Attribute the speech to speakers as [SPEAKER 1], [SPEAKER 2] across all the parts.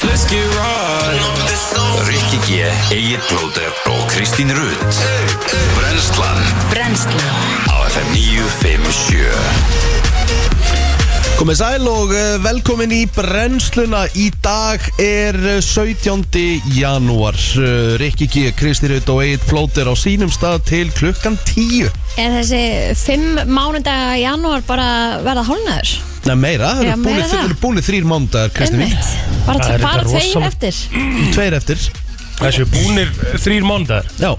[SPEAKER 1] kannski ráð
[SPEAKER 2] Rikki G, Egil Blóter og Kristín Rutt Brenslan
[SPEAKER 3] Brennslan
[SPEAKER 2] á FM 957
[SPEAKER 4] Komið sæl og eh, velkomin í brennsluna Í dag er eh, 17. janúar Eh, Rikki G, Kristi Rutt og Egil Plóter á sínum stað til klukkan 10
[SPEAKER 5] Er þessi fimm mánudaga í janúar bara að verða hálnaður?
[SPEAKER 4] Nei meira, það
[SPEAKER 5] Já,
[SPEAKER 4] eru búnir-
[SPEAKER 5] meira
[SPEAKER 4] það
[SPEAKER 5] það.
[SPEAKER 4] eru búinir þrýr mándagar Kristi mín
[SPEAKER 5] Einmitt. Bara,
[SPEAKER 1] Það er þetta
[SPEAKER 5] bara tveir
[SPEAKER 1] rosalegt.
[SPEAKER 5] eftir
[SPEAKER 4] Tveir eftir
[SPEAKER 1] Þessu búnir þrýr mánudagar
[SPEAKER 4] Já,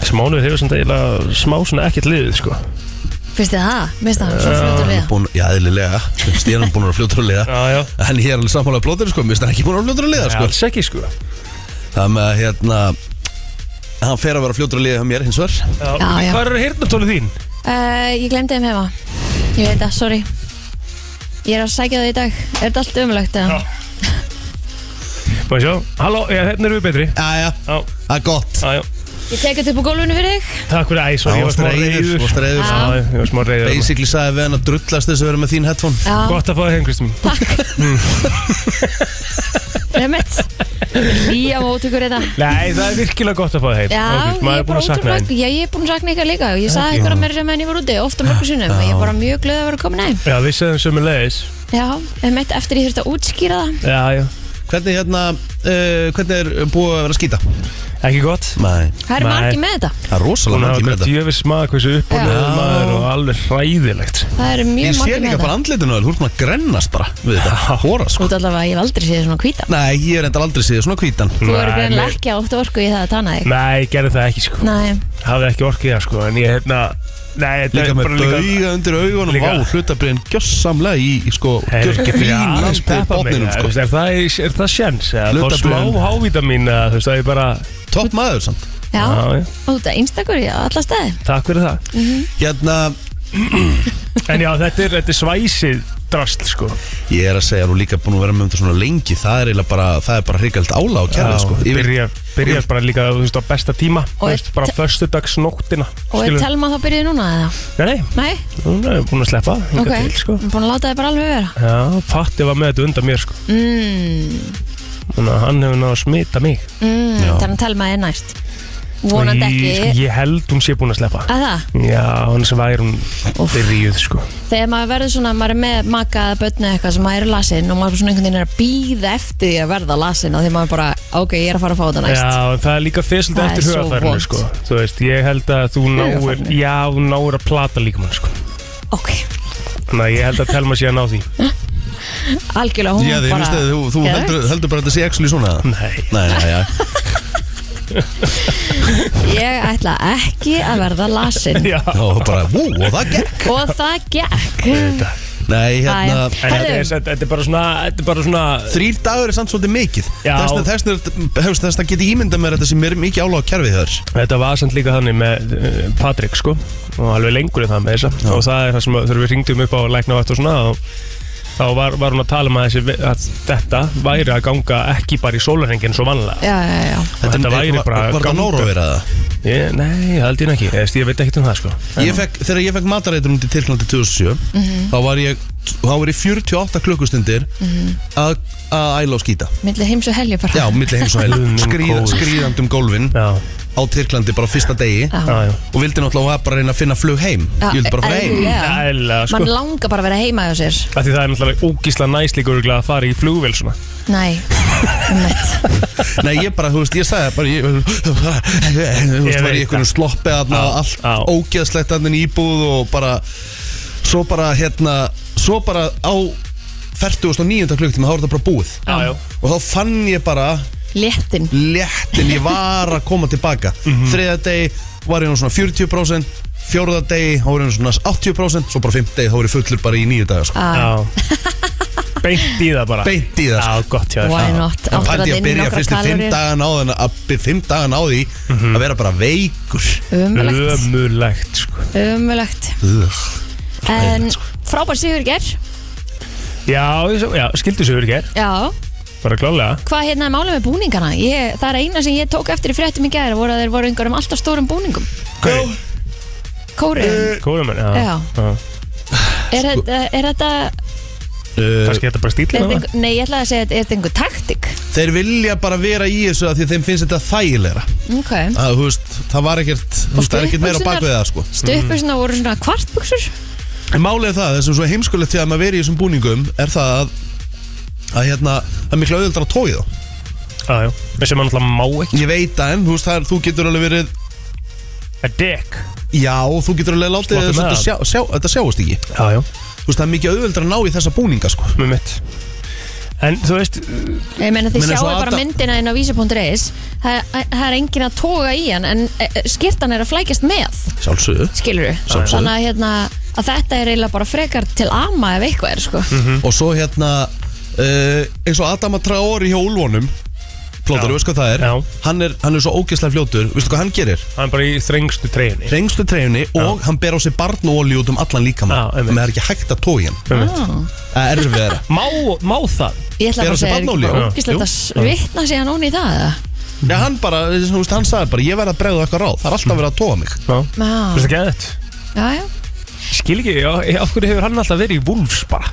[SPEAKER 1] Þessi mánuður hefur svona eiginlega smá svona ekkert liðið sko
[SPEAKER 5] Finnst þið það? Minnst það svo fljótur við
[SPEAKER 4] búin, Eh, já eðlilega Stíðan búin að fljóta að liða
[SPEAKER 1] Já, já
[SPEAKER 4] En ég er alveg sammála að Plóter sko, mér finnst hann ekki búin að fljóta að liða sko
[SPEAKER 1] Alls ekki sko
[SPEAKER 4] Það með að hérna Hann fer að vera fljótur að liða hjá mér hins vegar
[SPEAKER 5] Já, já.
[SPEAKER 1] Hvað eru hirtnatólið þín?
[SPEAKER 5] uh, Ég glemdi þeim heima Ég veit það, sorry Ég er að sækja það í dag Er þetta allt umlögt?
[SPEAKER 1] Já. Má sjá Halló, já, hérna eru við betri
[SPEAKER 4] Jæja,
[SPEAKER 1] Já,
[SPEAKER 4] það er gott
[SPEAKER 1] já, já
[SPEAKER 5] Ég tek þetta upp á gólfinu fyrir þig
[SPEAKER 1] Takk fyrir, æ, svo
[SPEAKER 4] Það
[SPEAKER 1] ég var
[SPEAKER 4] varst
[SPEAKER 1] smá
[SPEAKER 4] reyður,
[SPEAKER 1] reyður
[SPEAKER 4] varst reyður
[SPEAKER 1] Já, ég var smá reyður
[SPEAKER 4] Basically sagði við hann að drullast þess að vera með þín headphone
[SPEAKER 5] Já,
[SPEAKER 1] Gott að fá það heim, Kristín
[SPEAKER 5] remitt Lía mót ykkur þetta
[SPEAKER 1] Nei, það er virkilega gott að fá það heim
[SPEAKER 5] Já,
[SPEAKER 1] Ókei,
[SPEAKER 5] ég
[SPEAKER 1] maður
[SPEAKER 5] er bara
[SPEAKER 1] búinn að sakna
[SPEAKER 5] ótrúlega
[SPEAKER 1] þín.
[SPEAKER 5] Já, ég er búin að sakna ykkar líka Ég sagði ykkur að mér sem enn ég var úti Ofta mörgur sinnum Ég er bara mjög glöð að vera komin heim
[SPEAKER 1] Já, við segðum sömulegis
[SPEAKER 5] Já, emitt eftir ég þurfti að útskýra það
[SPEAKER 1] Já, já,
[SPEAKER 4] Hvernig hérna, uh, hvernig er búið að vera að skýta?
[SPEAKER 1] ekki gott
[SPEAKER 4] Nei
[SPEAKER 5] Það eru
[SPEAKER 1] Nei.
[SPEAKER 5] margir með þetta
[SPEAKER 4] Það er rosalega
[SPEAKER 1] Hún
[SPEAKER 4] margir
[SPEAKER 1] hafa
[SPEAKER 4] með þetta
[SPEAKER 1] djöfis smak hversu upp og
[SPEAKER 5] Já.
[SPEAKER 1] niður maður og alveg hræðilegt
[SPEAKER 5] Það eru
[SPEAKER 4] Ég
[SPEAKER 5] mjög
[SPEAKER 4] sé
[SPEAKER 5] margir með
[SPEAKER 4] líka
[SPEAKER 5] þetta
[SPEAKER 4] bara andlitinu á þér, þú ert maður að grennast bara við þetta Hóra
[SPEAKER 5] Þú
[SPEAKER 4] sko
[SPEAKER 5] ert allavega að ég hef aldrei séð svona hvítan
[SPEAKER 4] Nei, ég er enda aldrei síðan svona hvítan
[SPEAKER 5] Þú eru
[SPEAKER 1] Nei,
[SPEAKER 5] greinlega
[SPEAKER 1] nei.
[SPEAKER 5] ekki átt orku í það að tana þig
[SPEAKER 1] Nei, gerði það ekki sko
[SPEAKER 5] Nei,
[SPEAKER 1] Hafði ekki orkið það sko En ég hérna Nei, þetta
[SPEAKER 4] Líka
[SPEAKER 1] er
[SPEAKER 4] með
[SPEAKER 1] bara
[SPEAKER 4] dauga undir augunum
[SPEAKER 1] Líka-
[SPEAKER 4] Vá, hlutabriðin gjössamlega í, í sko
[SPEAKER 1] Herri,
[SPEAKER 4] Gjössamlega
[SPEAKER 1] aðeins
[SPEAKER 4] í
[SPEAKER 1] peppa mig,
[SPEAKER 4] botninum
[SPEAKER 1] ja, þú
[SPEAKER 4] sko
[SPEAKER 1] veist, Er það, er það sjens? Það
[SPEAKER 4] Hlutabréfin.
[SPEAKER 1] er smá hávítamín eða, Þú veist, það er bara
[SPEAKER 4] Topp maður samt
[SPEAKER 5] já,
[SPEAKER 1] Já, já.
[SPEAKER 5] og þú ert einstakur í alla staði
[SPEAKER 1] Takk fyrir það
[SPEAKER 5] Mhm.
[SPEAKER 4] Hérna,
[SPEAKER 1] En já, þetta er, þetta er svæsið drasl sko
[SPEAKER 4] ég er að segja, þú er líka búin að vera með um þetta svona lengi Það er eiginlega bara, það er bara hrikalegt álá og kærlega sko Ég veit-
[SPEAKER 1] Byrjar byrja bara líka, þú veist, á besta tíma Þú
[SPEAKER 5] Og
[SPEAKER 1] veist,
[SPEAKER 5] er
[SPEAKER 1] bara
[SPEAKER 5] te-
[SPEAKER 1] föstudagsnóttina
[SPEAKER 5] Og er
[SPEAKER 1] skilurðu.
[SPEAKER 5] Telma þá byrjuð núna eða?
[SPEAKER 1] Nei, nei,
[SPEAKER 5] Nei,
[SPEAKER 1] hún er búin að sleppa
[SPEAKER 5] ok,
[SPEAKER 1] hingað til, sko.
[SPEAKER 5] hún er búin að láta þig bara alveg vera
[SPEAKER 1] Já, Patti var með þetta undan mér sko
[SPEAKER 5] mm,
[SPEAKER 1] Þannig að hann hefur náðu að smita mig
[SPEAKER 5] mm,
[SPEAKER 4] Já.
[SPEAKER 5] Þannig að Telma er næst Vonandi
[SPEAKER 1] Og ég- Sko,
[SPEAKER 5] ekki
[SPEAKER 1] ég held hún sé búin að sleppa
[SPEAKER 5] að það,
[SPEAKER 1] Já, annars væri hún byrjuð sko
[SPEAKER 5] þegar maður verður svona maður er með maka eða börnu eitthvað sem maður er lasin og maður svona einhvern veginn er að býða eftir því að verða lasin og því maður bara, ok, ég er að fara að fá þetta næst
[SPEAKER 1] Já, en það er líka fyrst
[SPEAKER 5] Það er
[SPEAKER 1] eftir
[SPEAKER 5] svo
[SPEAKER 1] hugafærinu
[SPEAKER 5] vont.
[SPEAKER 1] sko Þú veist, ég held að þú náir
[SPEAKER 5] Hugarfarinu.
[SPEAKER 1] Já, þú náir að plata líkamann sko
[SPEAKER 5] ok,
[SPEAKER 1] Þannig að ég held að telma sé að ná því
[SPEAKER 5] algjörlega hún
[SPEAKER 4] Já, þið, ég
[SPEAKER 5] bara
[SPEAKER 4] veist að þú, þú
[SPEAKER 5] Geðveikt.
[SPEAKER 4] heldur, heldur bara að þetta sé actually svona eða?
[SPEAKER 1] Nei
[SPEAKER 4] Nei, nei, já
[SPEAKER 5] Ég ætla ekki að verða lasin
[SPEAKER 1] Já,
[SPEAKER 4] Og bara, vú, og það gekk
[SPEAKER 5] Og það gekk
[SPEAKER 1] þetta
[SPEAKER 4] Nei,
[SPEAKER 5] Æ,
[SPEAKER 4] hérna,
[SPEAKER 1] En þetta
[SPEAKER 5] Herðu.
[SPEAKER 1] er, þetta þetta er bara svona, þetta er bara svona
[SPEAKER 4] Þrýr dagur er samt svolítið mikið
[SPEAKER 1] Já.
[SPEAKER 4] Þess vegna- Þess vegna- hefst, þess að geti ímyndað mér þetta sem er mikið áláð á kjærfið þar
[SPEAKER 1] Þetta var samt líka þannig með uh, Patrik sko og alveg lengur í það með þessa og það er það sem að- þegar við ringdum upp á lækna og eftir og svona og þá var, var hún að tala um að, þessi, að þetta væri að ganga ekki bara í sólarhengin svo vanlega
[SPEAKER 5] Já, já, já
[SPEAKER 1] Þetta væri
[SPEAKER 4] var,
[SPEAKER 1] bara
[SPEAKER 4] Var það
[SPEAKER 1] gangur.
[SPEAKER 4] nórófir að það?
[SPEAKER 1] ég, Nei, það held ég nú ekki, Eðst, ég veit ekkert um það sko
[SPEAKER 4] Ég fekk, þegar ég fekk matareitur um til Tyrklandi 2007 þá, var ég, þá var ég 48 klukkustundir að, að æla og skýta
[SPEAKER 5] Millir Mhm. heims og helju bara
[SPEAKER 4] Já, milli heims og
[SPEAKER 1] Guð
[SPEAKER 4] heil
[SPEAKER 1] minn
[SPEAKER 4] Skríð,
[SPEAKER 1] góður.
[SPEAKER 4] Skríðandi um gólfin
[SPEAKER 1] Já,
[SPEAKER 4] á Tyrklandi bara á fyrsta degi
[SPEAKER 5] Já.
[SPEAKER 1] já, já
[SPEAKER 4] og vildi náttúrulega bara reyna að finna flug heim
[SPEAKER 5] Já,
[SPEAKER 4] Ég vildi bara fara heim
[SPEAKER 5] eðlilega.
[SPEAKER 1] Ægilega, sko.
[SPEAKER 5] Man langar bara að vera heima hjá sér
[SPEAKER 1] Af Því það er náttúrulega ógísla næst líka örugglega að fara í flugvél svona
[SPEAKER 5] Nei, ummitt
[SPEAKER 4] Nei, ég bara, þú veist, ég sagði bara, ég, þú veist,
[SPEAKER 1] Ég
[SPEAKER 4] var í
[SPEAKER 1] veit
[SPEAKER 4] einhvern
[SPEAKER 1] það.
[SPEAKER 4] sloppi aðna,
[SPEAKER 1] Á,
[SPEAKER 4] allt
[SPEAKER 1] á.
[SPEAKER 4] ógeðslegt aðna íbúð og bara, svo bara, hérna, svo bara á 49. klukktíma, þá var þetta bara búið.
[SPEAKER 1] Já, já
[SPEAKER 4] Og þá fann ég bara
[SPEAKER 5] Léttin
[SPEAKER 4] léttin, ég var að koma tilbaka. Mm
[SPEAKER 1] Mhm.
[SPEAKER 4] -hmm. Þriða deg var ég nú svona 40%, fjóruða deg, þá var ég nú svona 80%, svo bara fimm deg, þá var ég fullur bara í nýju dagar, sko.
[SPEAKER 5] ah,
[SPEAKER 1] Já Beint í það bara
[SPEAKER 4] Beint í það, sko.
[SPEAKER 1] Já, gott hjá þér
[SPEAKER 5] Why not
[SPEAKER 4] En pældi
[SPEAKER 5] Áttur
[SPEAKER 4] ég að
[SPEAKER 5] að inn í
[SPEAKER 4] byrja
[SPEAKER 5] nokkra
[SPEAKER 4] fyrstu fimm
[SPEAKER 5] kaloríur.
[SPEAKER 4] dagan á, þennan- að- fimm dagan á því
[SPEAKER 5] Mhm.
[SPEAKER 4] að vera bara veikur.
[SPEAKER 5] Ömulegt
[SPEAKER 1] Ömulegt sko
[SPEAKER 5] Ömulegt
[SPEAKER 4] Ugh.
[SPEAKER 5] En frábær sigur í ger
[SPEAKER 1] Já, ég- já skildu sig verið ger
[SPEAKER 5] Já
[SPEAKER 1] Bara klálega
[SPEAKER 5] Hvað hérna er málið með búningana? Ég, það er eina sem ég tók eftir í fréttum í gæðir voru að þeir voru einhverjum alltaf stórum búningum
[SPEAKER 1] Hver?
[SPEAKER 5] Kóriðum
[SPEAKER 4] Eh,
[SPEAKER 1] Kórumenn, já
[SPEAKER 5] Já.
[SPEAKER 1] já.
[SPEAKER 4] Sko.
[SPEAKER 5] Er, þetta- er þetta
[SPEAKER 4] uh,
[SPEAKER 1] Kannski er þetta bara
[SPEAKER 5] Er
[SPEAKER 1] stílinn á
[SPEAKER 5] þetta
[SPEAKER 1] það
[SPEAKER 5] einhver- Nei, ég ætlaði að segja að er þetta einhver taktik
[SPEAKER 4] Þeir vilja bara vera í þessu af Því þeim finnst þetta þægilegra
[SPEAKER 5] Ok
[SPEAKER 4] að, þú veist, Það var ekkert, þú veist, það er ekkert meira á bakvið það sko.
[SPEAKER 5] Stuppbuxurnar voru svona kvartbuxur
[SPEAKER 4] En Málið er það, það sem er svo heimskulegt Þegar maður verið í þessum búningum Er það að, að hérna, það er miklu auðvöldar að tóið þá
[SPEAKER 1] Ah, Já, já, við sem hann alltaf má ekki
[SPEAKER 4] Ég veit að en, þú veist, það er, þú getur alveg verið
[SPEAKER 1] A dick um
[SPEAKER 4] Já, þú getur alveg látið
[SPEAKER 1] Sláttu
[SPEAKER 4] þess
[SPEAKER 1] með
[SPEAKER 4] að
[SPEAKER 1] það.
[SPEAKER 4] þetta sjá, sjá, þetta sjáast ekki
[SPEAKER 1] Já, já,
[SPEAKER 4] Þú veist, það er mikið auðvöldar að ná í þessa búninga sko.
[SPEAKER 1] með mitt En þú veist, eh,
[SPEAKER 5] Ég meina þið
[SPEAKER 4] Meina
[SPEAKER 5] sjáu
[SPEAKER 4] svo
[SPEAKER 5] bara
[SPEAKER 4] Adam-
[SPEAKER 5] myndina inn á vísa.is það, það er engin að toga í hann en e, e, skirtan er að flækjast með
[SPEAKER 4] Sjálfsögðu
[SPEAKER 5] skilur
[SPEAKER 4] Sjálfsögðu.
[SPEAKER 5] þannig að, hérna, að þetta er eiginlega bara frekar til ama ef eitthvað er sko.
[SPEAKER 1] Mhm.
[SPEAKER 4] Og svo hérna uh, eins og Adama Traori hjá Ulvonum Plótar,
[SPEAKER 1] Já.
[SPEAKER 4] þú veist hvað það er
[SPEAKER 1] Já.
[SPEAKER 4] hann, er hann er svo ógeðslega fljótur, veistu hvað hann gerir?
[SPEAKER 1] hann er bara í þrengstu treyjunni
[SPEAKER 4] Rengstu treyjunni og hann ber á sig barnóli út um allan líkamann
[SPEAKER 1] Já,
[SPEAKER 4] Þannig
[SPEAKER 1] einmitt.
[SPEAKER 4] að það er ekki hægt að tói hann
[SPEAKER 1] Með mitt
[SPEAKER 5] ah.
[SPEAKER 4] Það er erfiðara
[SPEAKER 1] Má, má það?
[SPEAKER 5] ég ætla
[SPEAKER 4] Er það
[SPEAKER 5] bara að segja
[SPEAKER 4] sem
[SPEAKER 5] er
[SPEAKER 4] barnaolía?
[SPEAKER 5] ekki
[SPEAKER 1] Já.
[SPEAKER 5] ógislegt
[SPEAKER 1] Jú.
[SPEAKER 5] að s- vitna sig hann ón í það eða?
[SPEAKER 4] Já, hann bara, þú veist, hann sagði bara Ég verð að bregða eitthvað ráð, það er alltaf verið að tóa mig
[SPEAKER 1] Já Þú veist
[SPEAKER 5] já,
[SPEAKER 1] ekki að þetta?
[SPEAKER 5] já, já.
[SPEAKER 1] Skil ekki, já, ég- af hverju hefur hann alltaf verið í Wolves bara?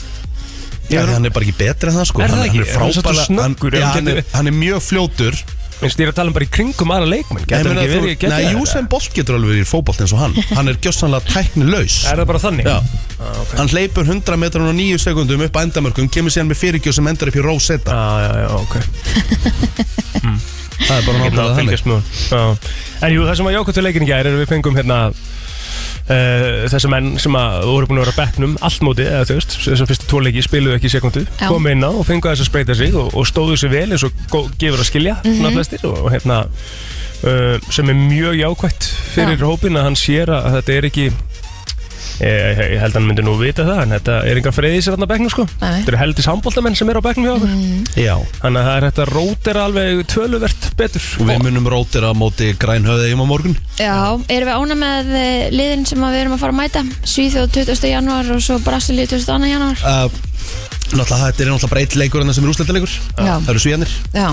[SPEAKER 4] Já,
[SPEAKER 1] Ég
[SPEAKER 4] því
[SPEAKER 1] er-
[SPEAKER 4] hann er bara ekki betri en það sko
[SPEAKER 1] Er það
[SPEAKER 4] Hann-
[SPEAKER 1] ekki? Er
[SPEAKER 4] Hann
[SPEAKER 1] hann
[SPEAKER 4] er
[SPEAKER 1] svo
[SPEAKER 4] frábæla hann,
[SPEAKER 1] snöggur?
[SPEAKER 4] já,
[SPEAKER 1] Hann
[SPEAKER 4] hann, er,
[SPEAKER 1] getur-
[SPEAKER 4] hann er mjög fljótur
[SPEAKER 1] Minnst ég er að tala um bara í kringum aðra leikmenn
[SPEAKER 4] Ég
[SPEAKER 1] Getur hann
[SPEAKER 4] meina,
[SPEAKER 1] ekki
[SPEAKER 4] þú-
[SPEAKER 1] verið í gegn
[SPEAKER 4] Nei, Júsen Bolt getur alveg verið í fótbolt eins og hann Hann er gjössanlega tæknilaus
[SPEAKER 1] Er það bara þannig?
[SPEAKER 4] Já.
[SPEAKER 1] ah, ok.
[SPEAKER 4] Hann hleypur 100 metrar og 9 sekundum upp að endamörkum Kemur síðan með fyrirgjöf sem endar upp í Rosetta
[SPEAKER 1] ah, Já, já, ok
[SPEAKER 4] Mm. Það er bara
[SPEAKER 1] Ég náðu að
[SPEAKER 4] náttúrulega þannig
[SPEAKER 1] fylgjast með hún Já. En jú, það sem var jákvæmt við leikin í gær er að við fengum hérna Uh, þessi menn sem að voru búin að vera á bekknum allt mótið, eða þú veist, þessar fyrstu tvoleiki spiluðu ekki í sekundu,
[SPEAKER 5] Já.
[SPEAKER 1] komu inn á og fengu þess að spreita sig og, og stóðu sig vel eins og gó- gefur að skilja,
[SPEAKER 5] Mhm.
[SPEAKER 1] svona flestir og hérna, uh, sem er mjög jákvætt fyrir
[SPEAKER 5] Já.
[SPEAKER 1] hópin að hann sér að þetta er ekki ég, ég held að hann myndi nú vita það, en þetta er engar freyðið sér hann á bekknum sko,
[SPEAKER 5] Nei, nei.
[SPEAKER 1] þetta eru heldis handbóltamenn sem eru á bekknum hjá okkur,
[SPEAKER 4] Já,
[SPEAKER 1] þannig að það er hægt að rótera alveg töluvert betur
[SPEAKER 4] og við munum rótir á móti grænhöðegjum á morgun
[SPEAKER 5] já, erum við ána með eh, liðin sem að við erum að fara að mæta Svíþjóð 20. janúar og svo Brasilíu 22. janúar
[SPEAKER 4] uh, Náttúrulega þetta er náttúrulega bara eitt leikur en það sem er úrsletaleikur
[SPEAKER 5] Já.
[SPEAKER 4] Það eru svíjanir,
[SPEAKER 5] já,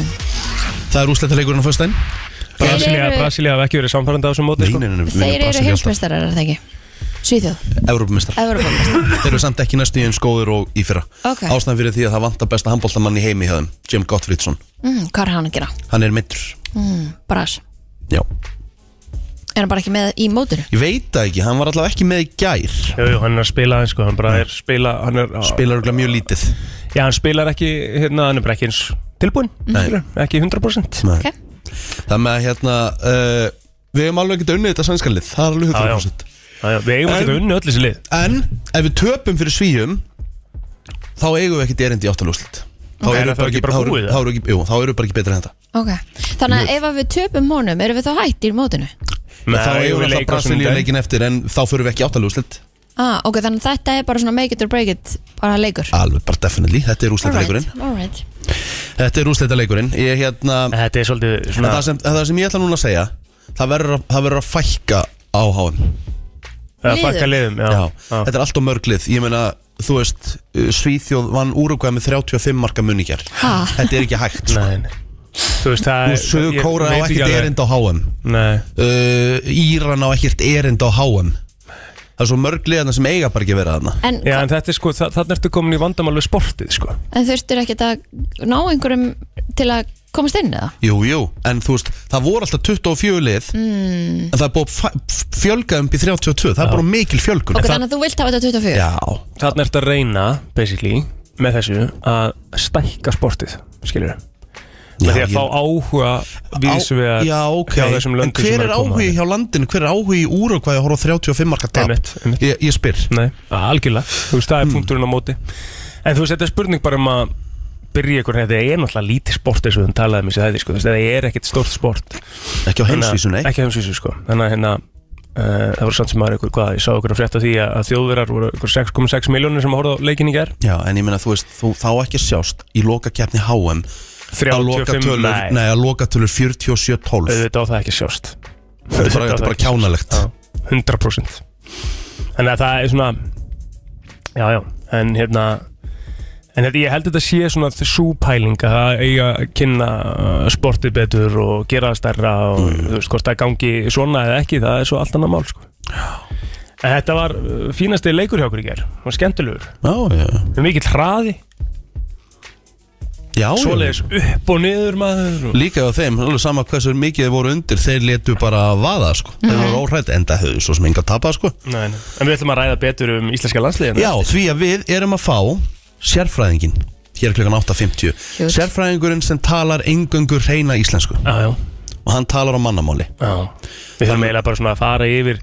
[SPEAKER 4] það er úrsletaleikurinn á föstudaginn
[SPEAKER 1] Brasilia,
[SPEAKER 5] Þeir eru-
[SPEAKER 1] Brasilia hef ekki verið samfærandi á þessum móti sko.
[SPEAKER 5] þeir eru heimsmeistarar er það ekki Svíþjóð,
[SPEAKER 4] Evrópumistar,
[SPEAKER 5] Evropamestrar
[SPEAKER 4] þeir eru samt ekki næstu í eins góður og í fyrra
[SPEAKER 5] Ok.
[SPEAKER 4] Ástæðan fyrir því að það vantar besta handbóltamann í heimi hjá þeim Jim Gottfridsson,
[SPEAKER 5] mm, hvað er hann að gera?
[SPEAKER 4] hann er mittur
[SPEAKER 5] Mm, Bras,
[SPEAKER 4] Já,
[SPEAKER 5] er hann bara ekki með í mótinu?
[SPEAKER 4] ég veit það ekki, hann var allavega ekki með í gær
[SPEAKER 1] Jú, jú, hann er að spila aðeins sko, hann bara er spila hann er,
[SPEAKER 4] Spilar örugglega mjög lítið
[SPEAKER 1] Já, hann spilar ekki, hérna, hann er bara ekki eins tilbúinn, skilur, ekki 100%
[SPEAKER 4] Nei.
[SPEAKER 5] Ok.
[SPEAKER 4] Það með að hérna uh, Við hefum alveg ekkert unnið þetta sænskallið Það er alveg
[SPEAKER 1] Já, já.
[SPEAKER 4] 100%
[SPEAKER 1] Já, já, Við eigum
[SPEAKER 4] En-
[SPEAKER 1] ekki að unni öll þessi lið
[SPEAKER 4] En ef við töpum fyrir svíjum Þá eigum við ekkert erindi í áttalúslit Þá
[SPEAKER 1] Ok. Er
[SPEAKER 4] eru
[SPEAKER 1] það ekki bara
[SPEAKER 4] þá eru-
[SPEAKER 1] búið,
[SPEAKER 4] þá eru ekki- jú, þá eru við bara ekki betri en þetta
[SPEAKER 5] Ok, þannig að ef að við töpum honum erum við þá hætt í mótinu?
[SPEAKER 1] Nei,
[SPEAKER 4] Þá eigum við
[SPEAKER 1] leik
[SPEAKER 4] alltaf
[SPEAKER 1] á
[SPEAKER 4] Brasilíu
[SPEAKER 1] sunnudaginn.
[SPEAKER 4] leikin eftir En þá fyrir við ekki áttalúslit
[SPEAKER 5] Ah, ok, þannig að þetta er bara svona make it or break it bara leikur
[SPEAKER 4] Alveg bara definitely, þetta er úrslitaleikurinn
[SPEAKER 5] alright
[SPEAKER 4] Þetta er úrslitaleikurinn Ég hérna
[SPEAKER 1] En Þetta er svolítið
[SPEAKER 4] En
[SPEAKER 1] svona
[SPEAKER 4] það sem, það sem ég ætla núna að segja Það verður að, það verður að fækka á háum
[SPEAKER 1] að
[SPEAKER 5] Liðum.
[SPEAKER 1] fækka liðum Já,
[SPEAKER 4] Já,
[SPEAKER 1] já.
[SPEAKER 4] þetta er alltaf mörglið Ég meina, þú veist, uh, Svíþjóð vann úrugvæð með 35 marka munningjar
[SPEAKER 5] Ha?
[SPEAKER 4] Þetta er ekki hægt sko.
[SPEAKER 1] Nei, nei. Þú veist, það
[SPEAKER 4] Þú sögur
[SPEAKER 1] ég
[SPEAKER 4] kóra á
[SPEAKER 1] veit
[SPEAKER 4] ekkert
[SPEAKER 1] alveg-
[SPEAKER 4] erind á HM
[SPEAKER 1] Nei,
[SPEAKER 4] uh, Íran á ekkert erind á HM Það er svo mörglið þarna sem eiga bara ekki að vera þarna
[SPEAKER 5] En,
[SPEAKER 1] já, en þetta er sko, þa- þarna ertu komin í vandamál við sportið sko
[SPEAKER 5] en þurftir ekki að ná einhverjum til að komast inn eða?
[SPEAKER 4] Jú, jú, en þú veist, það voru alltaf 24 lið mm.
[SPEAKER 5] Hmm.
[SPEAKER 4] En það er búið að fæ- f- fjölga um í 32 Það er bara mikil fjölgun
[SPEAKER 5] Ok, þannig að þú vilt hafa þetta 24
[SPEAKER 4] Já,
[SPEAKER 1] Þarna ertu að reyna, basically, með þessu að stækka sportið, skilur
[SPEAKER 4] Já,
[SPEAKER 1] Með því
[SPEAKER 4] ég-
[SPEAKER 1] að fá áhuga
[SPEAKER 4] Á-
[SPEAKER 1] víðsvegar
[SPEAKER 4] Já, ok
[SPEAKER 1] hjá þessum
[SPEAKER 4] En
[SPEAKER 1] löndum
[SPEAKER 4] hver
[SPEAKER 1] sem
[SPEAKER 4] er
[SPEAKER 1] að koma
[SPEAKER 4] áhugi
[SPEAKER 1] þarna.
[SPEAKER 4] hjá landinu, hver er áhugi í úrugvæð að horfa á 35 marka tap
[SPEAKER 1] Einmitt, einmitt.
[SPEAKER 4] Ég, ég spyr
[SPEAKER 1] Nei, algjörlega, þú veist, það er punkturinn á móti En þú veist, þetta er spurning bara um að byrja ykkur, þetta er náttúrulega lítið sport eins og við talaðum í þessi þætti, sko, þú veist, þetta er ekkert stórt sport
[SPEAKER 4] Ekki á
[SPEAKER 1] Þannig að-
[SPEAKER 4] heimsvísu, nei
[SPEAKER 1] Ekki á heimsvísu, sko, þannig að hérna Uh, það voru samt sem aðra ykkur, hvað, ég sá ykkur að frétta því að, að þjóðverðar voru ykkur 6,6 miljónir sem að horfa á leikin í ger
[SPEAKER 4] Já, en ég meina, þú veist, þú þá ekki að sjást í lokakeppni HM að
[SPEAKER 1] 35,
[SPEAKER 4] lokatölur, nei.
[SPEAKER 1] nei,
[SPEAKER 4] að lokatölur 47-12
[SPEAKER 1] auðvitað á það ekki að sjást
[SPEAKER 4] Þetta er bara,
[SPEAKER 1] auðvitað á
[SPEAKER 4] þetta er
[SPEAKER 1] það
[SPEAKER 4] bara
[SPEAKER 1] ekki að
[SPEAKER 4] kjánalegt
[SPEAKER 1] Já, 100% Þannig að það er svona Já, já, en hérna En þetta, ég held að þetta sé svona súpæling að það eiga að kynna uh, sportið betur og Mm. gera það stærra og þú veist hvort það gangi svona eða ekki, það er svo allt annað mál sko. En þetta var uh, fínasti leikur hjá okkur í gerð Hún var skemmtilegur
[SPEAKER 4] Já, já
[SPEAKER 1] Með mikill hraði
[SPEAKER 4] Já, já
[SPEAKER 1] Svoleiðis upp og niður maður og...
[SPEAKER 4] Líka á þeim, alveg sama hversu mikið þeir voru undir Þeir letu bara að vaða, sko Þeir voru óhrætt, enda höfðu svo sem enga tapa, sko
[SPEAKER 1] Nei, nei. En við ætlum að ræða betur um íslenska landsliðina
[SPEAKER 4] Já, því að við erum að fá sérfræðingin Hér er klukkan 8.50
[SPEAKER 5] Cute.
[SPEAKER 4] Sérfræðingurinn sem talar engöngur reyna íslensku
[SPEAKER 1] Já, já,
[SPEAKER 4] Og hann talar á mannamáli
[SPEAKER 1] já. Við þurfum eiginlega bara svona að fara yfir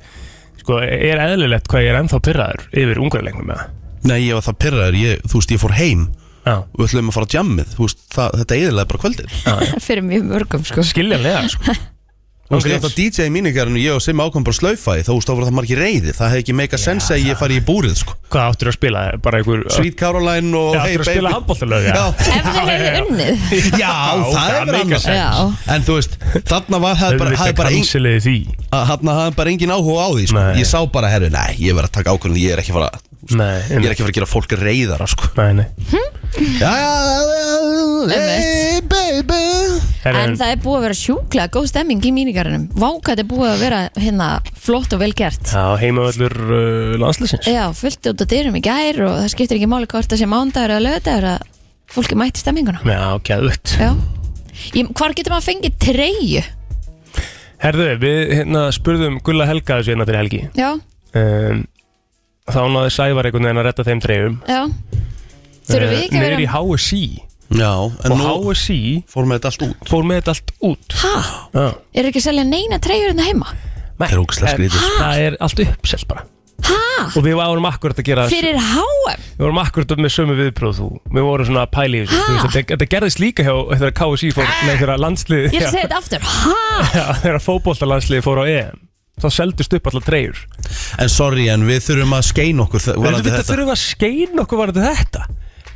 [SPEAKER 1] Sko, er eðlilegt hvað ég er ennþá pyrraður Yfir ungarleiknum með
[SPEAKER 4] Nei, ég var það pyrraður, ég, þú veist, ég fór heim
[SPEAKER 1] það
[SPEAKER 4] og við ætlum að fara á jammið þú veist, það, þetta eðilega bara kvöldið
[SPEAKER 5] fyrir mjög mörgum sko
[SPEAKER 1] Skiljanlega, sko
[SPEAKER 4] Þú veist, ég átt að DJ í mínigarinu, ég og Simmi ákvæm bara slaufaði þá þú veist, þá voru það margir reyði, það hefði ekki meika sens að ég fari í búrið, sko
[SPEAKER 1] Hvað áttur að spila? Bara einhver
[SPEAKER 4] Sweet Caroline og
[SPEAKER 1] Já, áttur að spila handbóltalög
[SPEAKER 4] Já,
[SPEAKER 5] ef þið hefðu unnið
[SPEAKER 4] já, það er verið annars
[SPEAKER 5] sense. Já.
[SPEAKER 4] En þú veist, þarna var, það bara, hafði
[SPEAKER 1] Auðvitað
[SPEAKER 4] bara ein,
[SPEAKER 1] kansiliði því
[SPEAKER 4] að hann hafði bara engin áhuga á því sko.
[SPEAKER 1] Nei.
[SPEAKER 4] ég sá bara, herru, nei, ég verð að taka ákvörðun ég er ekki að fara
[SPEAKER 1] Nei,
[SPEAKER 4] ég er ekki að fara að gera fólk reyðara sko.
[SPEAKER 1] Nei, nei
[SPEAKER 4] já, já, já, já, hey baby
[SPEAKER 1] Herra,
[SPEAKER 5] en það er búið að vera sjúklega góð stemming í mínigarunum váka þetta er búið að vera hérna flott og vel gert
[SPEAKER 1] Já, heimavöllur uh, landslýsins
[SPEAKER 5] já, fullt út á dyrum í gær og það skiptir ekki máli hvort það sé mándagur eða lögadagur að fólki mætti stemminguna
[SPEAKER 1] Já, gæðvögt
[SPEAKER 5] já Ég, hvar getur maður að fengi treyju?
[SPEAKER 1] Herðu, við hérna spurðum Gulla Helga þessu hérna fyrir helgi
[SPEAKER 5] Já,
[SPEAKER 1] um, Þá náði Sævar einhvern veginn að retta þeim treyfum
[SPEAKER 5] já Þurfum við ekki að
[SPEAKER 1] Neyri í
[SPEAKER 5] vera
[SPEAKER 1] HSI
[SPEAKER 4] já, en
[SPEAKER 1] Og
[SPEAKER 4] nú
[SPEAKER 1] HSI
[SPEAKER 4] fór með þetta allt út
[SPEAKER 1] fór með þetta allt út
[SPEAKER 5] Hæ?
[SPEAKER 1] Já.
[SPEAKER 5] Er ekki að selja neina treyjur hérna heima?
[SPEAKER 1] Nei,
[SPEAKER 4] Það er ógeðslega
[SPEAKER 1] en
[SPEAKER 4] skrítið,
[SPEAKER 1] Það er allt uppselt bara
[SPEAKER 5] Hæ?
[SPEAKER 1] Og við varum akkurat að gera
[SPEAKER 5] Fyrir HM?
[SPEAKER 1] Við vorum akkurat með sömu viðbróð þú Við vorum svona að pæli yfir þessu,
[SPEAKER 5] Ha?
[SPEAKER 1] þú veist, Þetta þetta gerðist líka hjá þegar KSI fór Nei, þegar landsliði
[SPEAKER 5] Ég er að segja þetta aftur Hæ?
[SPEAKER 1] Já, þegar fótboltalandsliði fór á EM þá seldust upp allar treyjur
[SPEAKER 4] en sorry, en við þurfum að skein okkur þ-
[SPEAKER 1] Við
[SPEAKER 4] varðandi þetta
[SPEAKER 1] þurfum að skeina okkur varandi þetta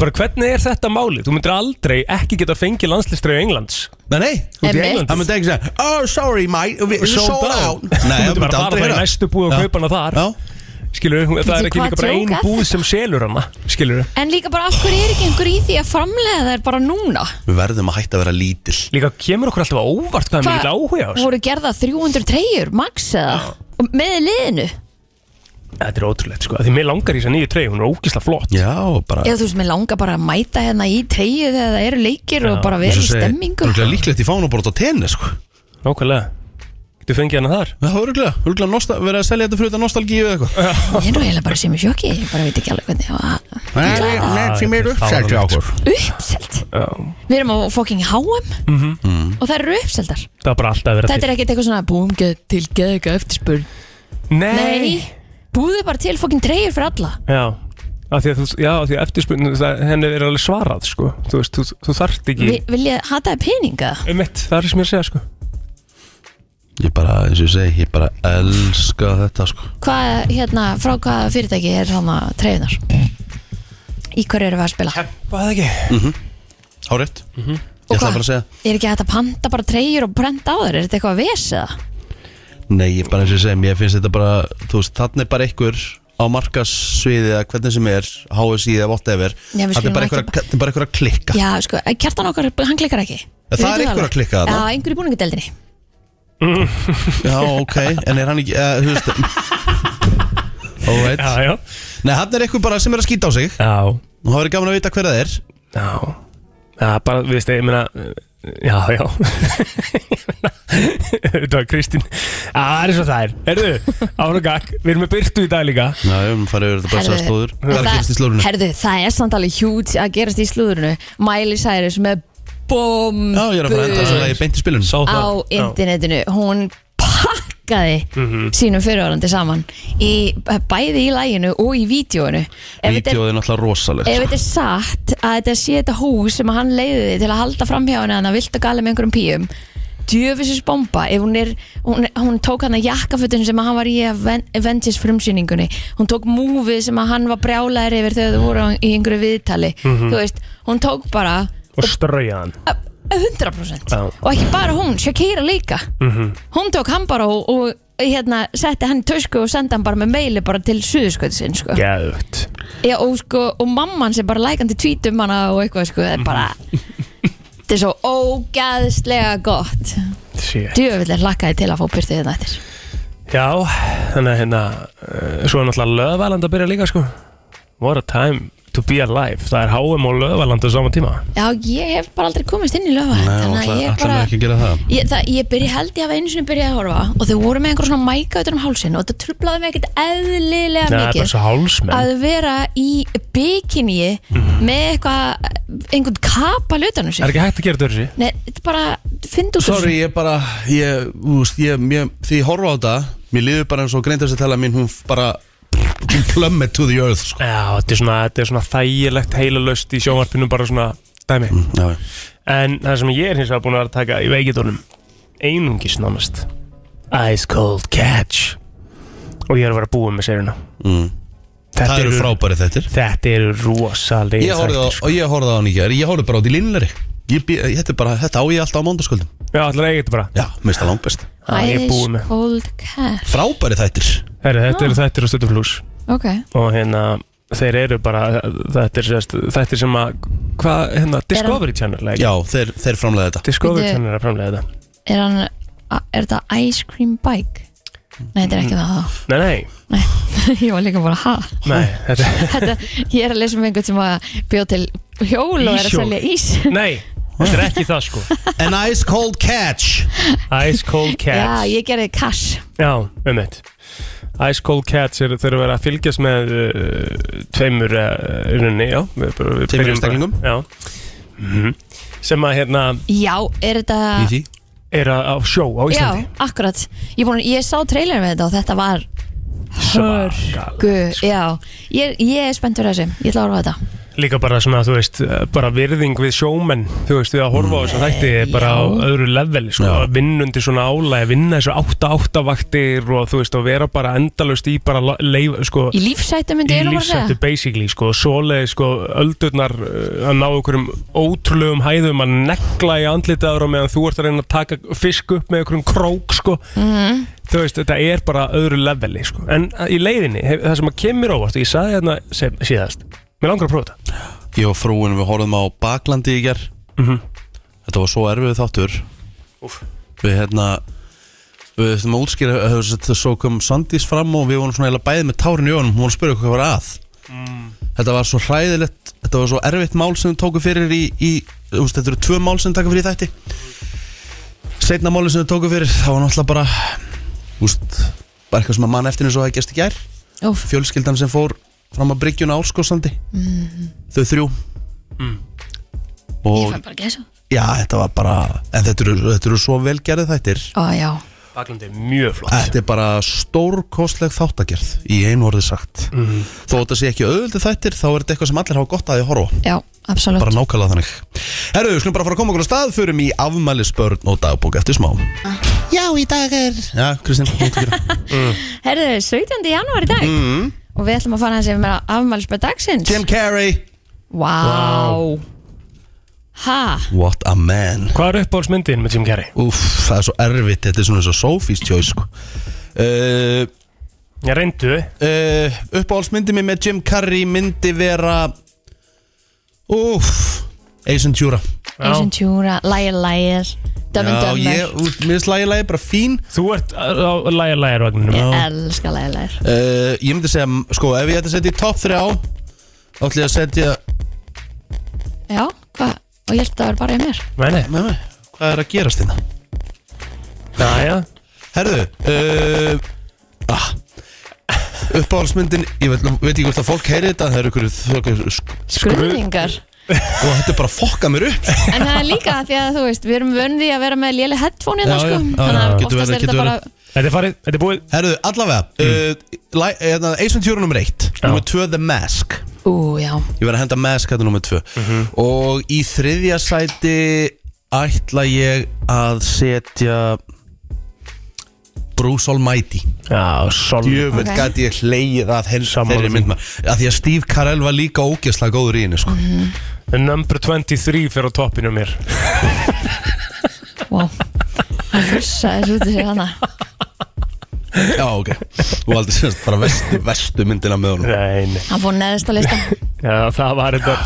[SPEAKER 1] Bara hvernig er þetta máli? Þú myndir aldrei ekki geta fengið landslistreið Englands
[SPEAKER 4] nei, nei,
[SPEAKER 1] út í
[SPEAKER 5] Einmitt.
[SPEAKER 1] England
[SPEAKER 4] það myndi ekki segja oh, sorry, mate, we
[SPEAKER 1] Sold
[SPEAKER 4] sold
[SPEAKER 1] out.
[SPEAKER 4] out
[SPEAKER 1] Þú
[SPEAKER 4] nei,
[SPEAKER 1] myndir bara fara bara í
[SPEAKER 4] heyra.
[SPEAKER 1] næstu búð og
[SPEAKER 4] Já.
[SPEAKER 1] kaupa hana þar.
[SPEAKER 4] já,
[SPEAKER 1] Skilur, það er ekki
[SPEAKER 5] hvað
[SPEAKER 1] líka bara
[SPEAKER 5] djók
[SPEAKER 1] ein
[SPEAKER 5] er
[SPEAKER 1] búð
[SPEAKER 5] þetta?
[SPEAKER 1] sem selur hana Skilur,
[SPEAKER 5] En líka bara af hverju er ekki einhver í því að framlega þær bara núna?
[SPEAKER 4] við verðum að hætta að vera lítil
[SPEAKER 1] líka kemur okkur alltaf á óvart hvað er mikill áhuga á þessu
[SPEAKER 5] voru gerða 300 treyjur, max eða? Og Með liðinu?
[SPEAKER 1] Þetta er ótrúlegt sko, af því mér langar í þess að nýju treyju, hún er ógisla flott
[SPEAKER 4] já, bara
[SPEAKER 5] Eða þú veist, mér langar bara að mæta hérna í treyju þegar það eru leikir og bara vera
[SPEAKER 4] eins
[SPEAKER 5] í
[SPEAKER 4] og segi,
[SPEAKER 5] stemmingu
[SPEAKER 4] örugglega líklegt í fánaborð á tenni sko
[SPEAKER 1] Nákvæmlega, getur fengið hana þar
[SPEAKER 4] Það var örgulega, örgulega nostal, verið að selja þetta fyrir þetta nostalgíu eða eitthvað
[SPEAKER 5] Ég er nú eiginlega bara sem í sjokki, ég bara veit ekki alveg hvernig það
[SPEAKER 4] Nei,
[SPEAKER 1] nei, því miður uppselt hjá okkur.
[SPEAKER 5] var uppselt
[SPEAKER 1] Já. Mhm.
[SPEAKER 5] Við erum á fucking HM og það eru uppseltar
[SPEAKER 1] Það er bara alltaf verið
[SPEAKER 5] Þetta er ekkert eitthvað svona búum geð, til geðega eftirspurn Nei, búðu bara til fucking treyjur fyrir alla
[SPEAKER 1] Já, af því að, þú- já, af því að eftirspunni henni er alveg svarað sko. þú, veist, þú, þú þarft ekki
[SPEAKER 5] Vi, Vilja hataði peninga?
[SPEAKER 1] um eitt, það er sem ég er að segja sko.
[SPEAKER 4] Ég bara, eins og ég segi, ég bara elska þetta sko
[SPEAKER 5] Hvað, hérna, frá hvaða fyrirtæki er svona treyjunar? Í hverju erum við að spila?
[SPEAKER 1] Hvað það ekki?
[SPEAKER 4] Hárétt
[SPEAKER 1] Mhm.
[SPEAKER 5] Og
[SPEAKER 4] Mhm. Ég ætla
[SPEAKER 5] hvað?
[SPEAKER 4] bara að segja
[SPEAKER 5] Er ekki hægt að panta bara treyjur og prenta á þeir? Er þetta eitthvað að vesa það?
[SPEAKER 4] Nei, ég bara eins og ég segi, mér finnst þetta bara Þú veist, þannig er bara einhver á markassviði eða hvernig sem er HSI eða whatever
[SPEAKER 5] Já, við
[SPEAKER 4] Þarna
[SPEAKER 5] skulum
[SPEAKER 4] er bara
[SPEAKER 5] ekki
[SPEAKER 4] einhver, að- þetta er bara einhver að klikka
[SPEAKER 5] Já, sko, kjartan okkar, hann klikkar ekki
[SPEAKER 4] Það
[SPEAKER 5] Við
[SPEAKER 4] er
[SPEAKER 5] vitum
[SPEAKER 4] einhver að
[SPEAKER 5] alveg.
[SPEAKER 4] klikka þarna.
[SPEAKER 5] Já, einhver í búningadeldinni
[SPEAKER 4] Já, ok, en er hann ekki, eh, þú veist Alright
[SPEAKER 1] Já, já
[SPEAKER 4] Nei, þannig er einhver bara sem er að skýta á sig
[SPEAKER 1] Já,
[SPEAKER 4] og það verið gaman að vita hver það er
[SPEAKER 1] já Já, bara, við veist, ég meina Já, já Þetta var Kristín Já, það er svo það er Erðu, án og gakk, við erum með byrtu í dag líka
[SPEAKER 4] Já, við erum farið yfir þetta bara
[SPEAKER 5] Herðu,
[SPEAKER 4] sá slúður Það er
[SPEAKER 5] það-
[SPEAKER 4] að gerast í slúðurinu
[SPEAKER 5] Herðu, það er samt alveg hjúts að gerast í slúðurinu Miley Cyrus með bombu
[SPEAKER 4] Já, ég er að fara að enda þess að ég beint í spilun
[SPEAKER 1] Sá
[SPEAKER 5] á
[SPEAKER 1] það. Já.
[SPEAKER 5] internetinu Hún pakkaði
[SPEAKER 1] Mhm.
[SPEAKER 5] sínum fyrirvarandi saman í, Bæði í læginu og í vídjóinu Ef þetta er
[SPEAKER 4] Vídeóið er náttúrulega rosalegt sko.
[SPEAKER 5] Ef þetta er satt að þetta sé þetta hús sem að hann leiði þig til að halda framhjá henni þannig að vilt að gala með einhverjum píum djöfisins bomba ef hún er hún, hún tók hann að jakkafötun sem að hann var í Aven- Avengers frumsýningunni hún tók múfið sem að hann var brjálæður yfir þegar þú voru á- í einhverju viðtali þú veist, hún tók bara
[SPEAKER 1] Og ströjaðan
[SPEAKER 5] 100%
[SPEAKER 1] Já. Mhm.
[SPEAKER 5] og ekki bara hún, Shakira líka hún tók hann bara og, og hérna, setti hann í tösku og sendi hann bara með meili bara til suðuskvöldsinn sko.
[SPEAKER 1] Gæðvögt
[SPEAKER 5] Já, og, sko, og mamman sem bara lækandi tvítum hana og eitthvað sko, það er bara þetta er svo ógæðslega gott
[SPEAKER 1] Shit
[SPEAKER 5] hérna djöfileg hlakkaði til að fá byrtið þetta eftir
[SPEAKER 1] Já, þannig að hérna uh, svo er náttúrulega löðvaland að byrja líka sko What a time to be alive Það er HM og löðvaland á sama tíma
[SPEAKER 5] Já, ég hef bara aldrei komist inn í löfa Þannig að ég
[SPEAKER 4] ætla
[SPEAKER 5] bara
[SPEAKER 4] ekki að gera það
[SPEAKER 5] Ég, það, ég byrja, held ég að einu sinni byrjaði að horfa og þau voru með einhver svona mæka utan um hálsin og það trublaði mig ekkert
[SPEAKER 1] Það
[SPEAKER 5] eðlilega
[SPEAKER 1] er bara
[SPEAKER 5] mikið
[SPEAKER 1] svo hálsmenn
[SPEAKER 5] að vera í bikini með eitthvað, einhvern kapal utan
[SPEAKER 1] Það
[SPEAKER 5] um
[SPEAKER 1] Mhm. er
[SPEAKER 5] sig
[SPEAKER 1] ekki hægt að gera þetta þessi
[SPEAKER 5] Nei, þetta er bara, fyndu úr
[SPEAKER 4] Sorry, ég bara, ég, úst, ég, mér, því ég horfa á þetta Mér liður bara eins og greint þessi tala mín Hún bara, hún plummet to the earth sko.
[SPEAKER 1] Já, þetta er svona, þetta er svona þægilegt heilalaust í sjónvarpinu bara svona dæmi
[SPEAKER 4] Já,
[SPEAKER 1] En það sem ég er hins vegar búin að vera að taka í veikitónum Einungis nánast Ice Cold Catch Og ég er að vera að búa með sérina
[SPEAKER 4] mm.
[SPEAKER 1] Þetta
[SPEAKER 4] Það eru frábæri þettir
[SPEAKER 1] Þetta eru rosalega
[SPEAKER 4] Ég horfði á,
[SPEAKER 1] þættir, sko.
[SPEAKER 4] og ég horfði á hann í gær, ég horfði bara á því línleiri Ég bý- Þetta er bara, þetta á ég alltaf á mándaskvöldum
[SPEAKER 1] Já, allir eigið þetta bara
[SPEAKER 4] Já, mér finnst það langbest
[SPEAKER 1] Já, ég er
[SPEAKER 5] þessu
[SPEAKER 1] búin með
[SPEAKER 5] Cold cat
[SPEAKER 4] Frábæri þættir
[SPEAKER 1] Herri, þetta eru þættir og stötu flús
[SPEAKER 5] Ok,
[SPEAKER 1] Og hérna, þeir eru bara Þetta er, sérst, þetta er sem að Hvað, hérna, Discovery Channel ekki?
[SPEAKER 4] Já, þeir, þeir framlega þetta
[SPEAKER 1] Discovery
[SPEAKER 5] Bíddu.
[SPEAKER 1] Channel er að framlega þetta
[SPEAKER 5] er hann a- er þetta ice cream bike? Nei, þetta er ekki það þá
[SPEAKER 1] Nei, nei,
[SPEAKER 5] Ég var líka bara, ha?
[SPEAKER 1] nei, þetta
[SPEAKER 5] Þetta, ég er að lesa um einhvern sem að bjóð til hjól og er að
[SPEAKER 1] Íshjól.
[SPEAKER 5] selja ís
[SPEAKER 1] Nei, þetta er ekki það sko
[SPEAKER 4] An ice cold catch
[SPEAKER 1] Ice Cold
[SPEAKER 5] Já,
[SPEAKER 1] Cats
[SPEAKER 5] ég gerði cash
[SPEAKER 1] Já, um eitt Ice Cold Cats er, þeir eru verið að fylgjast með uh, tveimur uh, runni, já við bara- við
[SPEAKER 4] Tveimur
[SPEAKER 1] byrjum bara-
[SPEAKER 4] einstaklingum?
[SPEAKER 1] Já Mhm. sem að hérna
[SPEAKER 5] Já, er þetta
[SPEAKER 4] Í því
[SPEAKER 1] er að á sjó á Íslandi
[SPEAKER 5] Ah. Já, akkurat Ég, búin, ég sá trailerin með þetta og þetta var
[SPEAKER 1] Svakalegt. sko.
[SPEAKER 5] Gu, já, ég, ég er spennt fyrir þessu Ég ætla að horfa á þetta
[SPEAKER 1] Líka bara svona, þú veist, eh, bara virðing við sjómenn Þú veist, við að horfa á þess að þætti er bara á
[SPEAKER 5] Mm. Já.
[SPEAKER 1] öðru level sko,
[SPEAKER 4] Já.
[SPEAKER 1] að vinna undir svona álæg, vinna þessu 8-8 vaktir og þú veist, og vera bara endalaust í bara la- leif, sko,
[SPEAKER 5] Í lífsættu myndi
[SPEAKER 1] í
[SPEAKER 5] ég nú bara
[SPEAKER 1] lífsættu
[SPEAKER 5] segja
[SPEAKER 1] basically sko, svoleið sko, öldurnar uh, að ná einhverjum ótrúlegum hæðum að negla í andlitaður og meðan þú ert að reyna að taka fisk upp með einhverjum krók sko.
[SPEAKER 5] Mm.
[SPEAKER 1] þú veist, þetta er bara öðru leveli sko. en uh, í leiðinni, hef, það sem að kemur óvart og ég saði hérna sem, síðast mér langar að prófa þetta
[SPEAKER 4] Ég og frúin við horfðum á baklandi í ger
[SPEAKER 1] Mhm.
[SPEAKER 4] Þetta var svo erfið þáttur Við hérna Við þurfum að útskýra hefur sett- Svo kom Sandís fram og við vorum svona eiginlega bæði með tárin í önum Hún var að spyrja okkur hvað var að
[SPEAKER 1] Mm.
[SPEAKER 4] Þetta var svo hræðilegt Þetta var svo erfitt mál sem við tókum fyrir í, í þú veist, Þetta eru tvö mál sem við taka fyrir í þætti Seinna máli sem við tókum fyrir Það var náttúrulega bara þú veist, Bara eitthvað sem að mann eftir eins og það gæst í gær
[SPEAKER 5] Úf,
[SPEAKER 4] fjölskyldan sem fór fram að bryggjuna Árskóðsandi mm.
[SPEAKER 5] Mhm.
[SPEAKER 4] þau þrjú
[SPEAKER 1] Mm.
[SPEAKER 5] ég
[SPEAKER 4] og
[SPEAKER 5] fæ bara gæsa
[SPEAKER 4] já, þetta var bara en þetta eru, þetta eru svo velgerðið þættir
[SPEAKER 5] Ó, já,
[SPEAKER 1] Baklandi er mjög flott
[SPEAKER 4] þetta er bara stórkostleg þáttagerð í einu orði sagt
[SPEAKER 1] Mhm.
[SPEAKER 4] mm. þó að þetta sé ekki auðvöldið þættir þá er þetta eitthvað sem allir hafa gott að því að horfa á.
[SPEAKER 5] já, absolutt
[SPEAKER 4] bara nákvæmlega þannig Herru, við skulum bara fara að koma okkur á stað fyrir mig afmælisbörn og dagbók eftir smá Já, í dag er Já, Kristín, hvað ertu að gera?
[SPEAKER 1] Mm.
[SPEAKER 5] Herðu, 17. janúar í dag Og við ætlum að fara þessi með afmælisbæð dagsins
[SPEAKER 4] Mm. Jim Carrey
[SPEAKER 5] Vá wow. Ha,
[SPEAKER 4] What a man
[SPEAKER 1] Hvað er uppáhaldsmyndin með Jim Carrey?
[SPEAKER 4] Úf, það er svo erfitt, þetta er svona eins og Sophie's Choice sko. uh,
[SPEAKER 1] Ég reyndu
[SPEAKER 4] uh, Uppáhaldsmyndi mér með Jim Carrey myndi vera Úf, Ace Ventura
[SPEAKER 5] Asian Tjúra, Lægir Lægir Dömmin
[SPEAKER 4] Já, ég,
[SPEAKER 5] Dömmar
[SPEAKER 4] úr, mér finnst lagi lagi bara fín
[SPEAKER 1] Þú ert uh, á lægja-lægjarvagninu
[SPEAKER 5] Ég elska Lægir Lægir
[SPEAKER 4] uh, Ég myndi segja, sko, ef ég ætti að setja í topp 3 á ætli ég að setja
[SPEAKER 5] Já, hvað, og ég held að það var bara í mér
[SPEAKER 1] Nei, nei
[SPEAKER 4] með mig, Hvað er að gerast þetta?
[SPEAKER 1] Næja
[SPEAKER 4] Herðu uh, ah, Uppáhaldsmyndin, ég veit, veit ekki hvort að fólk heyri þetta Það eru ykkur, ykkur og
[SPEAKER 5] Skröðingar
[SPEAKER 4] þetta er bara að fokka mér upp
[SPEAKER 5] En það er líka því að þú veist, við erum vöndi að vera með léli headphone hérna
[SPEAKER 4] Já, já,
[SPEAKER 5] sko
[SPEAKER 4] já,
[SPEAKER 5] Þannig
[SPEAKER 4] já,
[SPEAKER 5] að
[SPEAKER 4] getur
[SPEAKER 5] oftast
[SPEAKER 4] verið,
[SPEAKER 5] er þetta
[SPEAKER 4] getur
[SPEAKER 5] bara
[SPEAKER 1] Þetta er farið, þetta er búið
[SPEAKER 4] Herðu, allavega mm. Ace Ventura nummer 1
[SPEAKER 1] Já.
[SPEAKER 4] Nummer 2 The Mask
[SPEAKER 5] Ú, já,
[SPEAKER 4] Ég verð að henda Mask þetta nummer 2
[SPEAKER 1] Mhm.
[SPEAKER 4] Og í þriðja sæti Ætla ég að setja Bruce Almighty
[SPEAKER 1] Já, solid
[SPEAKER 4] Jöfnveld
[SPEAKER 5] Ok.
[SPEAKER 4] okay. gæti ég hleyið að helsa
[SPEAKER 1] Sammála
[SPEAKER 4] þeirri
[SPEAKER 1] því.
[SPEAKER 4] mynd Af Því að Steve Carell var líka ógeðslega góður í henni sko.
[SPEAKER 1] Number 23 fyrir á toppinu á mér
[SPEAKER 5] wow Það fussaði þessu út í sig hana
[SPEAKER 4] Já, ok Þú aldrei sérst bara vestu, vestu myndina með honum
[SPEAKER 1] Nei, nei
[SPEAKER 5] Hann fór neðist að lista
[SPEAKER 1] Já, það var þetta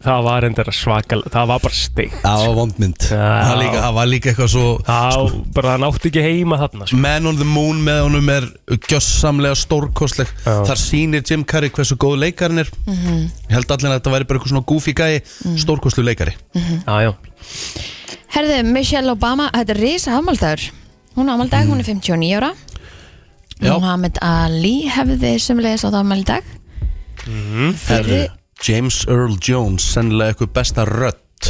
[SPEAKER 1] það var endara svakal það var bara steikt
[SPEAKER 4] Það var vondmynd Það líka- það var líka eitthvað svo
[SPEAKER 1] það, bara, það nátti ekki heima þarna sko.
[SPEAKER 4] sko. Man on the Moon með honum er gjössamlega stórkostleg
[SPEAKER 1] Já.
[SPEAKER 4] Þar sýnir Jim Carrey hversu góð leikarinn er
[SPEAKER 5] Mhm.
[SPEAKER 4] Ég held allir að þetta væri bara eitthvað svona goofy gæi mm. Stórkostlu leikari
[SPEAKER 1] Mm-hmm. já, já.
[SPEAKER 5] Herðu, Michelle Obama, þetta er risa afmáldagur Hún afmáldag, hún er 59 ára
[SPEAKER 4] Já.
[SPEAKER 5] Muhammad Ali hefði sömulegis á það afmáldag
[SPEAKER 1] Mm-hmm.
[SPEAKER 5] mm, Fyrir
[SPEAKER 4] James Earl Jones Sennilega eitthvað besta rödd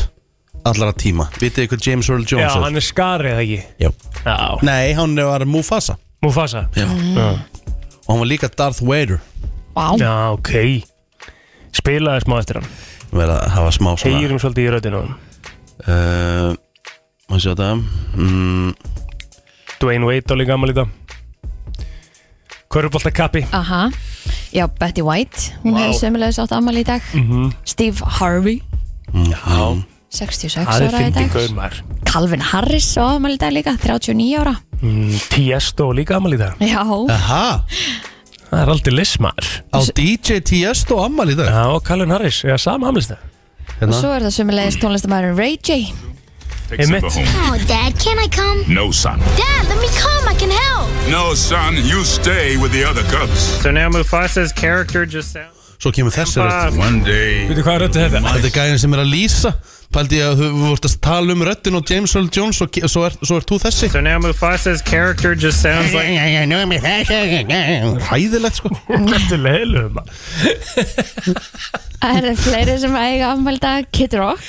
[SPEAKER 4] Allara tíma Vitið eitthvað James Earl
[SPEAKER 1] já,
[SPEAKER 4] Jones er?
[SPEAKER 1] hann er skarið eða ekki
[SPEAKER 4] Já.
[SPEAKER 1] já.
[SPEAKER 4] Nei, hann var Mufasa
[SPEAKER 1] Mufasa Mm-hmm.
[SPEAKER 4] Já. Og hann var líka Darth Vader
[SPEAKER 5] Vá,
[SPEAKER 1] já, ok spilaði smá eftir hann
[SPEAKER 4] Verða að hafa smá svona
[SPEAKER 1] heyrum svolítið í röddinu á honum.
[SPEAKER 4] Uh, Má sjá þetta mm,
[SPEAKER 1] Dwayne Wade á líka gammal í dag Köruboltakappi
[SPEAKER 5] aha Já, Betty White, hún
[SPEAKER 1] Vá. Mhm.
[SPEAKER 5] hefði sömulegis á það afmál í dag
[SPEAKER 4] Mhm.
[SPEAKER 5] Steve Harvey,
[SPEAKER 4] Já
[SPEAKER 5] 66
[SPEAKER 1] það er
[SPEAKER 5] ára í
[SPEAKER 1] fyndið
[SPEAKER 5] dag
[SPEAKER 1] gaumar
[SPEAKER 5] Calvin Harris á afmál í dag líka, 39 ára
[SPEAKER 1] mm, Tiesto á líka gammal í dag
[SPEAKER 5] Já,
[SPEAKER 4] Aha,
[SPEAKER 1] það er aldrei lismar
[SPEAKER 4] á DJ Tiesto ammali í dag Hérna.
[SPEAKER 1] já, og Callum Harris eða sama amlista Hérna.
[SPEAKER 5] og svo er það sömulegis tónlistamæðurinn Ray J
[SPEAKER 1] einmitt
[SPEAKER 3] Oh, Dad, can I come?
[SPEAKER 2] No son
[SPEAKER 3] Dad, let me come. I can help.
[SPEAKER 2] No son, you stay with the other cubs
[SPEAKER 6] So now Mufasa's character just sounds.
[SPEAKER 4] Svo kemur þessi rödd
[SPEAKER 2] One day
[SPEAKER 1] veitu hvað röddu þetta?
[SPEAKER 4] Þetta er gæðin sem er að lýsa Paldi ég að þú þú vart að tala um röddin og James Earl Jones og ke- svo ert er þú þessi
[SPEAKER 6] So now Mufasa's character just sounds like.
[SPEAKER 4] Hæðilegt sko
[SPEAKER 1] Þetta er leiðilegu maður
[SPEAKER 5] Það er fleiri sem eiga afmál í dag, Kid Rock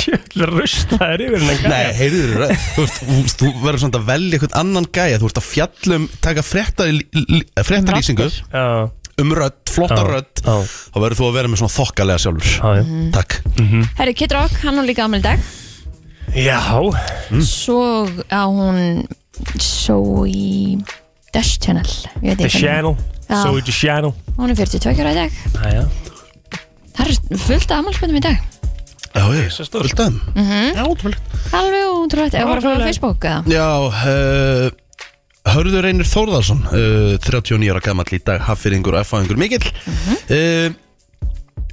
[SPEAKER 1] Tjöldlega rustaður yfir hennan
[SPEAKER 4] Nei, heyrðu rödd- þú veist, Þú veist, þú verður svona að velja eitthvað annan gæja Þú ert að fjallum, taka fréttalýsingu
[SPEAKER 1] Já,
[SPEAKER 4] Um rödd, flotta
[SPEAKER 1] Já,
[SPEAKER 4] rödd
[SPEAKER 1] já.
[SPEAKER 4] Þá verður þú að vera með svona þokkalega sjálfur
[SPEAKER 1] já, Mhm.
[SPEAKER 4] Takk
[SPEAKER 5] Herri, Kid Rock, hann á líka afmæli í dag
[SPEAKER 1] já Já,
[SPEAKER 5] Svo á hún Svo í Dash Channel ég veit
[SPEAKER 1] The
[SPEAKER 5] ekki hvernig-
[SPEAKER 1] Channel
[SPEAKER 5] Já.
[SPEAKER 1] So The Channel
[SPEAKER 5] Hún er 42 ára í dag
[SPEAKER 1] Já, já
[SPEAKER 5] Það er fullt af afmælspöndum í dag Mhm.
[SPEAKER 4] Já, ég,
[SPEAKER 1] Svo stórt.
[SPEAKER 4] fullt af þeim
[SPEAKER 5] Alveg útrúlegt, eða bara að fara á
[SPEAKER 1] Ótrúlegt.
[SPEAKER 5] Facebook eða?
[SPEAKER 4] Já, uh, Hörður Einir Þórðarsson uh, 39 ára gamall í dag Haffyrðingur og F-fæðingur mikill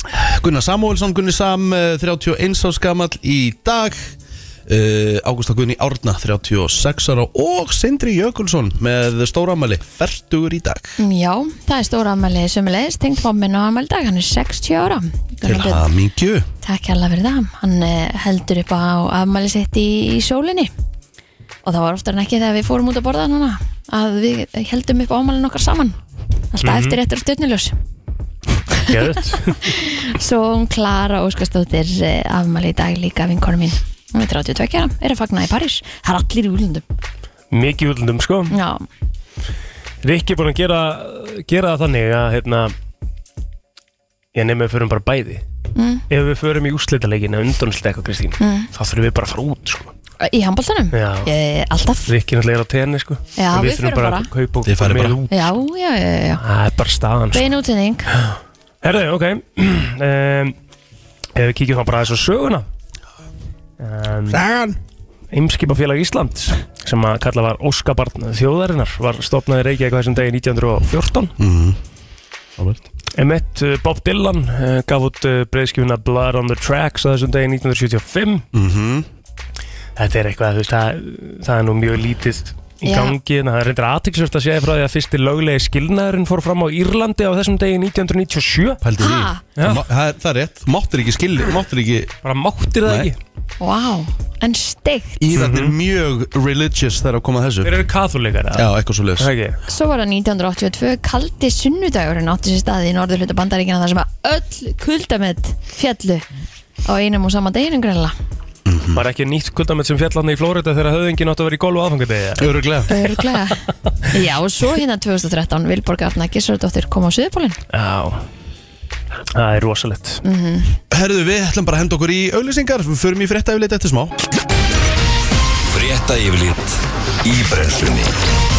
[SPEAKER 4] uh, Gunnar Samuelsson Gunni Sam, uh, 31 árs gamall í dag uh, Ágústa Gunni Árna, 36 ára og Sindri Jökulsson með stóramæli, fertugur í dag
[SPEAKER 5] Já, það er stóra afmæli sömulegis Tengt fómmin á afmæli í dag, hann er 60 ára
[SPEAKER 4] Til hamingju
[SPEAKER 5] Takk hérlega fyrir það Hann eh, heldur upp á afmæli sitt í, í sólinni Og það var oftar en ekki þegar við fórum út að borða núna Að við heldum upp á afmælin okkar saman Alltaf eftir eftir stjórnuljós
[SPEAKER 1] Geðut
[SPEAKER 5] Svo hún Klara Óskarsdóttir eh, afmæli í dag líka vinkonu mín Hún er 32 ára, er að fagna í París Það er allir í úlundum
[SPEAKER 1] Mikið útlundum, sko
[SPEAKER 5] Já,
[SPEAKER 1] Rikki er búin að gera, gera það þannig að hérna Ég nefnum við förum bara bæði
[SPEAKER 5] Mm.
[SPEAKER 1] Ef við förum í úrslitaleikin að undanúrslit eitthvað, Kristín Þá þurfum við bara að fara út, sko
[SPEAKER 5] í handbóltanum
[SPEAKER 1] Já.
[SPEAKER 5] Mm. Alltaf
[SPEAKER 1] Rikki náttúrulega er á tenni, sko
[SPEAKER 5] Já,
[SPEAKER 1] En
[SPEAKER 5] við förum
[SPEAKER 1] þurfum bara
[SPEAKER 5] bara.
[SPEAKER 1] að kaupa
[SPEAKER 4] Þið farið
[SPEAKER 1] með
[SPEAKER 4] bara.
[SPEAKER 1] út.
[SPEAKER 5] Já, já, já, já, já
[SPEAKER 1] Það er bara staðan, sko
[SPEAKER 5] Bein útsending
[SPEAKER 1] Herðu, ok um, Ef við kíkjum þá bara aðeins á söguna um,
[SPEAKER 4] Sagan
[SPEAKER 1] Eimskipafélag Íslands sem að kalla var Óskabarn þjóðarinnar var stopnaði Reykjavík á þessum degi 1914 Emmett uh, Bob Dylan uh, gaf út uh, breyðskifuna Blood on the Tracks á þessum degi 1975
[SPEAKER 4] Mhm.
[SPEAKER 1] Þetta er eitthvað, þú veist, það, það er nú mjög lítið í
[SPEAKER 5] Já.
[SPEAKER 1] gangi en það er reyndar aðtilsvöft að segja frá því að fyrsti löglegi skilnaðurinn fór fram á Írlandi á þessum degi 1997
[SPEAKER 4] Pældi því
[SPEAKER 5] Ha?
[SPEAKER 1] Já.
[SPEAKER 4] Það má- Það er- það er rétt, þú máttir ekki skilja þú Máttir ekki,
[SPEAKER 1] bara máttir það
[SPEAKER 4] Nei.
[SPEAKER 1] ekki Mhm.
[SPEAKER 5] Vá, en steikt
[SPEAKER 4] Írandi er mjög religious þegar að koma að þessu
[SPEAKER 1] Þeir eru katholikar eða?
[SPEAKER 4] Já, eitthvað svo
[SPEAKER 1] Það ekki?
[SPEAKER 5] Svo var það 1982 kaldi sunnudagurinn átti sér staði í norður hluta bandaríkina þar sem að öll kuldamett fjallu á einum og sama deginum greinlega
[SPEAKER 1] Var ekki nýtt kuldamett sem fjallarni í Flórida þegar höfðingin átt að vera í golf aðfangadegi?
[SPEAKER 4] Öruglega
[SPEAKER 5] Örglega Já, og svo hérna 2013 Vilborg Arna Gissardóttir kom á Suðupólinn
[SPEAKER 1] Já, það er rosalegt.
[SPEAKER 5] Mhm.
[SPEAKER 4] Herðu, við ætlum bara að henda okkur í auglýsingar Við förum í frétta yfirleitt eftir smá
[SPEAKER 2] Frétta yfirlit í brennslunni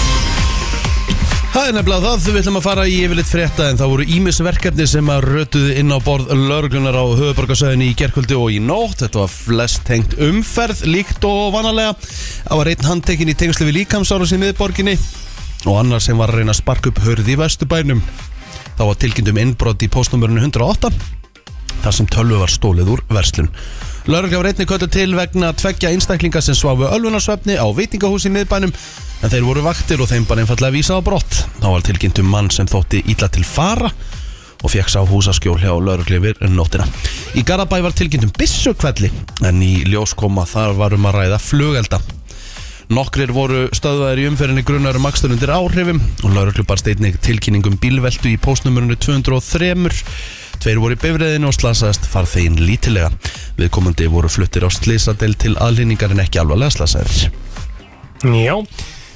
[SPEAKER 4] Það er nefnilega það, við ætlum að fara í yfirleitt frétta En það voru ímisverkefni sem að rötuðu inn á borð Lörglunar á höfuborgarsæðinni í gerkvöldi og í nótt Þetta var flest tengt umferð, líkt og vanalega Það var einn handtekinn í tengslu við líkamsára sem miðborginni Og annar sem var að reyna að sparka upp hörði í vesturbænum Þá var tilkynnt um innbrot í postnumörinu 108 Það þar sem tölvu var stólið úr verslun. Lörgla var einnig köllu til vegna tveggja einstaklinga sem sváfu ölvunarsvefni á veitingahúsi í miðbænum en þeir voru vaktir og þeim bara einfallega vísað á brott. Þá var tilkynnt um mann sem þótti illa til fara og fekk sá húsaskjól hjá lauruglu yfir nótina. Í Garabæ var tilkynnt um byssukvelli en í ljós kom að þar var um að ræða flugelda. Nokkrir voru stöðvaðir í umferðinni grunnar um akstur undir áhrifum og lauruglu barst einnig tilkynningum bílveldu í postnumurinu 203. Tveir voru í bifriðinu og slasaðist farþegin lítilega. Viðkomandi voru fluttir á slisadel til aðlýningar en ekki alvarlega slasaðir.
[SPEAKER 1] Já,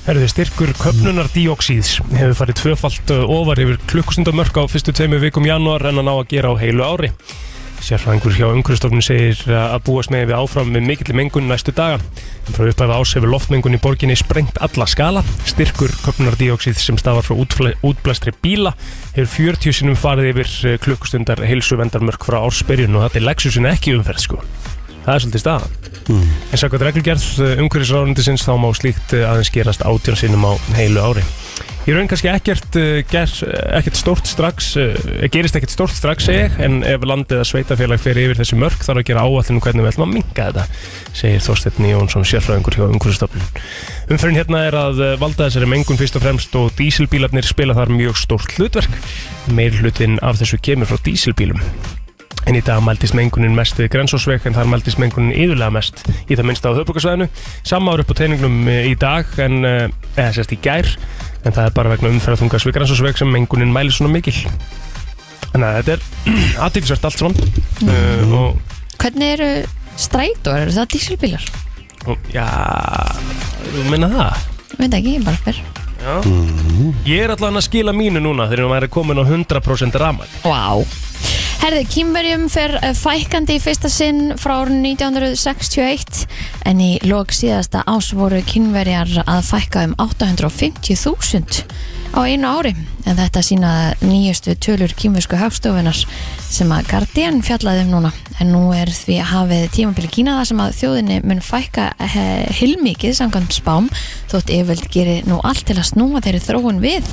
[SPEAKER 1] herðu styrkur köpnunardíóksíðs hefur farið tvöfalt uh, ofar yfir klukkustundamörk á fyrstu tveimu vikum janúar en að ná að gera á heilu ári. Sérfræðingur hjá umhverfstofnun segir uh, að búast með við áfram með mikill mengun næstu daga. En frá upphæfa ás hefur loftmengun í borginni sprengt alla skala. Styrkur köpnunardíóksíðs sem stafar frá útfla- útblæstri bíla hefur 40 sinum farið yfir uh, klukkustundar heilsuvendarmörk frá ársbyrjun og þetta er leksusin ekki í umferð sko. Það er svolítið staðan. En sakvað reglugjörð umhverfisráðundisins þá má slíkt eh, aðeins gerast átjón sinnum á heilu ári. Ég raun kannski ekkert, eh, ger, ekkert stórt strax, eh, gerist ekkert stórt strax segi ég, en ef landið að sveitafélag fer yfir þessi mörk þarf að gera áallinu hvernig við ætlum að minga þetta, segir Þorsteinn Jónsson sérfræðingur hjá umhverfistofnun. Umfyrin hérna er að eh, valda þessari mengun fyrst og fremst og dísilbílarnir spila þar mjög stórt hlutverk. Meir hlutin af þessu kemur frá dísilbílum. En í dag mæltist mengunin mest við Grensósveg en þar mæltist mengunin yðurlega mest í það minnsta á höfbrukarsvæðinu. Samma ár upp á teiningnum eh, í dag en eh, eða sérst í gær en það er bara vegna umferðatungas við Grensósveg sem mengunin mælir svona mikil. Þannig að þetta er aðtilsvært allt saman uh, og,
[SPEAKER 5] Hvernig eru strætóar? Eru það dísilbílar?
[SPEAKER 1] og já, þú minna það?
[SPEAKER 5] Ég veit ekki, ég bara fyrr
[SPEAKER 1] Já. Ég er allavega að skila mínu núna þegar maður er komin á 100% raman.
[SPEAKER 5] Vá Herði, kýmverjum fer eh, fækkandi í fyrsta sinn frá árun 1961 en í lok síðasta ás voru kýmverjar að fækka um 850.000 á einu ári en þetta sína nýjustu tölur kýmversku hagstofunar sem að Guardian fjallaði um núna en nú er því hafið tímabili Kína þar sem að þjóðinni mun fækka eh, heilmikið samkvæmt spám þótt yfirvöld gerir nú allt til að snúa þeirri þróun við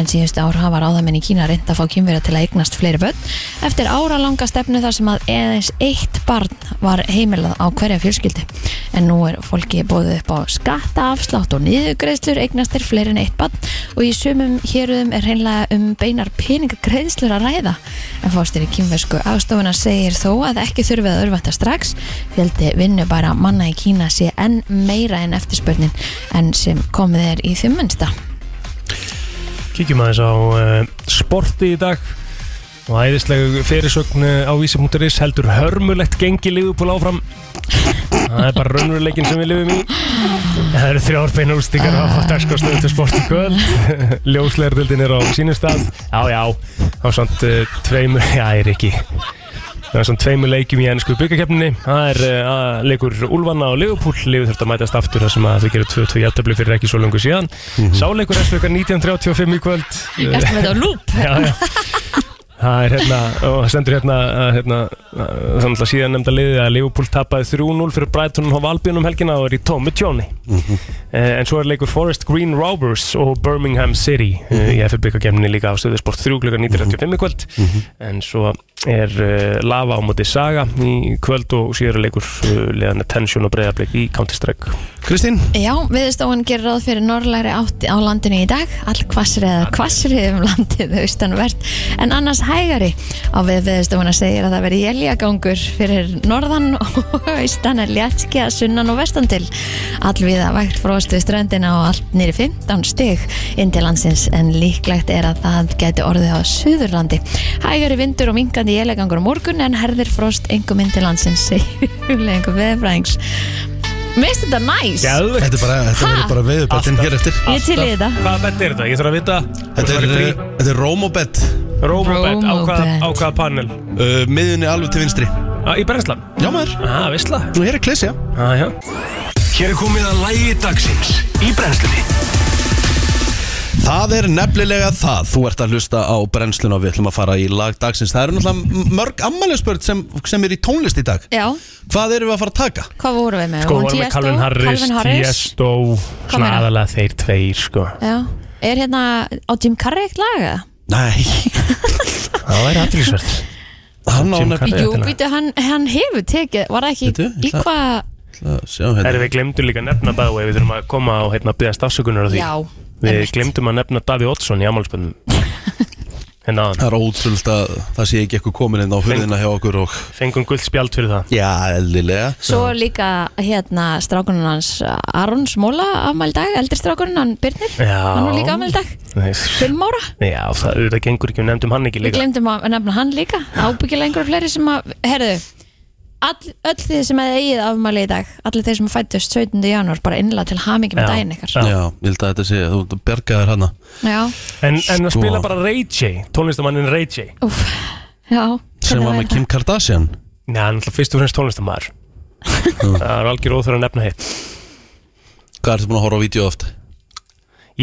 [SPEAKER 5] en síðustu ár hafa ráðamenn í Kína reynd að fá kynverja til að eignast fleiri börn eftir áralanga stefnu þar sem að eðins eitt barn var heimilað á hverja fjölskyldi en nú er fólki bóðið upp á skattaafslátt og niðurgreðslur eignast þeir fleiri en eitt barn og í sumum héruðum er hreinlega um beinar peninggreðslur að ræða en fóstir í kynversku ástofuna segir þó að ekki þurfi að örvænta strax fjöldi vinnu bara manna í Kína sé enn meira en eftirspörnin en sem komið er í þeim munsta
[SPEAKER 1] Kíkjum aðeins á uh, sporti í dag og æðislegu fyrirsögn eh, á vísi.is heldur hörmulegt gengi liðupúl áfram það er bara raunveruleikin sem við lifum í það eru þrjár beina úrstíkar á dagskostöðu til sport í kvöld ljósleirdeldin er á sínum stað já já, það er svona uh, tveimur, já ég er ekki það er svona tveimur leikjum í ennsku byggakefninni það er uh, að leikur Ulfanna og Liverpool Liverpool þurft að mætast aftur þar sem að þau gerir 2-2 jættabli fyrir ekki svo lengur síðan sáleikur er slukar 19.35 í kvöld Eh,
[SPEAKER 5] Ertu með þetta á lúp?
[SPEAKER 1] já, já. Það er hérna, og það stendur hérna, að, hérna þannig að síðan nefnda liðið að Liverpool tapaði 3-0 fyrir Brighton og Albion um helgina og er í tómi tjóni. Eh, En svo er leikur Forest Green Robbers og Birmingham City mm
[SPEAKER 4] Mhm.
[SPEAKER 1] -hmm. í FFBK-kemni líka á stöðusport 3 klukkan 19.35 í kvöld.
[SPEAKER 4] Mhm.
[SPEAKER 1] En svo er uh, Lava á móti Saga í kvöld og síðan er leikur uh, liðan Tension og Breiðarblik í Counter-Strike.
[SPEAKER 4] Kristín?
[SPEAKER 5] Já, viðstofan gerir ráð fyrir norrlæri átti á landinu í dag all hvassri eða hvassri um landið austanvert en annars hægari á við viðstofana segir að það veri heljagangur fyrir norðan og austan er léttski að sunnan og vestan til allviða vægt fróstu ströndina og allt nýri 15 stig inn til landsins en líklegt er að það geti orðið á suðurlandi hægari vindur og minkandi heljagangur á morgun en herðir frost engum inn til landsins segir huglegingu veðfræðings Mér finnst þetta næs
[SPEAKER 1] Gæðvegt!
[SPEAKER 4] Þetta er bara, þetta verður bara veðubettin hér eftir.
[SPEAKER 5] Ég til í þetta
[SPEAKER 1] Hvaða bett er þetta? Ég þarf að vita.
[SPEAKER 4] Þetta er, eh, þetta er Rómobet,
[SPEAKER 1] Rómobett, á hvaða-
[SPEAKER 5] Rómóbett.
[SPEAKER 1] á hvaða panel?
[SPEAKER 4] uh, miðunni alveg til vinstri.
[SPEAKER 1] Ah, Í Brennslan?
[SPEAKER 4] Já maður,
[SPEAKER 1] Ah, veistla.
[SPEAKER 4] nú hér er klesja.
[SPEAKER 1] Ah, já.
[SPEAKER 2] Hér er komið að lægi dagsins í brennslunni
[SPEAKER 4] Það er nefnilega það, þú ert að hlusta á brennsluna og við ætlum að fara í lag dagsins Það eru náttúrulega m- mörg ammælisbörn sem, sem er í tónlist í dag
[SPEAKER 5] Já,
[SPEAKER 4] Hvað erum við að fara að taka?
[SPEAKER 5] hvað vorum við með?
[SPEAKER 1] Sko,
[SPEAKER 5] Vorum
[SPEAKER 1] vorum við
[SPEAKER 5] Tiesto,
[SPEAKER 1] Calvin Harris,
[SPEAKER 5] Calvin
[SPEAKER 1] Tiesto
[SPEAKER 5] Hvað
[SPEAKER 1] Svona
[SPEAKER 5] meira?
[SPEAKER 1] aðalega þeir tveir, sko
[SPEAKER 5] Já, er hérna á Jim Carrey eitt lag eða?
[SPEAKER 4] Nei,
[SPEAKER 1] Það væri aðtilsvært
[SPEAKER 4] Hann á
[SPEAKER 1] Jim
[SPEAKER 4] nefnilega-
[SPEAKER 1] Carrey
[SPEAKER 5] Jú,
[SPEAKER 1] til að-
[SPEAKER 5] býtu, hann, hann hefur tekið Var það ekki,
[SPEAKER 4] Bíddu, ég
[SPEAKER 5] í
[SPEAKER 4] ætla-
[SPEAKER 5] hvað
[SPEAKER 4] Ætla að sjá hérna.
[SPEAKER 1] Herri, við glemdum líka að nefna bæðu við þurfum að koma og hérna byggast afsökunar á því
[SPEAKER 5] Já,
[SPEAKER 1] Við
[SPEAKER 5] einmitt.
[SPEAKER 1] glemdum að nefna Davíð Oddsson í amálspöndum Hérna áðan
[SPEAKER 4] Það er ótrúld að það sé ekki eitthvað komin inn á hurðina hjá okkur og
[SPEAKER 1] Fengum gullt spjald fyrir það
[SPEAKER 4] Já, eldilega
[SPEAKER 5] Svo er líka hérna strákunum hans Aron Smóla afmæli dag, eldri strákunum hann Birnir,
[SPEAKER 1] Já.
[SPEAKER 5] hann var líka afmæli dag
[SPEAKER 1] Nei,
[SPEAKER 5] Fimm ára,
[SPEAKER 1] Já, það auðvitað gengur ekki, við nefndum hann ekki
[SPEAKER 5] við
[SPEAKER 1] líka
[SPEAKER 5] glemdum að nefna hann líka ábyggilega einhverju fleiri sem að, herðu all, öll þið sem hefði eigið afmæli í dag allir þeir sem fættust 17. janúar bara innlega til
[SPEAKER 1] Já.
[SPEAKER 5] hamingi með daginn ykkar
[SPEAKER 1] Já.
[SPEAKER 4] Já, ég held að þetta sé, þú bergaðir hana
[SPEAKER 5] Já,
[SPEAKER 1] En, en að
[SPEAKER 4] Sko.
[SPEAKER 1] spila bara Ray J, tónlistamannin Ray J
[SPEAKER 5] úf, já
[SPEAKER 4] sem
[SPEAKER 5] hvernig
[SPEAKER 4] var með
[SPEAKER 5] væri
[SPEAKER 4] Kim Kardashian
[SPEAKER 1] Nei, hann er alltaf fyrst og fremst tónlistamæður Það er algjör óþur að nefna hitt
[SPEAKER 4] Hvað ertu búin að horfa á vídeo oft?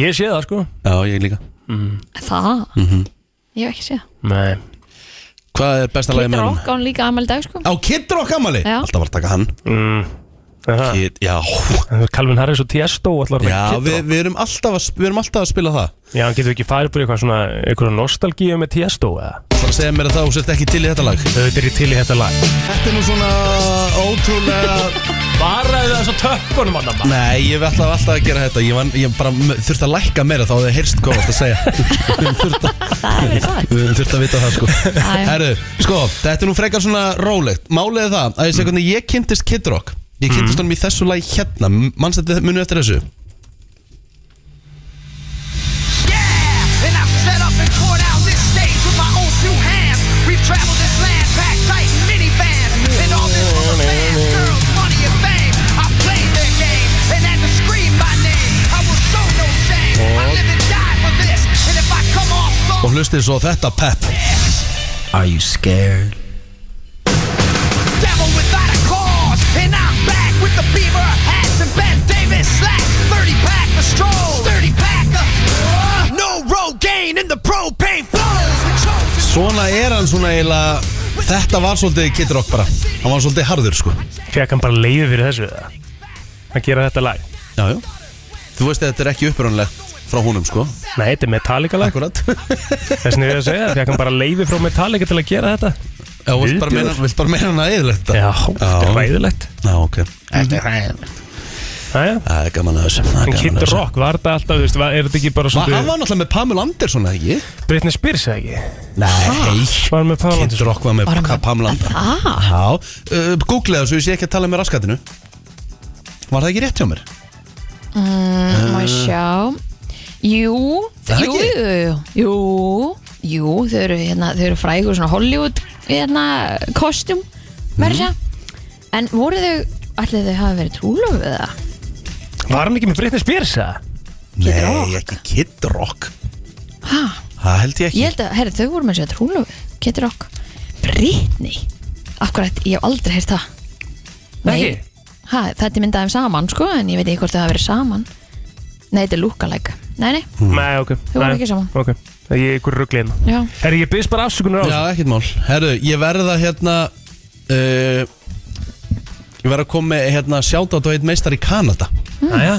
[SPEAKER 1] Ég sé það sko Mm.
[SPEAKER 4] Já, ég líka Mhm.
[SPEAKER 5] það? Það? Ég hef ekki séð
[SPEAKER 1] Nei,
[SPEAKER 4] Hvað er besta lagi
[SPEAKER 5] Peter
[SPEAKER 4] með honum?
[SPEAKER 5] Rock á hann líka afmæli í dag sko
[SPEAKER 4] Á Kid Rock ammali?
[SPEAKER 5] Já.
[SPEAKER 4] Alltaf var að taka hann
[SPEAKER 1] það er það
[SPEAKER 4] Kid, Já,
[SPEAKER 1] Mm. Það er Calvin Harris og Tiesto og allar að
[SPEAKER 4] já
[SPEAKER 1] taka Kid
[SPEAKER 4] við,
[SPEAKER 1] Rock.
[SPEAKER 4] við, erum alltaf að, við erum alltaf að spila það
[SPEAKER 1] Já, hann getur ekki farið búið eitthvað svona eitthvað nostalgíu með Tiesto eða
[SPEAKER 4] Það að segja mér að það og sért ekki til í þetta lag
[SPEAKER 1] Auðvitað er ég til í þetta lag
[SPEAKER 4] Þetta er nú svona ótrúlega
[SPEAKER 1] Bara eða þess að tökkunum hann bara
[SPEAKER 4] Nei, ég ætlaði alltaf að gera þetta Ég, var, ég bara m- þurfti að lækka meira þá hefði heyrst hvað það að segja Við þurfti að
[SPEAKER 5] Það er verið gott
[SPEAKER 4] Við höfum þurft að vita það sko
[SPEAKER 5] já.
[SPEAKER 4] Herru, sko, þetta er nú frekar svona rólegt Málið er það að ég segi hvernig ég kynntist Kid Rock Ég
[SPEAKER 7] Mhm.
[SPEAKER 4] kynntist honum í þessu lagi hérna Manst þetta munu eftir þessu?
[SPEAKER 8] Yeah! And I've set up and poured out this stage with my own two hands. We've traveled this land, packed tight in minivans. And all this for the fans, girls, money, and fame. I played their game and had to scream my name. I will show no shame. I live and die for this. And if I come off so
[SPEAKER 4] Og hlustið svo á þetta pepp
[SPEAKER 7] Are you scared?
[SPEAKER 8] devil without a cause. And I'm back with the beaver hats and Ben Davis slacks. 30 pack of strolls, 30 pack of. uh, no Rogaine in the propane flows. We chosen
[SPEAKER 4] Svona er hann svona eiginlega Þetta var svolítið Kid Rock bara Hann var svolítið harður sko
[SPEAKER 1] Fekk hann bara leiði fyrir þessu eða Að gera þetta lag
[SPEAKER 4] Já, já Þú veist að þetta er ekki upprunalegt frá húnum sko
[SPEAKER 1] Nei, þetta er Metallica lag
[SPEAKER 4] Akkurat
[SPEAKER 1] Þess vegna er ég að segja, fekk hann bara leiði frá Metallica til að gera þetta
[SPEAKER 4] Já, vilt bara meina, vilt bara meina hann að eðilegt þetta
[SPEAKER 1] Já, þetta er ræðilegt
[SPEAKER 4] Já, ok Mhm.
[SPEAKER 1] Jæja,
[SPEAKER 4] Það er gaman að þessu það er
[SPEAKER 1] en
[SPEAKER 4] gaman
[SPEAKER 1] Kid
[SPEAKER 4] að þessu.
[SPEAKER 1] Rock var þetta alltaf, þú veist, var- er þetta ekki bara
[SPEAKER 4] Va- Hann
[SPEAKER 1] svona
[SPEAKER 4] var náttúrulega með Pamela Anderson, eða ekki?
[SPEAKER 1] Britney Spears eða ekki?
[SPEAKER 4] Nei,
[SPEAKER 1] Var hann með Pamela
[SPEAKER 4] Kid Rock var með
[SPEAKER 5] Var hann
[SPEAKER 4] Ka-
[SPEAKER 5] með-
[SPEAKER 4] Pamela
[SPEAKER 5] Það?
[SPEAKER 4] Já, uh, googlaði það svo ég sé ekki að tala með raskatinu Var það ekki rétt hjá mér?
[SPEAKER 5] Mm, Má ég sjá Jú,
[SPEAKER 4] Eh. Það
[SPEAKER 5] jú,
[SPEAKER 4] ekki?
[SPEAKER 5] jú, jú, jú, jú Þau eru, hérna, þau eru frægur svona Hollywood hérna, kostjum
[SPEAKER 4] Mhm.
[SPEAKER 5] mm. En voru þau, allir þau hafa verið trúlofuð eða?
[SPEAKER 1] Var hann ekki með Britney Spears eða?
[SPEAKER 4] Nei, ekki Kid Rock
[SPEAKER 5] Ha,
[SPEAKER 4] Það held ég ekki
[SPEAKER 5] ég held að, herri, þau voru með sér trúlofuð Getur okk Britney Akkurat, ég hef aldrei heyrt það
[SPEAKER 1] Ekki?
[SPEAKER 5] ha, Þetta myndaði um saman, sko En ég veit ekki hvort þau hafa verið saman Nei, þetta er lookalike Nei, nei,
[SPEAKER 4] Hmm.
[SPEAKER 1] Nei, ok
[SPEAKER 5] Þau voru
[SPEAKER 1] Nei,
[SPEAKER 5] ekki saman.
[SPEAKER 1] Ok, það er ég ykkur ruggli hérna
[SPEAKER 5] já
[SPEAKER 1] Herri, ég byrst bara afsökunar á
[SPEAKER 4] Já,
[SPEAKER 1] þessu
[SPEAKER 4] ekkert mál Herru, ég verða hérna uh, Ég verða að koma með hérna sjátátt og eitt meistar í Kanada
[SPEAKER 1] Mm. Jæja,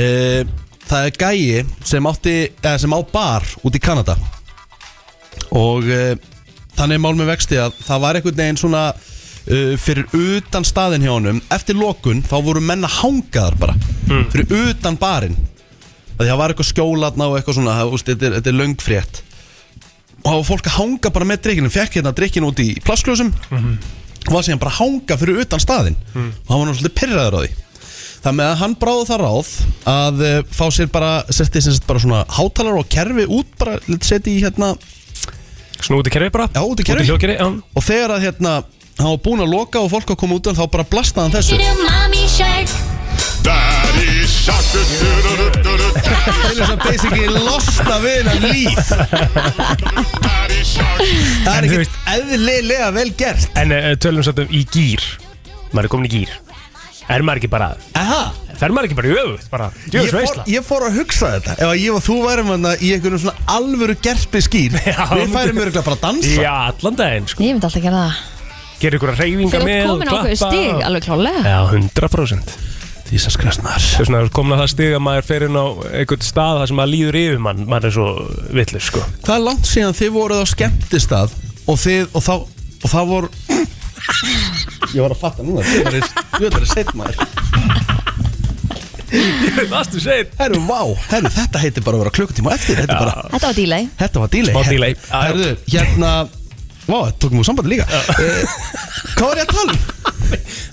[SPEAKER 4] uh, Það er gæi sem átti eða, sem á bar út í Kanada og uh, þannig er mál með vexti að það var einhvern veginn svona uh, fyrir utan staðin hjá honum eftir lokun þá voru menna hangaðar bara
[SPEAKER 1] Mm.
[SPEAKER 4] fyrir utan barinn að því það var eitthvað skjólatna og eitthvað svona það, úst, þetta, er, þetta er löngfrétt og það var fólk að hanga bara með drikkinu fekk hérna drikkinu út í plaskljósum
[SPEAKER 1] Mhm.
[SPEAKER 4] og var síðan bara að hanga fyrir utan staðin
[SPEAKER 1] Hmm.
[SPEAKER 4] og hann var nú svolítið pyrraður á því Það með að hann bráði það ráð að eh, fá sér bara, setti sér bara svona hátalar og kerfi út bara, seti í hérna
[SPEAKER 1] svona út í kerfi bara
[SPEAKER 4] Já, út í kerfi.
[SPEAKER 1] Út í hljókerfi, já
[SPEAKER 4] og þegar að hérna hann var búinn að loka og fólk að koma út en þá bara blastaði hann þessu
[SPEAKER 3] Little mommy shark.
[SPEAKER 9] Daddy shark
[SPEAKER 4] til þess að basically losna við hennar líf
[SPEAKER 9] Daddy shark
[SPEAKER 4] það
[SPEAKER 1] En
[SPEAKER 4] er
[SPEAKER 1] þú
[SPEAKER 4] ekkert eðlilega vel gert
[SPEAKER 1] En uh, tölum svolítið um í gýr Maður er komin í gýr Er maður ekki bara
[SPEAKER 4] Aha,
[SPEAKER 1] Fer maður ekki bara í öfugt bara
[SPEAKER 4] ég,
[SPEAKER 1] Djöfus
[SPEAKER 4] fór,
[SPEAKER 1] veisla
[SPEAKER 4] ég fór að hugsa þetta ef að ég og þú værum hann í einhvernum svona alvöru gerpi skýr
[SPEAKER 1] Já.
[SPEAKER 4] við færum örugglega bara að dansa
[SPEAKER 1] Já, allan daginn sko
[SPEAKER 5] Ég myndi alltaf gera það
[SPEAKER 1] Gerir ykkur að
[SPEAKER 5] Þau
[SPEAKER 1] reyfinga
[SPEAKER 5] eru
[SPEAKER 1] með og
[SPEAKER 5] komin á okkur
[SPEAKER 1] klappa
[SPEAKER 5] stig,
[SPEAKER 1] og-
[SPEAKER 5] alveg klálega
[SPEAKER 1] Já, 100%
[SPEAKER 4] Ísas kristnar
[SPEAKER 1] Þess vegna er komin að það stig að maður fer inn á einhvern stað þar sem maður líður yfir mann maður er svo vitlis sko
[SPEAKER 4] Það er langt síðan þið voruð á skemmtistað og þið, og þá Og það voru Ég var að fatta núna Jöðar er seitt maður
[SPEAKER 1] Vastu sein
[SPEAKER 4] Herru, vá, herru, þetta heitir bara að vera klukkutíma á eftir Þetta, er bara,
[SPEAKER 5] Þetta var delay
[SPEAKER 4] þetta var delay
[SPEAKER 1] Smá delay. Ah, Já, já.
[SPEAKER 4] Herru, hérna Vá, þetta tókum við sambandi líka eh, Hvað var ég að tala um?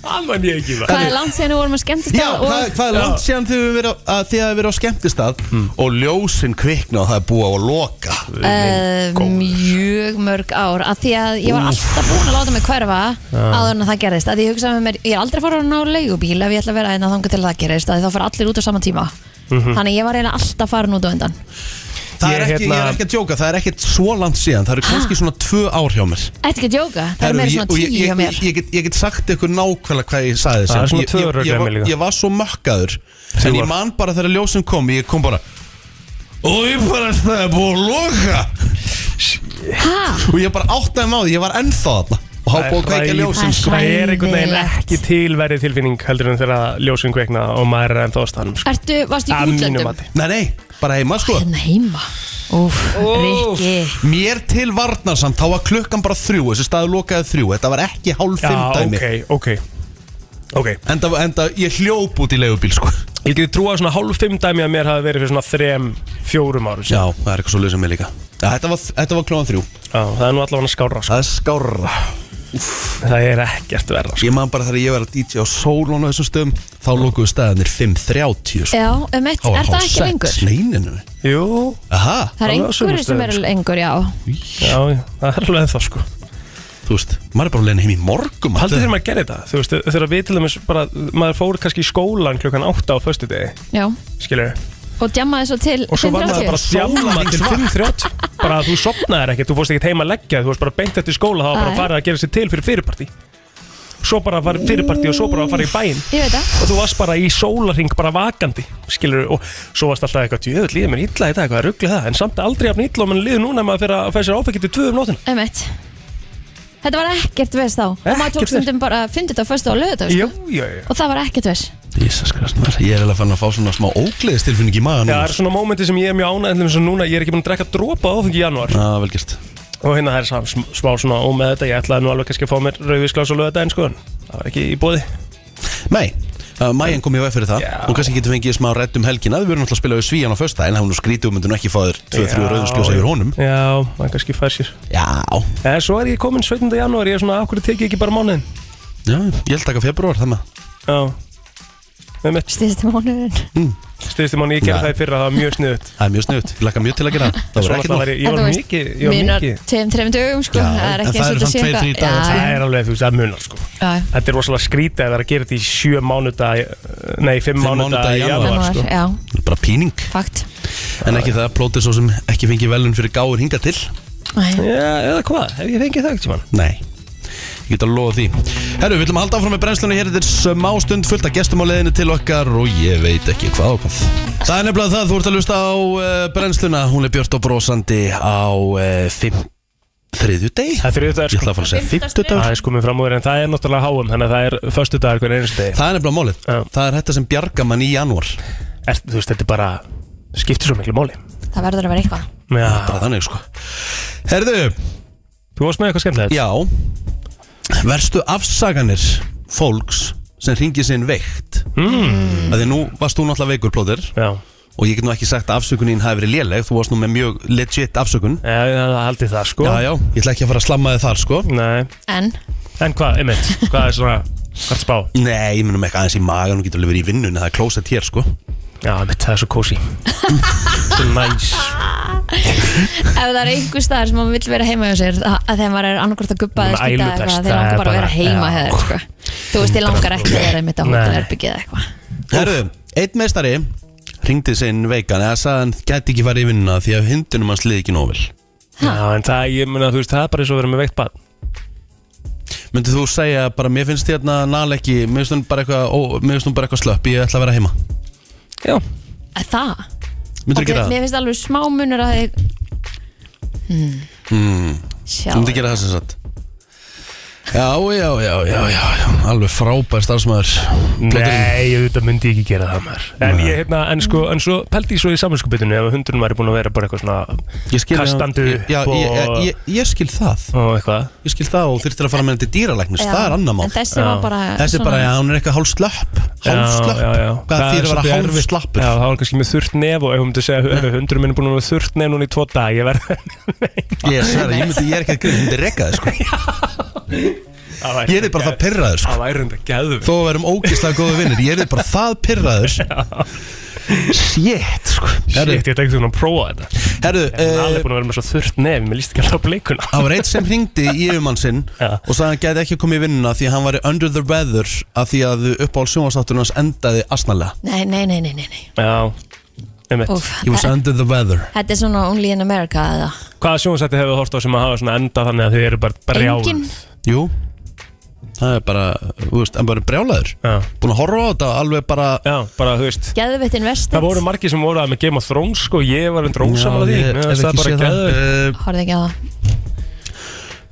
[SPEAKER 1] Það man ég ekki það
[SPEAKER 5] Hvað er langt síðan við vorum að skemmtist
[SPEAKER 4] Já, hvað, hvað er langt síðan þið hefur verið á- að þið hefur verið á skemmtistað
[SPEAKER 1] Hmm.
[SPEAKER 4] og ljósin kvikna og það er búið á að loka
[SPEAKER 5] Uh, mjög mörg ár af því að ég var alltaf búin að láta mig hverfa áður en að það gerðist að ég hugsaði með mér, ég er aldrei að fara að ná leigubíl ef ég ætla að vera einn að þanga til það gerðist að þá fara allir út á sama tíma
[SPEAKER 1] Hm.
[SPEAKER 5] þannig ég var eiginlega alltaf farin út á undan
[SPEAKER 4] Það
[SPEAKER 1] Mhm. Ég
[SPEAKER 4] er ekki, ég
[SPEAKER 1] hérna-
[SPEAKER 4] er ekki að djóka, það er ekkert svo langt síðan Það eru kannski svona tvö ár hjá mér
[SPEAKER 5] Þetta ekki að djóka, Ah. það er
[SPEAKER 4] Herru,
[SPEAKER 5] meira
[SPEAKER 4] ég-
[SPEAKER 5] svona
[SPEAKER 4] og
[SPEAKER 5] tíu
[SPEAKER 4] ég- ég-
[SPEAKER 5] hjá mér
[SPEAKER 4] ég- Ég get- ég get sagt ykkur nákvæmlega hvað ég sagði
[SPEAKER 1] Það
[SPEAKER 4] sem.
[SPEAKER 1] er svona
[SPEAKER 4] Ég-
[SPEAKER 1] tvö
[SPEAKER 4] ég-
[SPEAKER 1] örugglega
[SPEAKER 4] ég var-
[SPEAKER 1] mér líka.
[SPEAKER 4] Ég var svo makkaður En ég
[SPEAKER 1] var-
[SPEAKER 4] man bara þegar ljósin kom Ég kom bara Og ég bara, það er búið að loka
[SPEAKER 5] Hæ?
[SPEAKER 4] Og ég bara áttaði mig á því, ég var ennþá þarna Og há búið að kveikja ljósin
[SPEAKER 5] Það er
[SPEAKER 4] sko.
[SPEAKER 1] Það er einhvern veginn
[SPEAKER 5] Hræðilegt.
[SPEAKER 1] ekki tilverið tilfinning heldur en þegar ljósin kveikna og maður er ennþá á staðnum sko.
[SPEAKER 5] Ertu, varstu í
[SPEAKER 1] Að mínu
[SPEAKER 5] útlöndum?
[SPEAKER 1] mati
[SPEAKER 4] Nei, nei, bara heima sko
[SPEAKER 5] Hérna heima Eh. Úf, Rikki
[SPEAKER 4] Mér til varnarsamt, þá var klukkan bara þrjú Þessi staðu lokaði þrjú, þetta var ekki hálf
[SPEAKER 1] Já,
[SPEAKER 4] fimm dæmi
[SPEAKER 1] ok, ok Ok,
[SPEAKER 4] enda, enda ég hljóp út í leigubíl sko
[SPEAKER 1] ég geti trúa að svona hálf fimm dæmi að mér hafi verið fyrir svona þrem, fjórum árum síðan.
[SPEAKER 4] Já, það er eitthvað svo leysað mér líka ja, Þetta var, þetta var klóðan þrjú
[SPEAKER 1] Já, það er nú allavega skára sko.
[SPEAKER 4] Það er skárra
[SPEAKER 1] Það er ekkert verða sko.
[SPEAKER 4] Ég man bara þegar ég var að DJ á Sólón á þessum stöðum Þá lókuðu stæðanir 5.30 sko.
[SPEAKER 5] Já, um eitt, er það ekki lengur?
[SPEAKER 4] Neininu
[SPEAKER 1] Jú,
[SPEAKER 4] Aha,
[SPEAKER 5] Það er
[SPEAKER 1] Alveg á sumum
[SPEAKER 5] einhverju sem
[SPEAKER 1] stöðum,
[SPEAKER 5] er
[SPEAKER 1] sko.
[SPEAKER 5] lengur, já
[SPEAKER 1] já, það er alveg ennþá sko
[SPEAKER 4] þú veist, maður er bara að leina heim í morgum
[SPEAKER 1] Haldið þegar maður gerir þetta, þú veist, þegar við til dæmis bara, maður fór kannski í skólan klukkan 8 á föstudegi,
[SPEAKER 5] Já,
[SPEAKER 1] skilur
[SPEAKER 5] og djammaði svo til
[SPEAKER 1] og svo var maður
[SPEAKER 5] 5:30.
[SPEAKER 1] bara sjálma til 5.30 bara að þú sopnaðir ekkert, þú fórst ekkert heima að leggja þig, þú varst bara beint eftir skóla, það var bara
[SPEAKER 5] Nei.
[SPEAKER 1] að fara að gera sér til fyrir fyrirparti svo bara var fyrirparti og svo bara að fara í bæinn
[SPEAKER 5] Ég veit það
[SPEAKER 1] og þú varst bara í sólarring bara vakandi skilur, og svo varst alltaf eitthvað djöðul, líður mér illa í dag, hvað ruggla það en samt aldrei jafn illa og mann líður núna ef maður fyrir að fæða sér áfengi til 2 um nótina
[SPEAKER 5] Emmett Þetta var ekkert vers þá Og maður tók
[SPEAKER 1] Ekkert vers.
[SPEAKER 5] stundum bara 50 og 1. og lögðað
[SPEAKER 1] Jú,
[SPEAKER 5] sko.
[SPEAKER 1] jú, jú
[SPEAKER 5] Og það var ekkert vers
[SPEAKER 4] Jesus Christ,
[SPEAKER 1] sko,
[SPEAKER 4] maður, ég er alveg fann að fá svona smá ógleðistilfinning í magan
[SPEAKER 1] Já, það er svona mómenti sem ég er mjög ánægð eins og núna, ég er ekki búin að drekka dropa áfengi í janúar
[SPEAKER 4] Já, vel gert
[SPEAKER 1] og hérna það er sam- sm- smá svona ómeð þetta, ég ætlaði nú alveg kannski að fá mér rauðvísglás og löða sko, en það var ekki í bóði
[SPEAKER 4] Nei, uh, Majan kom ég veg fyrir það
[SPEAKER 1] Já.
[SPEAKER 4] Og kannski getur fengið smá redd um helgina Við verðum alltaf að spila við Svíjan á fösta En það hún skrítið og myndi nú ekki fá þér 2-3
[SPEAKER 1] Já,
[SPEAKER 4] rauðinskjósa
[SPEAKER 1] já.
[SPEAKER 4] yfir honum
[SPEAKER 1] Já, það kannski fær sér
[SPEAKER 4] Já,
[SPEAKER 1] En svo er ég komin 17. janúar, ég er svona, akkur tekið ekki bara mánuðin
[SPEAKER 4] já, ég held taka februar þannig
[SPEAKER 1] Já Með mitt
[SPEAKER 5] Stýðist mánuðin
[SPEAKER 4] Mm,
[SPEAKER 1] styrsti mánu, ég gerði
[SPEAKER 4] Nei.
[SPEAKER 1] það í fyrra, það var mjög sniðut
[SPEAKER 4] Það er mjög snuðt, ég lakka mjög til að gera það. Það
[SPEAKER 1] Svo
[SPEAKER 4] var ekkert
[SPEAKER 1] alltaf
[SPEAKER 4] mál
[SPEAKER 1] var ég, ég var mikið, ég var
[SPEAKER 5] Munar
[SPEAKER 1] mikið
[SPEAKER 5] tveim, treim dögum sko
[SPEAKER 4] Já,
[SPEAKER 5] Það er
[SPEAKER 4] en
[SPEAKER 5] ekki
[SPEAKER 4] það
[SPEAKER 5] eins og
[SPEAKER 4] eru
[SPEAKER 5] þetta
[SPEAKER 4] samt
[SPEAKER 5] sé
[SPEAKER 4] tveir,
[SPEAKER 5] eitthvað
[SPEAKER 4] þrír dagar, sko.
[SPEAKER 5] Já,
[SPEAKER 1] Það er alveg, þú veist, það munar sko
[SPEAKER 5] já, já.
[SPEAKER 1] Þetta er rosalega skrítið að vera að gera þetta í sjö mánuda Nei, fimm
[SPEAKER 4] Fimm
[SPEAKER 1] mánuda
[SPEAKER 4] mánudaga í
[SPEAKER 1] í
[SPEAKER 4] janúar,
[SPEAKER 1] janúar
[SPEAKER 5] Janúar,
[SPEAKER 1] sko
[SPEAKER 5] já,
[SPEAKER 4] Bara píning
[SPEAKER 5] fakt
[SPEAKER 4] En ekki það, plótið svo sem ekki fengið velun fyrir gáður hinga til
[SPEAKER 5] Æ.
[SPEAKER 1] Já, eða hvað, hef ég fengið það ekkert mann
[SPEAKER 4] Nei Ég get að lofa því Herru, við viljum halda áfram með brennslunni hér Þetta er smá stund fullt af gestum á leiðinu til okkar Og ég veit ekki hvað og hvað Það er nefnilega það, þú ert að lusta á uh, brennsluna Hún er björt og brosandi á uh, fimm, þriðju deg
[SPEAKER 1] Það er fyrir þetta
[SPEAKER 4] Ég ætla að fara að segja fimmtudagur
[SPEAKER 1] Það er sko mér fram úr en það er náttúrulega háum Þannig að það er föstu dagar hvernig einu stegi
[SPEAKER 4] Það er nefnilega málið
[SPEAKER 1] Já.
[SPEAKER 4] Það er þetta sem bjarga mann í janúar
[SPEAKER 1] Þú veist, þetta er bara, skiptir svo miklu máli
[SPEAKER 5] Það verður að vera eitthvað
[SPEAKER 1] Já,
[SPEAKER 4] Bara þannig sko Herðu,
[SPEAKER 1] þú varst með eitthvað skemmtilegt
[SPEAKER 4] já Verstu afsaganir fólks sem ringið sinn veikt mm. Því nú varst þú náttúrulega veikur plóðir
[SPEAKER 1] Hmm. Já.
[SPEAKER 4] og ég get nú ekki sagt að afsökunin hafi verið léleg þú varst nú með mjög legit afsökun
[SPEAKER 1] Já, það haldi það sko
[SPEAKER 4] já, já, ég ætla ekki að fara að slamma þið þar sko
[SPEAKER 1] Nei,
[SPEAKER 5] En,
[SPEAKER 1] en hvað, einmitt, hvað er svona Hvað er spá?
[SPEAKER 4] nei, ég munum ekki aðeins í magan og getur alveg verið í vinnunni, það er klósett hér sko
[SPEAKER 1] Já, einmitt, það er svo kósi Svo næs
[SPEAKER 5] ef það er einhver staðar sem maður vill vera heima hjá sér að að þegar maður er annarkvort að gubba eða
[SPEAKER 1] Með
[SPEAKER 5] skýta
[SPEAKER 1] ælutest,
[SPEAKER 5] eitthvað
[SPEAKER 1] það
[SPEAKER 5] þegar
[SPEAKER 1] er
[SPEAKER 5] langar bara að vera
[SPEAKER 1] bara-
[SPEAKER 5] heima
[SPEAKER 1] já.
[SPEAKER 5] hjá þér sko. Þú veist, ég langar ekki að vera einmitt á
[SPEAKER 1] Nei.
[SPEAKER 5] hótelherbyggið eða eitthvað
[SPEAKER 4] Herru, einn meistari ringdi sinn veikan eða sagði hann gæti ekki farið í vinnuna því að hundunum hans liði ekki nóg vel
[SPEAKER 1] Já, en það, ég meina, þú veist, það er bara eins og verið með veikt barn
[SPEAKER 4] myndið þú segja bara, mér finnst þérna nal ekki, mér finnst hún bara eitthvað ó, mér finnst hún bara eitthvað slöpp, ég ætla að vera heima
[SPEAKER 1] Já
[SPEAKER 5] Að Það?
[SPEAKER 4] myndir þú
[SPEAKER 5] Ok,
[SPEAKER 4] gera það?
[SPEAKER 5] Mér finnst alveg smá munur að þið hmm.
[SPEAKER 4] Hmm. þú myndir gera það sem sagt Já, já, já, já, já, já. Alveg frábær starfsmæður
[SPEAKER 1] Nei, auðvitað myndi ég ekki gera það maður En ég, hérna, en sko, en svo pældi ég svo í saminskupitinu ef hundurinn væri búin að vera bara eitthvað svona kastandi
[SPEAKER 4] ég, já,
[SPEAKER 1] upp
[SPEAKER 4] ég, ég,
[SPEAKER 1] og,
[SPEAKER 4] ég, ég skil það
[SPEAKER 1] og eitthvað
[SPEAKER 4] Ég skil það og þurftir að fara með þetta í dýralæknis Það er annar mál
[SPEAKER 5] En þessi var bara
[SPEAKER 4] Þessi er bara, já, hún er eitthvað hálf slöpp Hálf slöpp,
[SPEAKER 1] Já, já, já.
[SPEAKER 4] hvað
[SPEAKER 1] Það
[SPEAKER 4] þýr
[SPEAKER 1] er
[SPEAKER 4] að
[SPEAKER 1] svolítið
[SPEAKER 4] vera hálf
[SPEAKER 1] erfitt.
[SPEAKER 4] slappur
[SPEAKER 1] Já, það var kannski með þurrt nef og ef hún myndi segja "Hörðu, hundurinn minn er búin að vera þurrt nef núna í tvo dag ég verð
[SPEAKER 4] Ég sagði, ég myndi, ég er ekki að grið, ég myndi reka þið sko Ég er bara það pyrraður sko
[SPEAKER 1] Það væri hundar gæðum
[SPEAKER 4] Þó að við erum ógeðslega góðu vinnir, ég er bara það pyrraður Shit sko Herru,
[SPEAKER 1] Sýtt, ég tenkti hún að prófa þetta
[SPEAKER 4] herru
[SPEAKER 1] Hún er
[SPEAKER 4] eh,
[SPEAKER 1] alveg búin að vera með svo þurrt nef Mér líst ekki alltaf á blikuna
[SPEAKER 4] Það var eitt sem hringdi í yfirmann sinn
[SPEAKER 1] Já.
[SPEAKER 4] og sagði að hann gæti ekki komið í vinnuna því að hann var under the weather af því að uppáhald sjónvastátturinn hans endaði asnalega.
[SPEAKER 5] Nei, nei, nei, nei, nei, nei.
[SPEAKER 1] Já, einmitt
[SPEAKER 5] Úf,
[SPEAKER 4] He was under the weather.
[SPEAKER 5] Þetta er svona Only in America eða
[SPEAKER 1] Hvaða sjónsætti hefur þú hort á sem að hafa svona enda þannig að þið eru bara brjáð
[SPEAKER 5] Engin
[SPEAKER 4] Jú, það er bara, þú veist, en bara brjálaður.
[SPEAKER 1] Já.
[SPEAKER 4] Búin að horfa á þetta alveg bara...
[SPEAKER 1] Já, bara þú veist
[SPEAKER 5] Geðveitt investment
[SPEAKER 1] Það voru margir sem voru að með Game of Thrones sko, ég var endur ósamal að því
[SPEAKER 4] Já, ég
[SPEAKER 1] Mér
[SPEAKER 4] hef
[SPEAKER 1] fannst það
[SPEAKER 4] ekki
[SPEAKER 1] bara
[SPEAKER 4] séð það.
[SPEAKER 1] geðveikt.
[SPEAKER 4] Eh,
[SPEAKER 5] Horfði ekki á það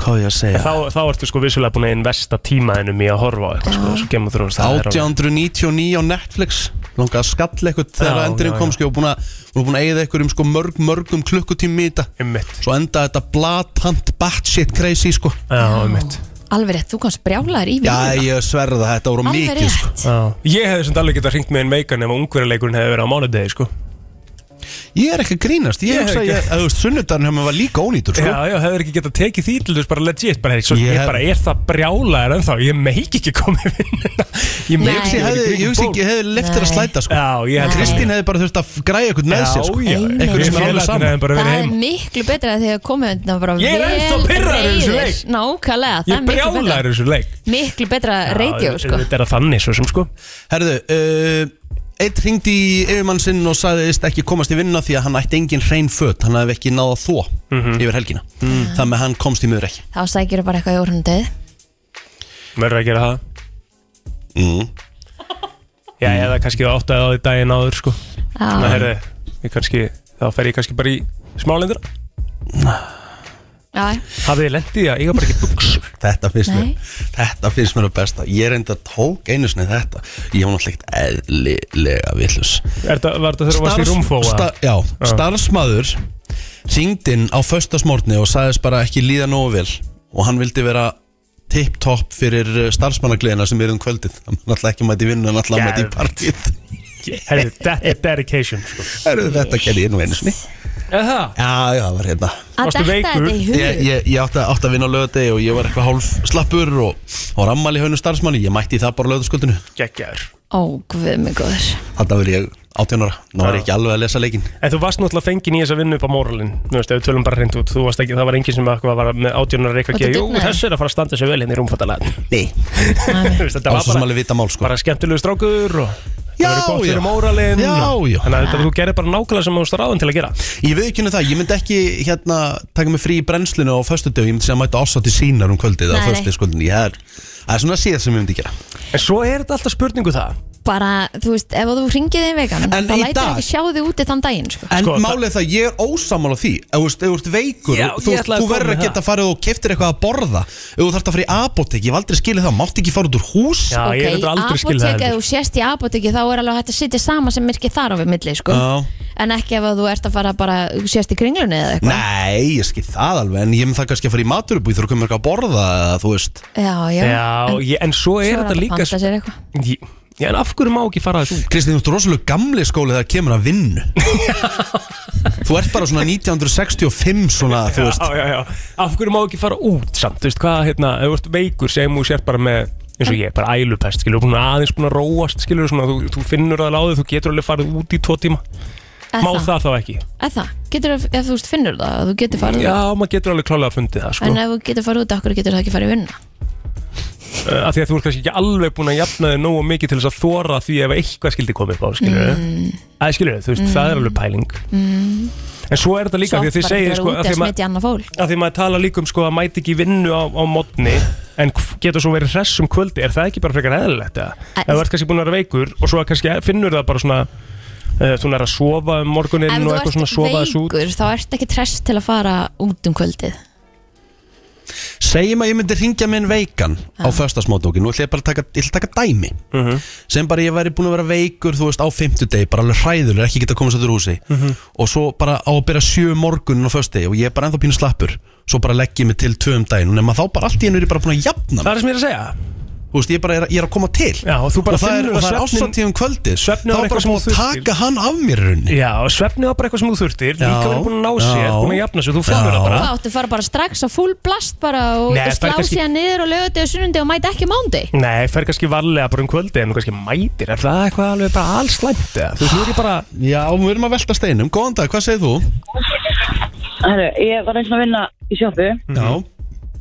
[SPEAKER 4] Hvað er ég að segja?
[SPEAKER 1] Þá, þá ertu sko vissulega búin að investa tímaðinum í að horfa á eitthvað sko, svo Game of Thrones það er alveg-
[SPEAKER 4] 1899 á Netflix langaði að skalla eitthvað
[SPEAKER 1] Já,
[SPEAKER 4] þegar endurinn
[SPEAKER 1] já,
[SPEAKER 4] kom
[SPEAKER 1] já.
[SPEAKER 4] sko og búin að, búin að eigða eitthvað um sko mörg, mörgum klukkutími í þetta
[SPEAKER 1] Einmitt.
[SPEAKER 4] svo endaði þetta blatant batshit crazy sko
[SPEAKER 1] Já, einmitt.
[SPEAKER 5] Alveg rétt, þú komst brjálaður í
[SPEAKER 4] Já, ég sverða það, þetta voru
[SPEAKER 5] Alveg
[SPEAKER 4] mikið sko.
[SPEAKER 5] rétt
[SPEAKER 1] Já. Ég hefði samt alveg getað hringt með einn meikan ef ungverðarleikurinn hefði verið á mánudegi sko.
[SPEAKER 4] Ég er ekki að grínast, ég
[SPEAKER 1] Ég
[SPEAKER 4] hugsa
[SPEAKER 1] hef
[SPEAKER 4] að
[SPEAKER 1] ekki-
[SPEAKER 4] ég- að, þú veist, sunnudarinn hjá mig var líka ónýtur sko.
[SPEAKER 1] Já, já, hefur ekki getað tekið því til þess bara legit bara, hey, svo,
[SPEAKER 4] Ég
[SPEAKER 1] ég,
[SPEAKER 4] hef-
[SPEAKER 1] bara er það brjálaður ennþá, ég meik ekki komið vinnuna Ég meik
[SPEAKER 5] Ég hugsa
[SPEAKER 4] Ég hefði, ég hugsa ekki, ég hefði leftir að
[SPEAKER 5] Nei.
[SPEAKER 4] slæta sko.
[SPEAKER 1] Já, ég held
[SPEAKER 4] Kristín hefði bara þurft að græja eitthvað með sér sko.
[SPEAKER 1] Já, já,
[SPEAKER 5] Einmitt.
[SPEAKER 4] Einhverjum sem er alveg saman.
[SPEAKER 1] Félagarnir hefðu bara
[SPEAKER 5] Það
[SPEAKER 1] verið
[SPEAKER 5] er
[SPEAKER 1] heim
[SPEAKER 5] miklu betra þegar þið komið undan bara
[SPEAKER 1] Ég er ennþá
[SPEAKER 5] vel
[SPEAKER 1] pirraður í þessum
[SPEAKER 5] reiðir.
[SPEAKER 1] leik.
[SPEAKER 5] Nákvæmlega, það
[SPEAKER 1] Ég er
[SPEAKER 5] er miklu betra
[SPEAKER 1] brjálaður í þessu leik
[SPEAKER 5] Miklu betra radio,
[SPEAKER 1] Já,
[SPEAKER 5] sko
[SPEAKER 1] Þetta er að þannig svo sem sko
[SPEAKER 4] Herðu, uh, eitt ringdi í yfirmann sinn og sagðist ekki komast í vinna því að hann ætti engin hrein föt hann hefði ekki náða þó
[SPEAKER 1] Mhm.
[SPEAKER 4] yfir helgina þannig að hann komst í miður ekki
[SPEAKER 5] Þá sækir bara eitthvað í orðundið
[SPEAKER 1] Mörður að gera það
[SPEAKER 4] mm.
[SPEAKER 1] Já, eða kannski þá áttaði á því daginn áður sko Ná,
[SPEAKER 5] Já,
[SPEAKER 1] herri, ég kannski, þá fer ég kannski bara í smálendina
[SPEAKER 5] já,
[SPEAKER 1] Hafið þið lendið í að ég var bara ekki buksur
[SPEAKER 4] Þetta finnst
[SPEAKER 5] Nei.
[SPEAKER 4] mér Þetta finnst mér að besta Ég reyndi að tók einu sinni þetta Ég var náttúrulega ekkert eðlilega villus
[SPEAKER 1] Er þetta, var þetta þegar þú varst í rúmfóa? Ah.
[SPEAKER 4] sta, Já, starfsmaður Ringdinn á föstasmórni og sagðist bara ekki líða nógu vel Og hann vildi vera tip-top fyrir eh, starfsmannagliðina sem er um kvöldið Hann náttúrulega ekki mæti vinnu, hann náttúrulega mæti í
[SPEAKER 1] Geðveikt.
[SPEAKER 4] partíð
[SPEAKER 1] Herri, þetta er dedication sko.
[SPEAKER 4] Herru, Þetta gerði ég nú einu sinni
[SPEAKER 1] Er það?
[SPEAKER 4] Já, já, það var hérna
[SPEAKER 5] Að
[SPEAKER 1] Varstu
[SPEAKER 5] detta
[SPEAKER 1] veikur?
[SPEAKER 5] þetta í
[SPEAKER 4] Ég,
[SPEAKER 5] hug
[SPEAKER 4] ég, ég átti, átti að vinna á lögadegi og ég var eitthvað hálf slappur og, og rammal í haunum starfsmanni Ég mætti í það bara lögadagsskuldinu
[SPEAKER 1] Gekkjaður
[SPEAKER 5] Ó, guð mig góður
[SPEAKER 4] Þetta verði ég 18 ára Nú var ég ekki alveg að lesa leikinn
[SPEAKER 1] En þú varst náttúrulega fengin í þess að vinna upp á moralin Þú veist, ef við tölum bara hreint út Þú varst ekki, það var enginn sem eitthvað var með átjónar
[SPEAKER 5] Og
[SPEAKER 1] eitthvað að gera
[SPEAKER 5] þetta
[SPEAKER 1] Jú,
[SPEAKER 5] dugnaði.
[SPEAKER 1] þessi er að fara að standa sér vel hérna í rúmfattalega
[SPEAKER 4] Nei,
[SPEAKER 1] Þetta
[SPEAKER 4] það var svo
[SPEAKER 1] var
[SPEAKER 4] sem
[SPEAKER 1] bara,
[SPEAKER 4] alveg vita mál sko
[SPEAKER 1] bara skemmtilegu strákur og
[SPEAKER 4] Já,
[SPEAKER 1] það verður gott
[SPEAKER 4] já.
[SPEAKER 1] fyrir moralin
[SPEAKER 4] Já,
[SPEAKER 1] og-
[SPEAKER 4] já.
[SPEAKER 1] Þannig að þetta, þú gerir bara nákvæmlega sem þú varst ráðan til að gera
[SPEAKER 4] Ég veið ekki henni það, ég myndi ekki hérna taka mig frí í brennslinu á föstu dög Ég myndi segja að mæta ásátt í sínar um kvöldið
[SPEAKER 5] Nei,
[SPEAKER 4] á
[SPEAKER 5] nei.
[SPEAKER 4] föstu skuldinu Ég er, það er svona síðan sem ég myndi gera
[SPEAKER 1] En svo er þetta alltaf spurningu það
[SPEAKER 5] Bara, þú veist, ef þú ringið þig vegan
[SPEAKER 4] En
[SPEAKER 5] Það
[SPEAKER 4] í
[SPEAKER 5] lætur
[SPEAKER 4] dag-
[SPEAKER 5] ekki sjá þig úti þann daginn, sko
[SPEAKER 4] En
[SPEAKER 1] Sko, það-
[SPEAKER 4] málið er það, ég er ósamála því Ef þú veist, ef þú ert veikur,
[SPEAKER 1] Já,
[SPEAKER 4] þú,
[SPEAKER 1] ég ætlaði að
[SPEAKER 4] þú
[SPEAKER 1] koma
[SPEAKER 4] verður að
[SPEAKER 1] með það.
[SPEAKER 4] geta farið og keftir eitthvað að borða Ef þú þarft að fara í apotek, ég hef aldrei skilið það Mátt ekki fara út úr hús
[SPEAKER 1] Já, ég er þetta aldrei skil það
[SPEAKER 5] apotek, ef
[SPEAKER 1] heldur.
[SPEAKER 5] þú sést í apotekki þá er alveg hægt að sitja sama sem myrkið þar á við milli sko.
[SPEAKER 4] Já.
[SPEAKER 5] en ekki ef að þú ert að fara bara sést í kringlunni eða eitthvað
[SPEAKER 4] Nei, ég skil það alveg En ég myndi það kannski að fara í maturubúi Þú þarf að koma eitthvað að borða, eða þú veist
[SPEAKER 5] já, já,
[SPEAKER 1] Já, ég, en svo
[SPEAKER 5] svo
[SPEAKER 1] er
[SPEAKER 5] er
[SPEAKER 1] þetta
[SPEAKER 5] að
[SPEAKER 1] líka
[SPEAKER 5] panta sér eitthvað
[SPEAKER 1] Ég- Já, en af hverju má ekki fara þessu út?
[SPEAKER 4] Kristín, þú ert rosalega gamli skóli þegar kemur að vinnu Þú ert bara svona 1965 svona, þú veist
[SPEAKER 1] Já, já, já, af hverju má ekki fara út samt, þú veist, hvað, hérna, ef þú ert veikur sem þú sér bara með, eins og ég, bara ælupest, skilur, búin aðeins búin að róast, skilur, svona, þú, þú finnur það láðið, þú getur alveg farið út í tvo tíma,
[SPEAKER 5] Eða
[SPEAKER 1] má það þá ekki?
[SPEAKER 5] Eða það, getur, ef þú veist finnur það að þú getur farið
[SPEAKER 1] Já,
[SPEAKER 5] út
[SPEAKER 1] maður getur alveg klálega að fundið það, sko,
[SPEAKER 5] en ef þú getur farið út, okkur getur það ekki farið í vinna
[SPEAKER 1] uh, af því að þú ert kannski ekki alveg búin að jafna þig nógu mikið til þess að þóra því ef eitthvað skildi komið upp á, skilur, mm. að skilur, þú veist, það er alveg pæling. Mm. En svo er þetta líka, af því
[SPEAKER 5] Svo
[SPEAKER 1] að þið
[SPEAKER 5] bara
[SPEAKER 1] segir,
[SPEAKER 5] getur
[SPEAKER 1] sko,
[SPEAKER 5] verið
[SPEAKER 1] af því
[SPEAKER 5] úti að
[SPEAKER 1] að maður
[SPEAKER 5] smitja annað fólk
[SPEAKER 1] að því maður tala líka um sko að mæti ekki í vinnu á, á modni en hv- getur svo verið hress um kvöldi er það ekki bara frekar eðlilegt eða?
[SPEAKER 5] Æ,
[SPEAKER 1] ef þú ert kannski búin að vera veikur og svo kannski finnur það bara svona eh, þú er að sofa um
[SPEAKER 5] Ef
[SPEAKER 1] morguninn og eitthvað svona
[SPEAKER 5] þú
[SPEAKER 1] sofa
[SPEAKER 5] ert
[SPEAKER 1] þessu út
[SPEAKER 5] veikur, þá ert ekki trest til að fara út um kvöldið
[SPEAKER 4] segjum að ég myndi ringja minn veikan á föstasmótnókin, nú ætla ég bara að taka, ég ætla að taka dæmi
[SPEAKER 1] Mhm.
[SPEAKER 4] sem bara ég væri búin að vera veikur þú veist á fimmtudegi, bara alveg hræðulegur ekki geta komast þetta úr húsi
[SPEAKER 1] Mhm.
[SPEAKER 4] og svo bara á að byrja sjö morgunin á föstudegi og ég er bara ennþá pínu slappur svo bara legg ég mig til tvöum daginn nema þá bara allt í hennu er ég bara búin að jafna
[SPEAKER 1] Það
[SPEAKER 4] mig.
[SPEAKER 1] er það sem ég er að segja
[SPEAKER 4] þú veist, ég er bara ég er, að koma til
[SPEAKER 1] Já, og þú bara
[SPEAKER 4] það er,
[SPEAKER 1] finnur
[SPEAKER 4] og
[SPEAKER 1] að
[SPEAKER 4] það er
[SPEAKER 1] svefnin-
[SPEAKER 4] ásatíðum kvöldi þá
[SPEAKER 1] svefnin
[SPEAKER 4] er
[SPEAKER 1] var
[SPEAKER 4] bara
[SPEAKER 1] eitthvað sem
[SPEAKER 4] búin
[SPEAKER 1] þú
[SPEAKER 4] að
[SPEAKER 1] þurftir.
[SPEAKER 4] taka hann af mér í rauninni
[SPEAKER 1] Já, og svefnið var bara eitthvað sem þú þurftir Líka verið búin að ná sér,
[SPEAKER 4] já.
[SPEAKER 1] búin að jafna sér Þú
[SPEAKER 4] Já.
[SPEAKER 1] finnur það bara
[SPEAKER 5] Hvað áttu að fara bara strax á full blast bara og,
[SPEAKER 1] Nei,
[SPEAKER 5] og
[SPEAKER 1] það
[SPEAKER 5] slá
[SPEAKER 1] er kannski-
[SPEAKER 5] síðan niður og lögundi og sunnundi og mæta ekki mándi?
[SPEAKER 1] Nei, fer kannski varlega bara um kvöldi En þú kannski mætir, er það eitthvað alveg bara alls slæmt eða? Þú veist, nú er ég bara
[SPEAKER 4] Já, við erum að velta steinum, góðan dag, hvað segir þú?
[SPEAKER 10] Herru, ég var eins og að vinna í sjoppu,
[SPEAKER 1] Mhm.
[SPEAKER 10] mm.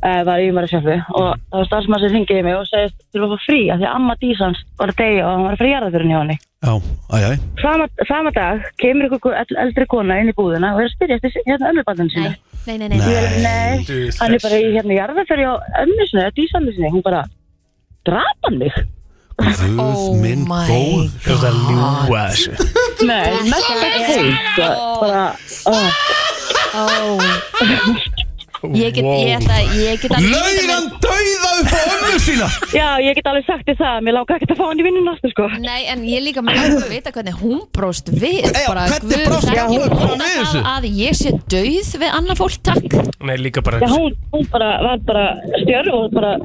[SPEAKER 4] Já,
[SPEAKER 10] var í maður sjoppu og það var starfsmann sem ringiði mig og segist þurfa að fá frí af því að amma Dísans var að deyja og hann var að fara í jarðafyrin hjá henni.
[SPEAKER 4] já, æjæ
[SPEAKER 10] Sama, sama dag kemur ykkur el- eldri kona inn í búðina og er að spyrja eftir si- hérna önnubandinu
[SPEAKER 5] Nei,
[SPEAKER 10] sinni.
[SPEAKER 5] nei, nei, nei.
[SPEAKER 10] Ég er, nei, hann er bara í hérna jarðafyrin hjá önnu sinni, eða Dísandi sinni, hún bara drapa hann mig.
[SPEAKER 4] Guð
[SPEAKER 5] Oh
[SPEAKER 4] minn
[SPEAKER 5] my
[SPEAKER 4] góð
[SPEAKER 1] Þú veist að ljúga þessu
[SPEAKER 10] Nei, mesta heim, sko, bara, ó,
[SPEAKER 5] Ó. Ég get, ég ætla, ég get alveg ímyndað mér-
[SPEAKER 4] Laugan dauða upp á ömmu sína
[SPEAKER 10] já, ég get alveg sagt því það, mér lág ekki að fá hann í vinninu aftur, sko.
[SPEAKER 5] Nei, en ég líka mér langar að vita hvernig hún bróst við
[SPEAKER 4] Já, hvernig
[SPEAKER 5] guð,
[SPEAKER 4] brást
[SPEAKER 5] ekki
[SPEAKER 4] hún?
[SPEAKER 5] vita
[SPEAKER 4] Hún við þessu?
[SPEAKER 5] það Að ég sé dauð við annað fólk, takk
[SPEAKER 1] Nei, líka bara
[SPEAKER 10] Já, hún, hún bara, var bara stjörn og bara,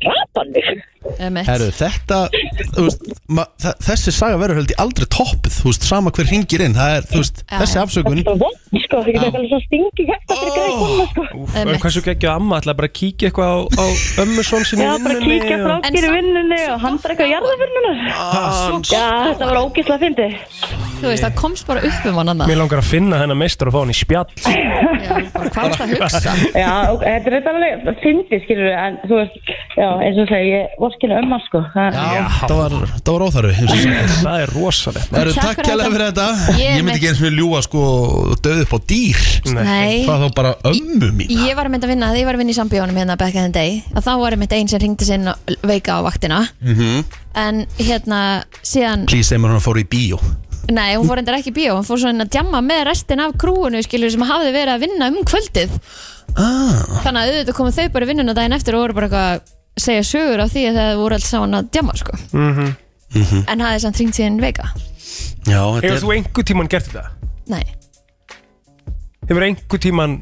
[SPEAKER 10] drapa hann mig.
[SPEAKER 5] Emmett.
[SPEAKER 4] Herru, þetta, þú veist, ma, þa- þessi saga verður held ég aldrei toppið, þú veist, sama hver ringir inn, það er, þú veist,
[SPEAKER 5] Já,
[SPEAKER 4] þessi
[SPEAKER 5] já.
[SPEAKER 4] afsökun
[SPEAKER 10] Það var vond, sko, það getur eitthvað svo stingi hérta fyrir greið koma, sko.
[SPEAKER 1] Úf,
[SPEAKER 5] Einmitt.
[SPEAKER 1] en hversu geggja amma ætlaði bara að kíkja eitthvað á, á ömmu svon sinni
[SPEAKER 10] Já, bara kíkja frá
[SPEAKER 5] En
[SPEAKER 10] okkur í
[SPEAKER 5] samt-
[SPEAKER 10] vinnunni og hann bara eitthvað jarðafyrnuna.
[SPEAKER 4] Ah,
[SPEAKER 10] Já, þetta var ógislega fyndi.
[SPEAKER 5] Þú veist, það komst bara upp um hann annað
[SPEAKER 1] Mér langar að finna hennar meistar og fá hann í spjall
[SPEAKER 5] Bara Hvað varst að hugsa?
[SPEAKER 10] Já, og þetta er þetta alveg fyndi, skilur við, en þú veist, já, eins og segi, ég vor skilur um hann, sko. Það-
[SPEAKER 4] Já, það var, það var óþarfi eins og sagt.
[SPEAKER 1] Það er rosalegt
[SPEAKER 4] Herru,
[SPEAKER 5] Takk
[SPEAKER 4] takk
[SPEAKER 5] fyrir
[SPEAKER 4] kjælega fyrir þetta
[SPEAKER 5] Ég er
[SPEAKER 4] Ég myndi
[SPEAKER 5] mitt-
[SPEAKER 4] ekki eins og ljúa, sko, dauð upp á dýr
[SPEAKER 5] Nei,
[SPEAKER 4] Hvað þá bara ömmu mín
[SPEAKER 5] ég var að mynda að vinna Þegar ég var að vinna í sambjónum hérna back in the day að Þá var einmitt einn sem ringdi sinn veika á vaktina En hérna, síðan
[SPEAKER 4] Mhm. Please, sem hann fór í bíó
[SPEAKER 5] Nei, hún fór endur ekki í bíó, hún fór svona að djamma með restin af krúinu, skilur, sem hafði verið að vinna um kvöldið. Ah. Þannig að auðvitað komu þau bara í vinnuna daginn eftir og voru bara eitthvað að segja sögur á því að það voru alls saman að djamma, sko.
[SPEAKER 1] Mhm.
[SPEAKER 4] Mhm.
[SPEAKER 5] -hmm. En hafði samt hringt síðan veika.
[SPEAKER 4] Já, þetta
[SPEAKER 1] Hefur
[SPEAKER 4] er
[SPEAKER 1] þú einhver tíman gert þetta?
[SPEAKER 5] Nei.
[SPEAKER 1] Hefur einhver tíman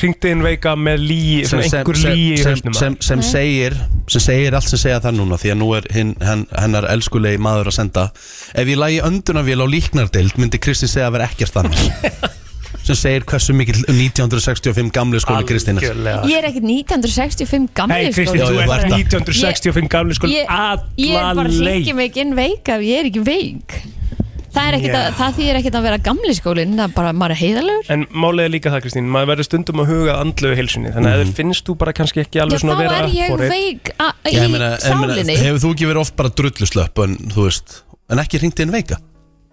[SPEAKER 1] hringt inn veika með líi sem, einhver líi í
[SPEAKER 4] sem,
[SPEAKER 1] hausnum
[SPEAKER 4] sem, sem segir sem segir allt sem segja það núna því að nú er hinn, henn, hennar elskulegi maður að senda ef ég lægi öndunavél á líknardeild myndi Kristi segja að vera ekkert þannig sem segir hversu mikill 1965 gamli skóli Kristina
[SPEAKER 5] Ég er ekkert 1965 gamli, sko.
[SPEAKER 1] Nei, Kristi,
[SPEAKER 4] Já,
[SPEAKER 1] þú
[SPEAKER 4] ég var
[SPEAKER 1] ert
[SPEAKER 4] það.
[SPEAKER 1] 1965 gamli sko
[SPEAKER 5] Ég, ég er
[SPEAKER 1] alla
[SPEAKER 5] bara hringi
[SPEAKER 1] leið
[SPEAKER 5] mig ekki inn veika ef ég er ekki veik. Það, er ekkert
[SPEAKER 1] Já.
[SPEAKER 5] að, það þýðir ekkert að vera gamli skólinn, það er bara maður er heiðalegur.
[SPEAKER 1] En málið er líka það, Kristín, maður verður stundum að huga að andlegu heilsunni Þannig
[SPEAKER 4] Mhm.
[SPEAKER 1] að mm. finnst þú bara kannski ekki
[SPEAKER 5] Já,
[SPEAKER 1] alveg svona
[SPEAKER 5] þá
[SPEAKER 1] að vera
[SPEAKER 5] er ég
[SPEAKER 1] forrit.
[SPEAKER 5] veik a, í
[SPEAKER 4] Já, ég meina- ég meina,
[SPEAKER 5] sálinni.
[SPEAKER 4] hefur þú ekki verið oft bara drulluslöpp en þú veist en ekki hringt inn veika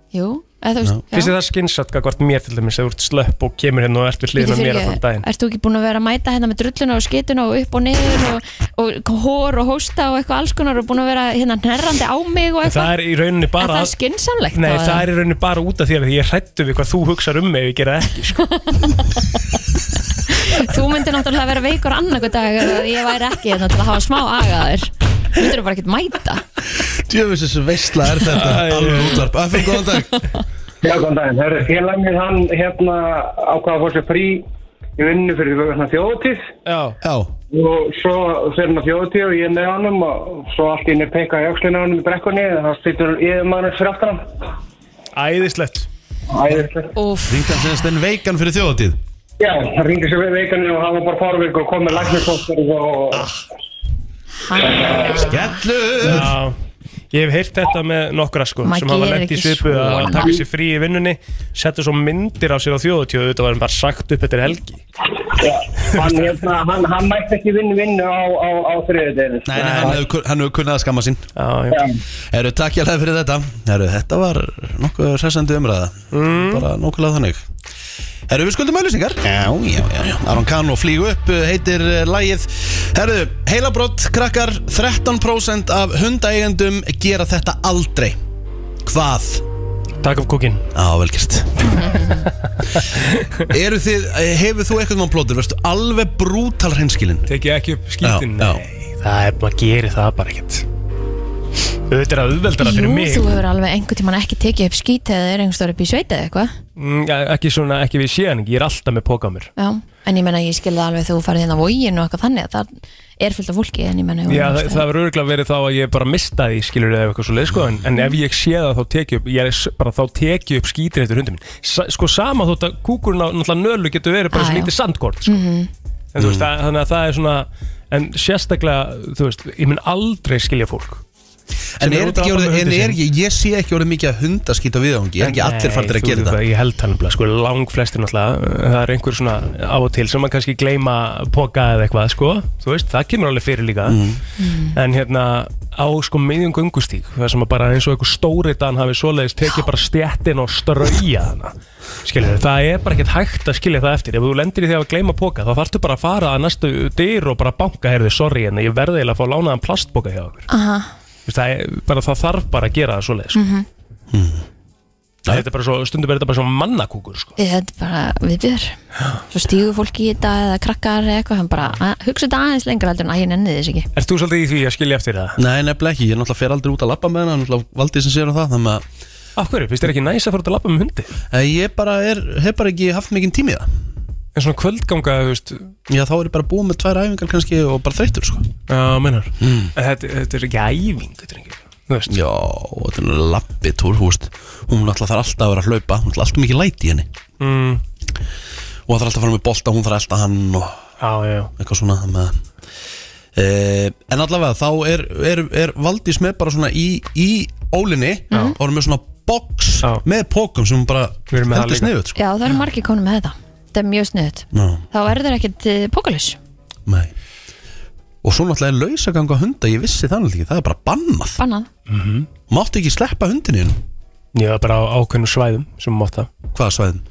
[SPEAKER 5] Jú, eða þú veist já.
[SPEAKER 1] Finnst þér það skynsat gagvart mér til dæmis Ef þú ert slöpp og kemur hérna og ert við
[SPEAKER 5] Bíddu,
[SPEAKER 1] hliðina á mér
[SPEAKER 5] fyrirgefðu,
[SPEAKER 1] allan daginn
[SPEAKER 5] Ert þú ekki búin að vera að mæta hérna með drulluna og skituna og upp og niður og, og hór og hósta og eitthvað alls konar og búin að vera hérna hnerrandi á mig og
[SPEAKER 1] En
[SPEAKER 5] eitthvað
[SPEAKER 1] Það er í rauninni
[SPEAKER 5] En
[SPEAKER 1] bara
[SPEAKER 5] það er skynsamlegt
[SPEAKER 1] Nei,
[SPEAKER 5] þá,
[SPEAKER 1] það
[SPEAKER 5] eða?
[SPEAKER 1] er í rauninni bara út af því að ég er hrættu við hvað þú hugsar um mig ef ég gera það ekki sko.
[SPEAKER 5] Þú myndir náttúrulega vera veikur annarku dag ef að ég væri ekki hérna til að hafa smá agaðir Þú myndir bara ekkert mæta
[SPEAKER 4] djöfis þessu veistla er þetta alveg útvarp að fyrir góðan dag
[SPEAKER 11] Já, góðan daginn. Herru, félagmið hann hérna ákvaða að fá sér frí í vinnu fyrir svona þjóðutíð
[SPEAKER 1] Já,
[SPEAKER 4] já
[SPEAKER 11] hérna og svo fyrir hann að þjóðutíð og ég með honum og svo allt í henni peka í öxlina á honum í brekkunni og það stýttur yfirmannur fyrir aftan hann.
[SPEAKER 1] æðislegt
[SPEAKER 11] Æðislegt.
[SPEAKER 5] Úf,
[SPEAKER 4] hringt hann senast inn veikan fyrir þjóðatíð
[SPEAKER 11] Já, hann ringdi sér við veikanni og hann var bara fórvík og kom með læknisóttur og...
[SPEAKER 4] Ah. gellur
[SPEAKER 1] Já, ég hef heyrt þetta með nokkra sko
[SPEAKER 5] Maður
[SPEAKER 1] sem hafa
[SPEAKER 5] gerir
[SPEAKER 1] lett í
[SPEAKER 5] ekki
[SPEAKER 1] svipu að
[SPEAKER 5] svona.
[SPEAKER 1] taka sér frí í vinnunni setja svo myndir af sér á þjóðutjóðu þetta var bara sagt upp eftir helgi
[SPEAKER 11] Hann, hérna, hann, hann mætti ekki vinnu vinnu á, á, á þriðudeginu.
[SPEAKER 4] Nei, nei, hann hefur hann hefur kunnað að skamma sín
[SPEAKER 1] Já, já.
[SPEAKER 4] Herru, takk hjá það fyrir þetta Herru, þetta var nokkuð hressandi umræða
[SPEAKER 1] Mm.
[SPEAKER 4] Bara nokkulega þannig Herru, við skuldum auðlýsingar Já, já, já, já Aron Kano flýgu upp uh, heitir uh, lagið Herru, heilabrott, krakkar 13% af hundaeigendum gera þetta aldrei Hvað?
[SPEAKER 1] Takk af kúkin
[SPEAKER 4] Já, velkjast Eru þið, eh, hefur þú eitthvað mann plótur, verðstu alveg brútal hreinskilin?
[SPEAKER 1] Tekið ekki upp skítinn?
[SPEAKER 4] Já,
[SPEAKER 1] já. Það er, maður gerir það bara ekkert Þetta er að auðveldara fyrir
[SPEAKER 5] Jú,
[SPEAKER 1] mig
[SPEAKER 5] þú hefur alveg einhvern tímann ekki tekið upp skít eða er einhvers stóri upp í sveit eða eitthvað
[SPEAKER 1] Mm, ja, Ekki svona, ekki við séðan Ég er alltaf með póka á mér
[SPEAKER 5] Já, en ég menna ég skilði alveg þú farið hérna á vógin og eitthvað þannig að það er fullt af fólki en ég menna
[SPEAKER 1] Já, það, það verður örgulega verið þá að ég bara mista því skilur eða eitthvað svo leið sko en, en ef ég sé það þá tekið upp, ég er s- bara þá tekið upp skítir eftir hundum minn Sa, sko sama þótt að kúkurinn á náttúrulega nölu getur verið bara
[SPEAKER 5] Ah,
[SPEAKER 1] svo
[SPEAKER 5] já.
[SPEAKER 1] lítið sandkort sko.
[SPEAKER 5] mm
[SPEAKER 1] en
[SPEAKER 4] Mhm.
[SPEAKER 1] þú veist, það, þannig að það er svona en sérstaklega, þú veist, ég mun aldrei skilja fólk
[SPEAKER 4] En
[SPEAKER 1] Sem
[SPEAKER 4] er
[SPEAKER 1] eru
[SPEAKER 4] þetta
[SPEAKER 1] úti
[SPEAKER 4] ekki
[SPEAKER 1] að labba
[SPEAKER 4] orðið,
[SPEAKER 1] með
[SPEAKER 4] en
[SPEAKER 1] hundinn
[SPEAKER 4] er
[SPEAKER 1] sinn.
[SPEAKER 4] ekki, ég sé ekki orðið mikið að hunda skýta viðangi, er ekki allir fartir að
[SPEAKER 1] Nei,
[SPEAKER 4] gera
[SPEAKER 1] þú-
[SPEAKER 4] þetta?
[SPEAKER 1] Ég held það nefnilega, sko, lang flestir náttúrulega það er einhver svona á og til sem maður kannski gleyma poka eða eitthvað, sko þú veist, það kemur alveg fyrir líka
[SPEAKER 4] Mm.
[SPEAKER 1] en hérna, á sko miðjum göngustík það sem að bara eins og einhver stóri dan hafi svoleiðis tekið bara stjættin og strauja hana, skilur það er bara ekkert hægt að skilja það eftir ef þú lendir í því að gleyma poka, þá þarftu bara að fara að næstu dyr og bara banka, heyrðu, sorry en ég verði eiginlega að fá lánaðan plastpoka hjá okkur
[SPEAKER 5] Aha,
[SPEAKER 1] það, er, bara, það þarf bara að gera það svoleiðis, sko.
[SPEAKER 5] mm
[SPEAKER 1] Þetta er bara svo, stundum er þetta bara svo mannakúkur sko.
[SPEAKER 5] Þetta er bara viðbjör Svo stígur fólki í þetta eða krakkar eða eitthvað hann bara að, hugsa þetta aðeins lengra heldur en að ég nenni þess ekki
[SPEAKER 1] Ert þú svolítið í því að skilja eftir það?
[SPEAKER 4] Nei, nefnilega ekki, ég náttúrulega fer aldrei út að labba með hana, náttúrulega valdið sem sér um það, þannig að
[SPEAKER 1] Af hverju, finnst þér ekki næs að fara út að labba með hundi?
[SPEAKER 4] Ég bara er, hef bara ekki haft mikinn tími í það
[SPEAKER 1] En svona kvöldganga, þú veist
[SPEAKER 4] Já, þá er ég bara búið með tvær æfingar kannski og bara þreyttur, sko
[SPEAKER 1] Já, meinar mm. þetta, þetta er ekki æfing, þetta er ekki
[SPEAKER 4] Já, og þetta er lappitúr, þú veist Hún náttúrulega þarf alltaf að vera að hlaupa, hún er alltaf mikið læti í henni
[SPEAKER 1] mm.
[SPEAKER 4] og það þarf alltaf að fara með bolta, hún þarf að elta hann og
[SPEAKER 1] já, já.
[SPEAKER 4] eitthvað svona með, e, en allavega þá er, er, er Valdís með bara svona í, í ólinni og er með svona box með pókum sem hún bara heldur sniðut sko.
[SPEAKER 5] Já, það eru margir konum með þetta Þetta er mjög sniðut
[SPEAKER 4] Já,
[SPEAKER 5] Þá er þetta ekkert eh, pókalus
[SPEAKER 4] nei. og svo náttúrulega er lausaganga hunda ég vissi þannig ekki, það er bara bannað
[SPEAKER 5] Bannað
[SPEAKER 1] mm -hmm.
[SPEAKER 4] máttu ekki sleppa hundinu þínum?
[SPEAKER 1] Ég var bara á ákveðnum svæðum sem mátt það
[SPEAKER 4] Hvaða svæðum?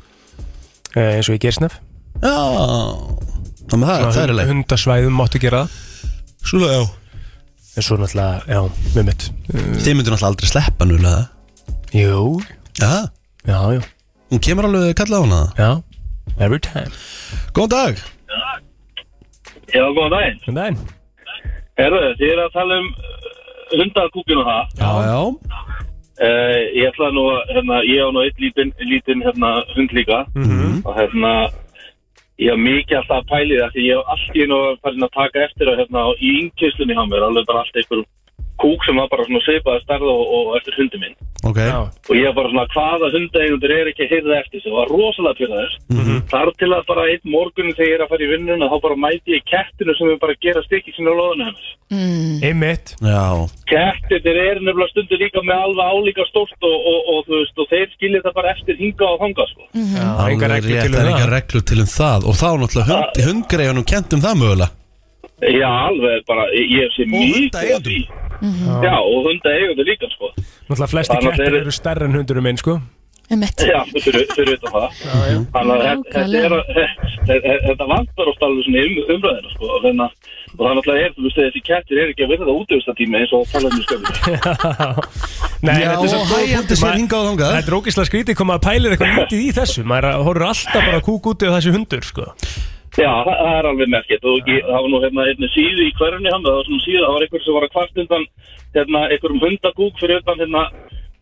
[SPEAKER 1] Eh, eins og í Gersnef
[SPEAKER 4] Já, þannig það, það er leik
[SPEAKER 1] Hundasvæðum máttu gera það
[SPEAKER 4] Svona, já
[SPEAKER 1] En svo náttúrulega, já, með mitt
[SPEAKER 4] Þið myndir náttúrulega aldrei sleppa núlega
[SPEAKER 1] Eh. Jú
[SPEAKER 4] Já,
[SPEAKER 1] já, já
[SPEAKER 4] Hún kemur alveg kallað á hana það?
[SPEAKER 1] Já, every time
[SPEAKER 4] Góðan dag
[SPEAKER 12] Já, góðan daginn.
[SPEAKER 1] Góðan daginn.
[SPEAKER 12] Herðu, þið er að tala um uh, hundakúkinn og það.
[SPEAKER 4] Já, já
[SPEAKER 12] Uh, ég ætla nú að, hérna, ég á nú eitt lítinn, lítinn, hérna, hund líka.
[SPEAKER 8] Mhm.
[SPEAKER 12] Og hérna, ég á mikið alltaf að pæli það, því ég hef allt í nú farin að taka eftir að, hérna, í yngjöslunni hjá mér, alveg bara allt einhver kúk sem var bara svona svipaði starð og, og eftir hundi minn.
[SPEAKER 4] Ok
[SPEAKER 12] Og ég var bara svona, hvaða hundaeigundur er ekki að heyrða eftir sig, og var rosalega pyrraður.
[SPEAKER 8] Mhm.
[SPEAKER 12] Þar til að bara einn morgun þegar ég er að fara í vinnuna, þá bara mæti ég kettinu sem er bara að gera stikki sinna á loðinu hennar.
[SPEAKER 1] Einmitt
[SPEAKER 4] Já
[SPEAKER 12] Kettir þeir eru nefnilega stundu líka með alveg álíka stórt og, og, og, þú veist, og þeir skilja það bara eftir hinga og hanga sko.
[SPEAKER 8] Mhm.
[SPEAKER 4] Það
[SPEAKER 1] engar reglur
[SPEAKER 4] það
[SPEAKER 1] til um
[SPEAKER 4] er
[SPEAKER 1] það.
[SPEAKER 4] engar reglur til um það og þá er náttúrulega hund, hundgreiðunum kent um það mögulega
[SPEAKER 12] Já, alveg bara, ég ég sé mjög að því. Já, og hunda eigundu líka sko.
[SPEAKER 1] Náttúrulega flesti
[SPEAKER 12] Þannig að
[SPEAKER 1] kettir
[SPEAKER 12] þeir-
[SPEAKER 1] eru stærri en hundurum minn, sko
[SPEAKER 12] Já, fyrir, fyrir utan það. Þannig að þetta- þetta er að- þetta- þetta vantar oft alveg svona um, umræðina sko. og þannig að og það náttúrulega er, þú veist, þessi kettir eru ekki að verða útöfustatími eins og talaðum í sköfum.
[SPEAKER 1] Nei,
[SPEAKER 12] Já,
[SPEAKER 1] þetta er svo
[SPEAKER 12] og
[SPEAKER 1] góð
[SPEAKER 12] hægjandi
[SPEAKER 1] punktur,
[SPEAKER 12] sér
[SPEAKER 1] maður-
[SPEAKER 12] hingað og þangað.
[SPEAKER 1] Þetta er ógislega skrítið koma að pælir eitthvað lítið í þessu maður er að- horfir alltaf bara að kúk út af þessi hundur sko.
[SPEAKER 12] Já, það, það er alveg merkett og ég, það var nú hérna einni síðu í hverjunni hann, það var svona síðu, það var einhver sem var að kvart undan hérna einhverjum hundagúk fyrir utan hérna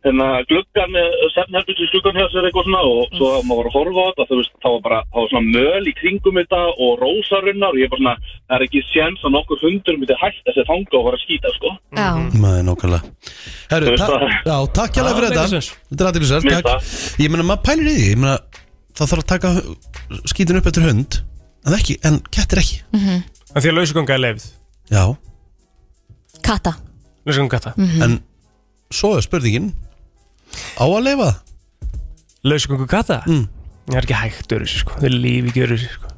[SPEAKER 12] hérna gluggan, sefnherbyggis gluggan hjá sér eitthvað svona og svo maður var að horfa á þetta, þú veist, það var bara, það var svona möl í kringum þetta og rósarunnar og ég bara svona, það er ekki séns að nokkur hundur myndi hægt þessi þanga og fara að skýta, sko.
[SPEAKER 5] Já
[SPEAKER 4] Nei, Mhm. nákvæmlega Herru,
[SPEAKER 12] Þú veist
[SPEAKER 4] ta
[SPEAKER 12] það.
[SPEAKER 4] já, takk hjá
[SPEAKER 12] Já,
[SPEAKER 4] fyrir
[SPEAKER 12] meira
[SPEAKER 4] þetta
[SPEAKER 12] sens.
[SPEAKER 4] Þetta er aðeinsvært,
[SPEAKER 12] Mér
[SPEAKER 4] takk Ég meina, maður pælir í því, ég meina það þarf að taka hu- skítinn upp eftir hund en ekki, en kettir ekki
[SPEAKER 8] Mhm.
[SPEAKER 1] en því að lausuganga er leifð
[SPEAKER 4] Já,
[SPEAKER 5] Katta
[SPEAKER 1] lausuganga katta
[SPEAKER 4] en svo er spurningin á að leifa
[SPEAKER 1] lausuganga katta mm. það er ekki hægt öðru sko. það er lífi ekki öðru sko.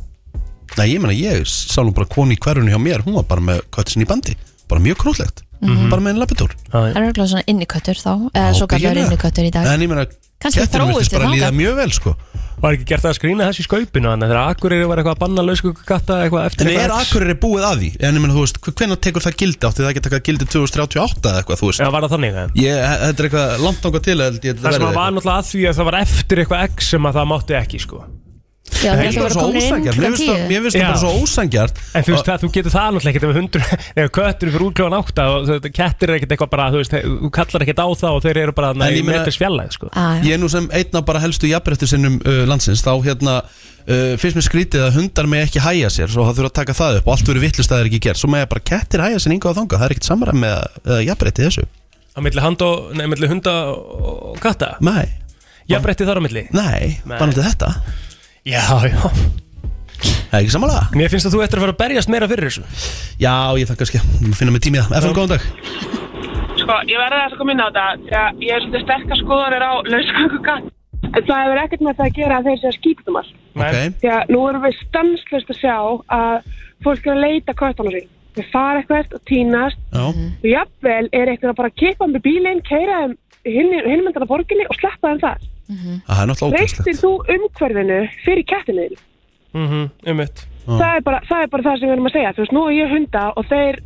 [SPEAKER 4] Nei, ég meina, ég sá nú bara koni í hverjunni hjá mér hún var bara með köttin í bandi bara mjög krúllegt bara með einn lappitúr
[SPEAKER 5] Það er örgulega svona inniköttur þá eða
[SPEAKER 4] Já,
[SPEAKER 5] svo kallar
[SPEAKER 4] byrjulega.
[SPEAKER 5] inniköttur í dag
[SPEAKER 4] En ég meina,
[SPEAKER 5] Kannski
[SPEAKER 4] kettinum
[SPEAKER 5] þróist
[SPEAKER 4] virtist
[SPEAKER 5] þið
[SPEAKER 4] bara líða
[SPEAKER 5] þangað.
[SPEAKER 4] mjög vel sko
[SPEAKER 1] Var ekki gert að skrýna þessi skaupinu þannig þegar Akureyri var eitthvað að banna lauskukatta eitthvað eftir
[SPEAKER 4] En er
[SPEAKER 1] eitthvað X?
[SPEAKER 4] Akureyri búið að því? En ég meina, þú veist, hvernig tekur það gildi átti það ekki að taka gildi 2038 eða eitthvað, þú veist
[SPEAKER 1] Já, var það þannig eða?
[SPEAKER 4] Ég, þetta er eitthvað langt ánga til held ég,
[SPEAKER 1] Það sem að var náttúrulega að því að það var eftir eitthvað X sem að það mátti ekki sko
[SPEAKER 5] Já,
[SPEAKER 4] Mér finnst það bara svo ósangjart Mér finnst það- mér finnst það bara svo ósangjart
[SPEAKER 1] En þú veist það, þú getur það náttúrulega ekkert ef hundur, ef köttur fyrir úrkljóðan átta og þetta kettir er ekkert eitthvað bara, þú veist, þeir- þú kallar ekkert á það og þeir eru bara
[SPEAKER 4] En
[SPEAKER 1] þannig
[SPEAKER 4] ég
[SPEAKER 1] í
[SPEAKER 4] meina-
[SPEAKER 1] metri svjallæð, sko.
[SPEAKER 4] Ég er nú sem einn af bara helstu jafnbrettir sinnum uh, landsins Þá hérna uh, finnst mér skrítið að hundar með ekki hæja sér Svo það þurfa að taka það upp og allt verið vittlust að það er ekki gert Svo með bara kettir hæja sér yngu á þanga Það er ekkert samræð með uh, jafnbretti þessu
[SPEAKER 1] Á milli, hand og, nei, milli hunda og katta?
[SPEAKER 4] Nei
[SPEAKER 1] Já, bretti þar á milli?
[SPEAKER 4] Nei, bara náttúrulega þetta
[SPEAKER 1] Já, já
[SPEAKER 4] Það er ekki samanlega
[SPEAKER 1] Mér finnst að þú ættir að fara að berjast meira fyrir þessu
[SPEAKER 4] Já, ég þakka skja, finna mig tími í það FM, góðan dag
[SPEAKER 13] Sko, ég verði að sko minna á þetta því að ég er svolítið sterkar skoðanir á lausgangu gatt. En það hefur ekkert með það að gera að þeir séu skýptum allt.
[SPEAKER 4] okay.
[SPEAKER 13] Því að nú erum við stanslust að sjá að fólk er að leita kvötana sín. Þeir fara eitthvað og týnast og jafnvel er eitthvað að bara kippa um bílinn, keira þeim hinn myndan að borginni og sleppa þeim þar.
[SPEAKER 1] Mhm.
[SPEAKER 4] Það er náttúrulega ógæslegt
[SPEAKER 13] Reistir þú umhverfinu fyrir kettinu þínu?
[SPEAKER 1] Um mitt
[SPEAKER 4] Ah.
[SPEAKER 13] það, er bara, það er bara það sem við erum að segja Þú veist, nú er ég hunda og þeir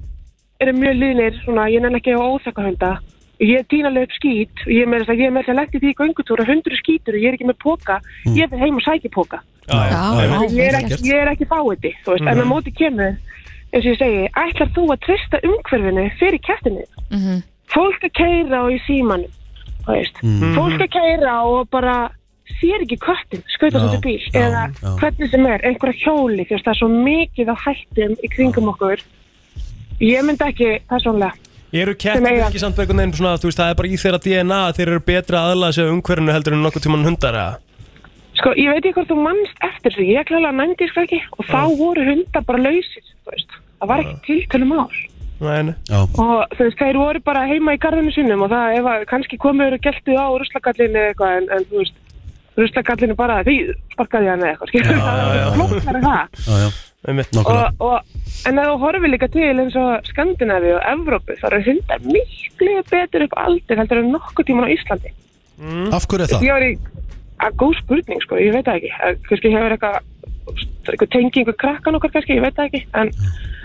[SPEAKER 13] eru mjög liðnir svona, ég nenn ekki að óþekka hunda og ég týna alveg upp skít og ég er meira þess að ég er með þess að lagt í því göngutúr og hundur er skítur og ég er ekki með póka ég fyrir heim og sæki póka
[SPEAKER 8] já,
[SPEAKER 13] ég, er ekki, ég er ekki fáiði þú veist, en
[SPEAKER 8] Mhm.
[SPEAKER 13] að móti kemur eins og ég segi, ætlar þú að trista umhverfinu fyrir kettinu
[SPEAKER 5] Mhm.
[SPEAKER 13] fólk að keira og í símanum þú veist,
[SPEAKER 8] Mhm.
[SPEAKER 13] fólk að keira og bara sér ekki köttin, skauta
[SPEAKER 8] Já,
[SPEAKER 13] þetta bíl
[SPEAKER 8] já,
[SPEAKER 13] eða
[SPEAKER 8] já.
[SPEAKER 13] hvernig sem er, einhverja hjóli því að það er svo mikið á hættum í kringum okkur ég myndi ekki persónlega
[SPEAKER 1] Eru kettir
[SPEAKER 13] eiga-
[SPEAKER 1] ekki samt einhvern veginn svona, þú veist, það er bara í þeirra DNA að þeir eru betra aðlaða sig umhverjunu heldur en nokkuð tíman hundar, eða?
[SPEAKER 13] sko, ég veit ekki hvort þú mannst eftir því ég er klálega nændis ekki og þá voru hunda bara lausir, þú veist það var ekki tiltölum ál
[SPEAKER 1] Nei,
[SPEAKER 4] Já.
[SPEAKER 13] og þú veist, þeir voru bara heima í garðinu sínum og það, ef að kannski komiður og geltu á ruslagallinu eða eitthvað en, en þú veist, ruslagallinu bara því sparkaði hann eða eitthvað, skilur það
[SPEAKER 1] já, já.
[SPEAKER 13] er flokkar en það
[SPEAKER 4] Já, já Nákvæmlega.
[SPEAKER 13] og, og, en ef þú horfir líka til eins og Skandinavi og Evrópu þá eru hundar miklu betur upp aldur heldur en nokkuð tíman á Íslandi
[SPEAKER 4] Af hverju er það?
[SPEAKER 13] Ég var í að góð spurning sko, ég veit það ekki Að kannski hefur eitthvað eitthvað tengingu krakkan okkar kannski, ég veit það ekki en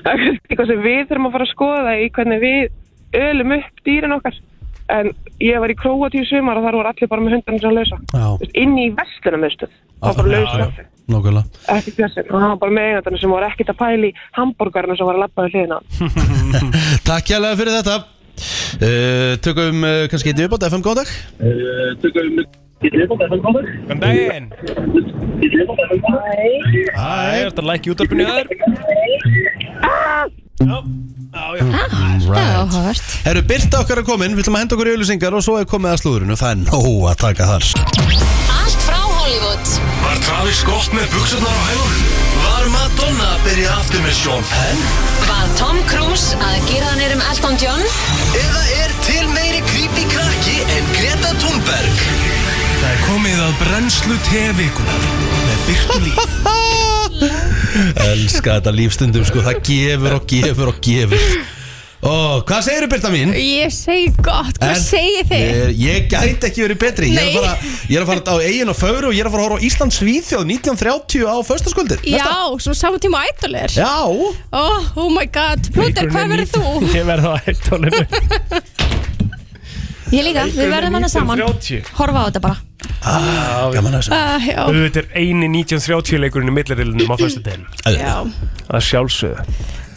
[SPEAKER 13] það er kannski eitthvað sem við þurfum að fara að skoða í hvernig við ölum upp dýrin okkar en ég var í Króatíu sumar og þar voru allir bara með hundarnir sem lausa
[SPEAKER 4] Já.
[SPEAKER 13] Þú veist, inn í vestlunamöstuð það var bara lausa
[SPEAKER 4] Já, já, Nákvæmlega
[SPEAKER 13] ekki fjörsinn og það var bara með einandarnir sem voru ekkert að pæli hambúrgarna sem var að labba við hliðina á.
[SPEAKER 4] Takk hérlega fyrir þetta uh, Tökum uh, kannski einnig uppátt FM, góðan dag
[SPEAKER 12] Tökum Góðan
[SPEAKER 1] daginn
[SPEAKER 4] Æ,
[SPEAKER 1] er þetta læk í útarpinu aður?
[SPEAKER 10] Ah!
[SPEAKER 14] Ah,
[SPEAKER 4] Right.
[SPEAKER 5] áhugavert
[SPEAKER 4] Herru, Birta okkar er komin, við ætlum að henda okkur í auðlýsingar og svo er komið að slúðurinn og það er nóg að taka þar
[SPEAKER 8] Allt frá Hollywood
[SPEAKER 2] Var Travis gott með buksarnar á hælunum? Var Madonna að byrja aftur með Sean Penn?
[SPEAKER 8] Var Tom Cruise að gera hann erum Elton John? Eða er til meiri creepy krakki en Greta Thunberg?
[SPEAKER 2] Það er komið að brennslu tevikunar með Byrtu Líf
[SPEAKER 4] Elska þetta lífstundum, sko, það gefur og gefur og gefur Ó, hvað segirðu Birta mín?
[SPEAKER 14] Ég segi gott, hvað
[SPEAKER 4] Er-
[SPEAKER 14] segir þið?
[SPEAKER 4] Ég, ég gæti ekki verið betri ég er, að
[SPEAKER 14] Nei.
[SPEAKER 4] fara, ég er að fara á eigin og föru og ég er að fara að horfa á Íslands Svíþjóð 1930 á föstaskvöldir
[SPEAKER 14] Já, svona saman tíma og ætlulir
[SPEAKER 4] Já
[SPEAKER 14] oh, oh my god, Plóter, hvað verður þú?
[SPEAKER 1] Ég verð á ættunum
[SPEAKER 5] Ég líka, við verðum hana saman Horfa á þetta bara
[SPEAKER 1] Ah,
[SPEAKER 4] gaman
[SPEAKER 5] þessu. Ah, já.
[SPEAKER 1] Þetta er eini 1930 leikurinn í millirilunum á fyrstu deginn
[SPEAKER 4] Já.
[SPEAKER 1] Það er sjálfsögðu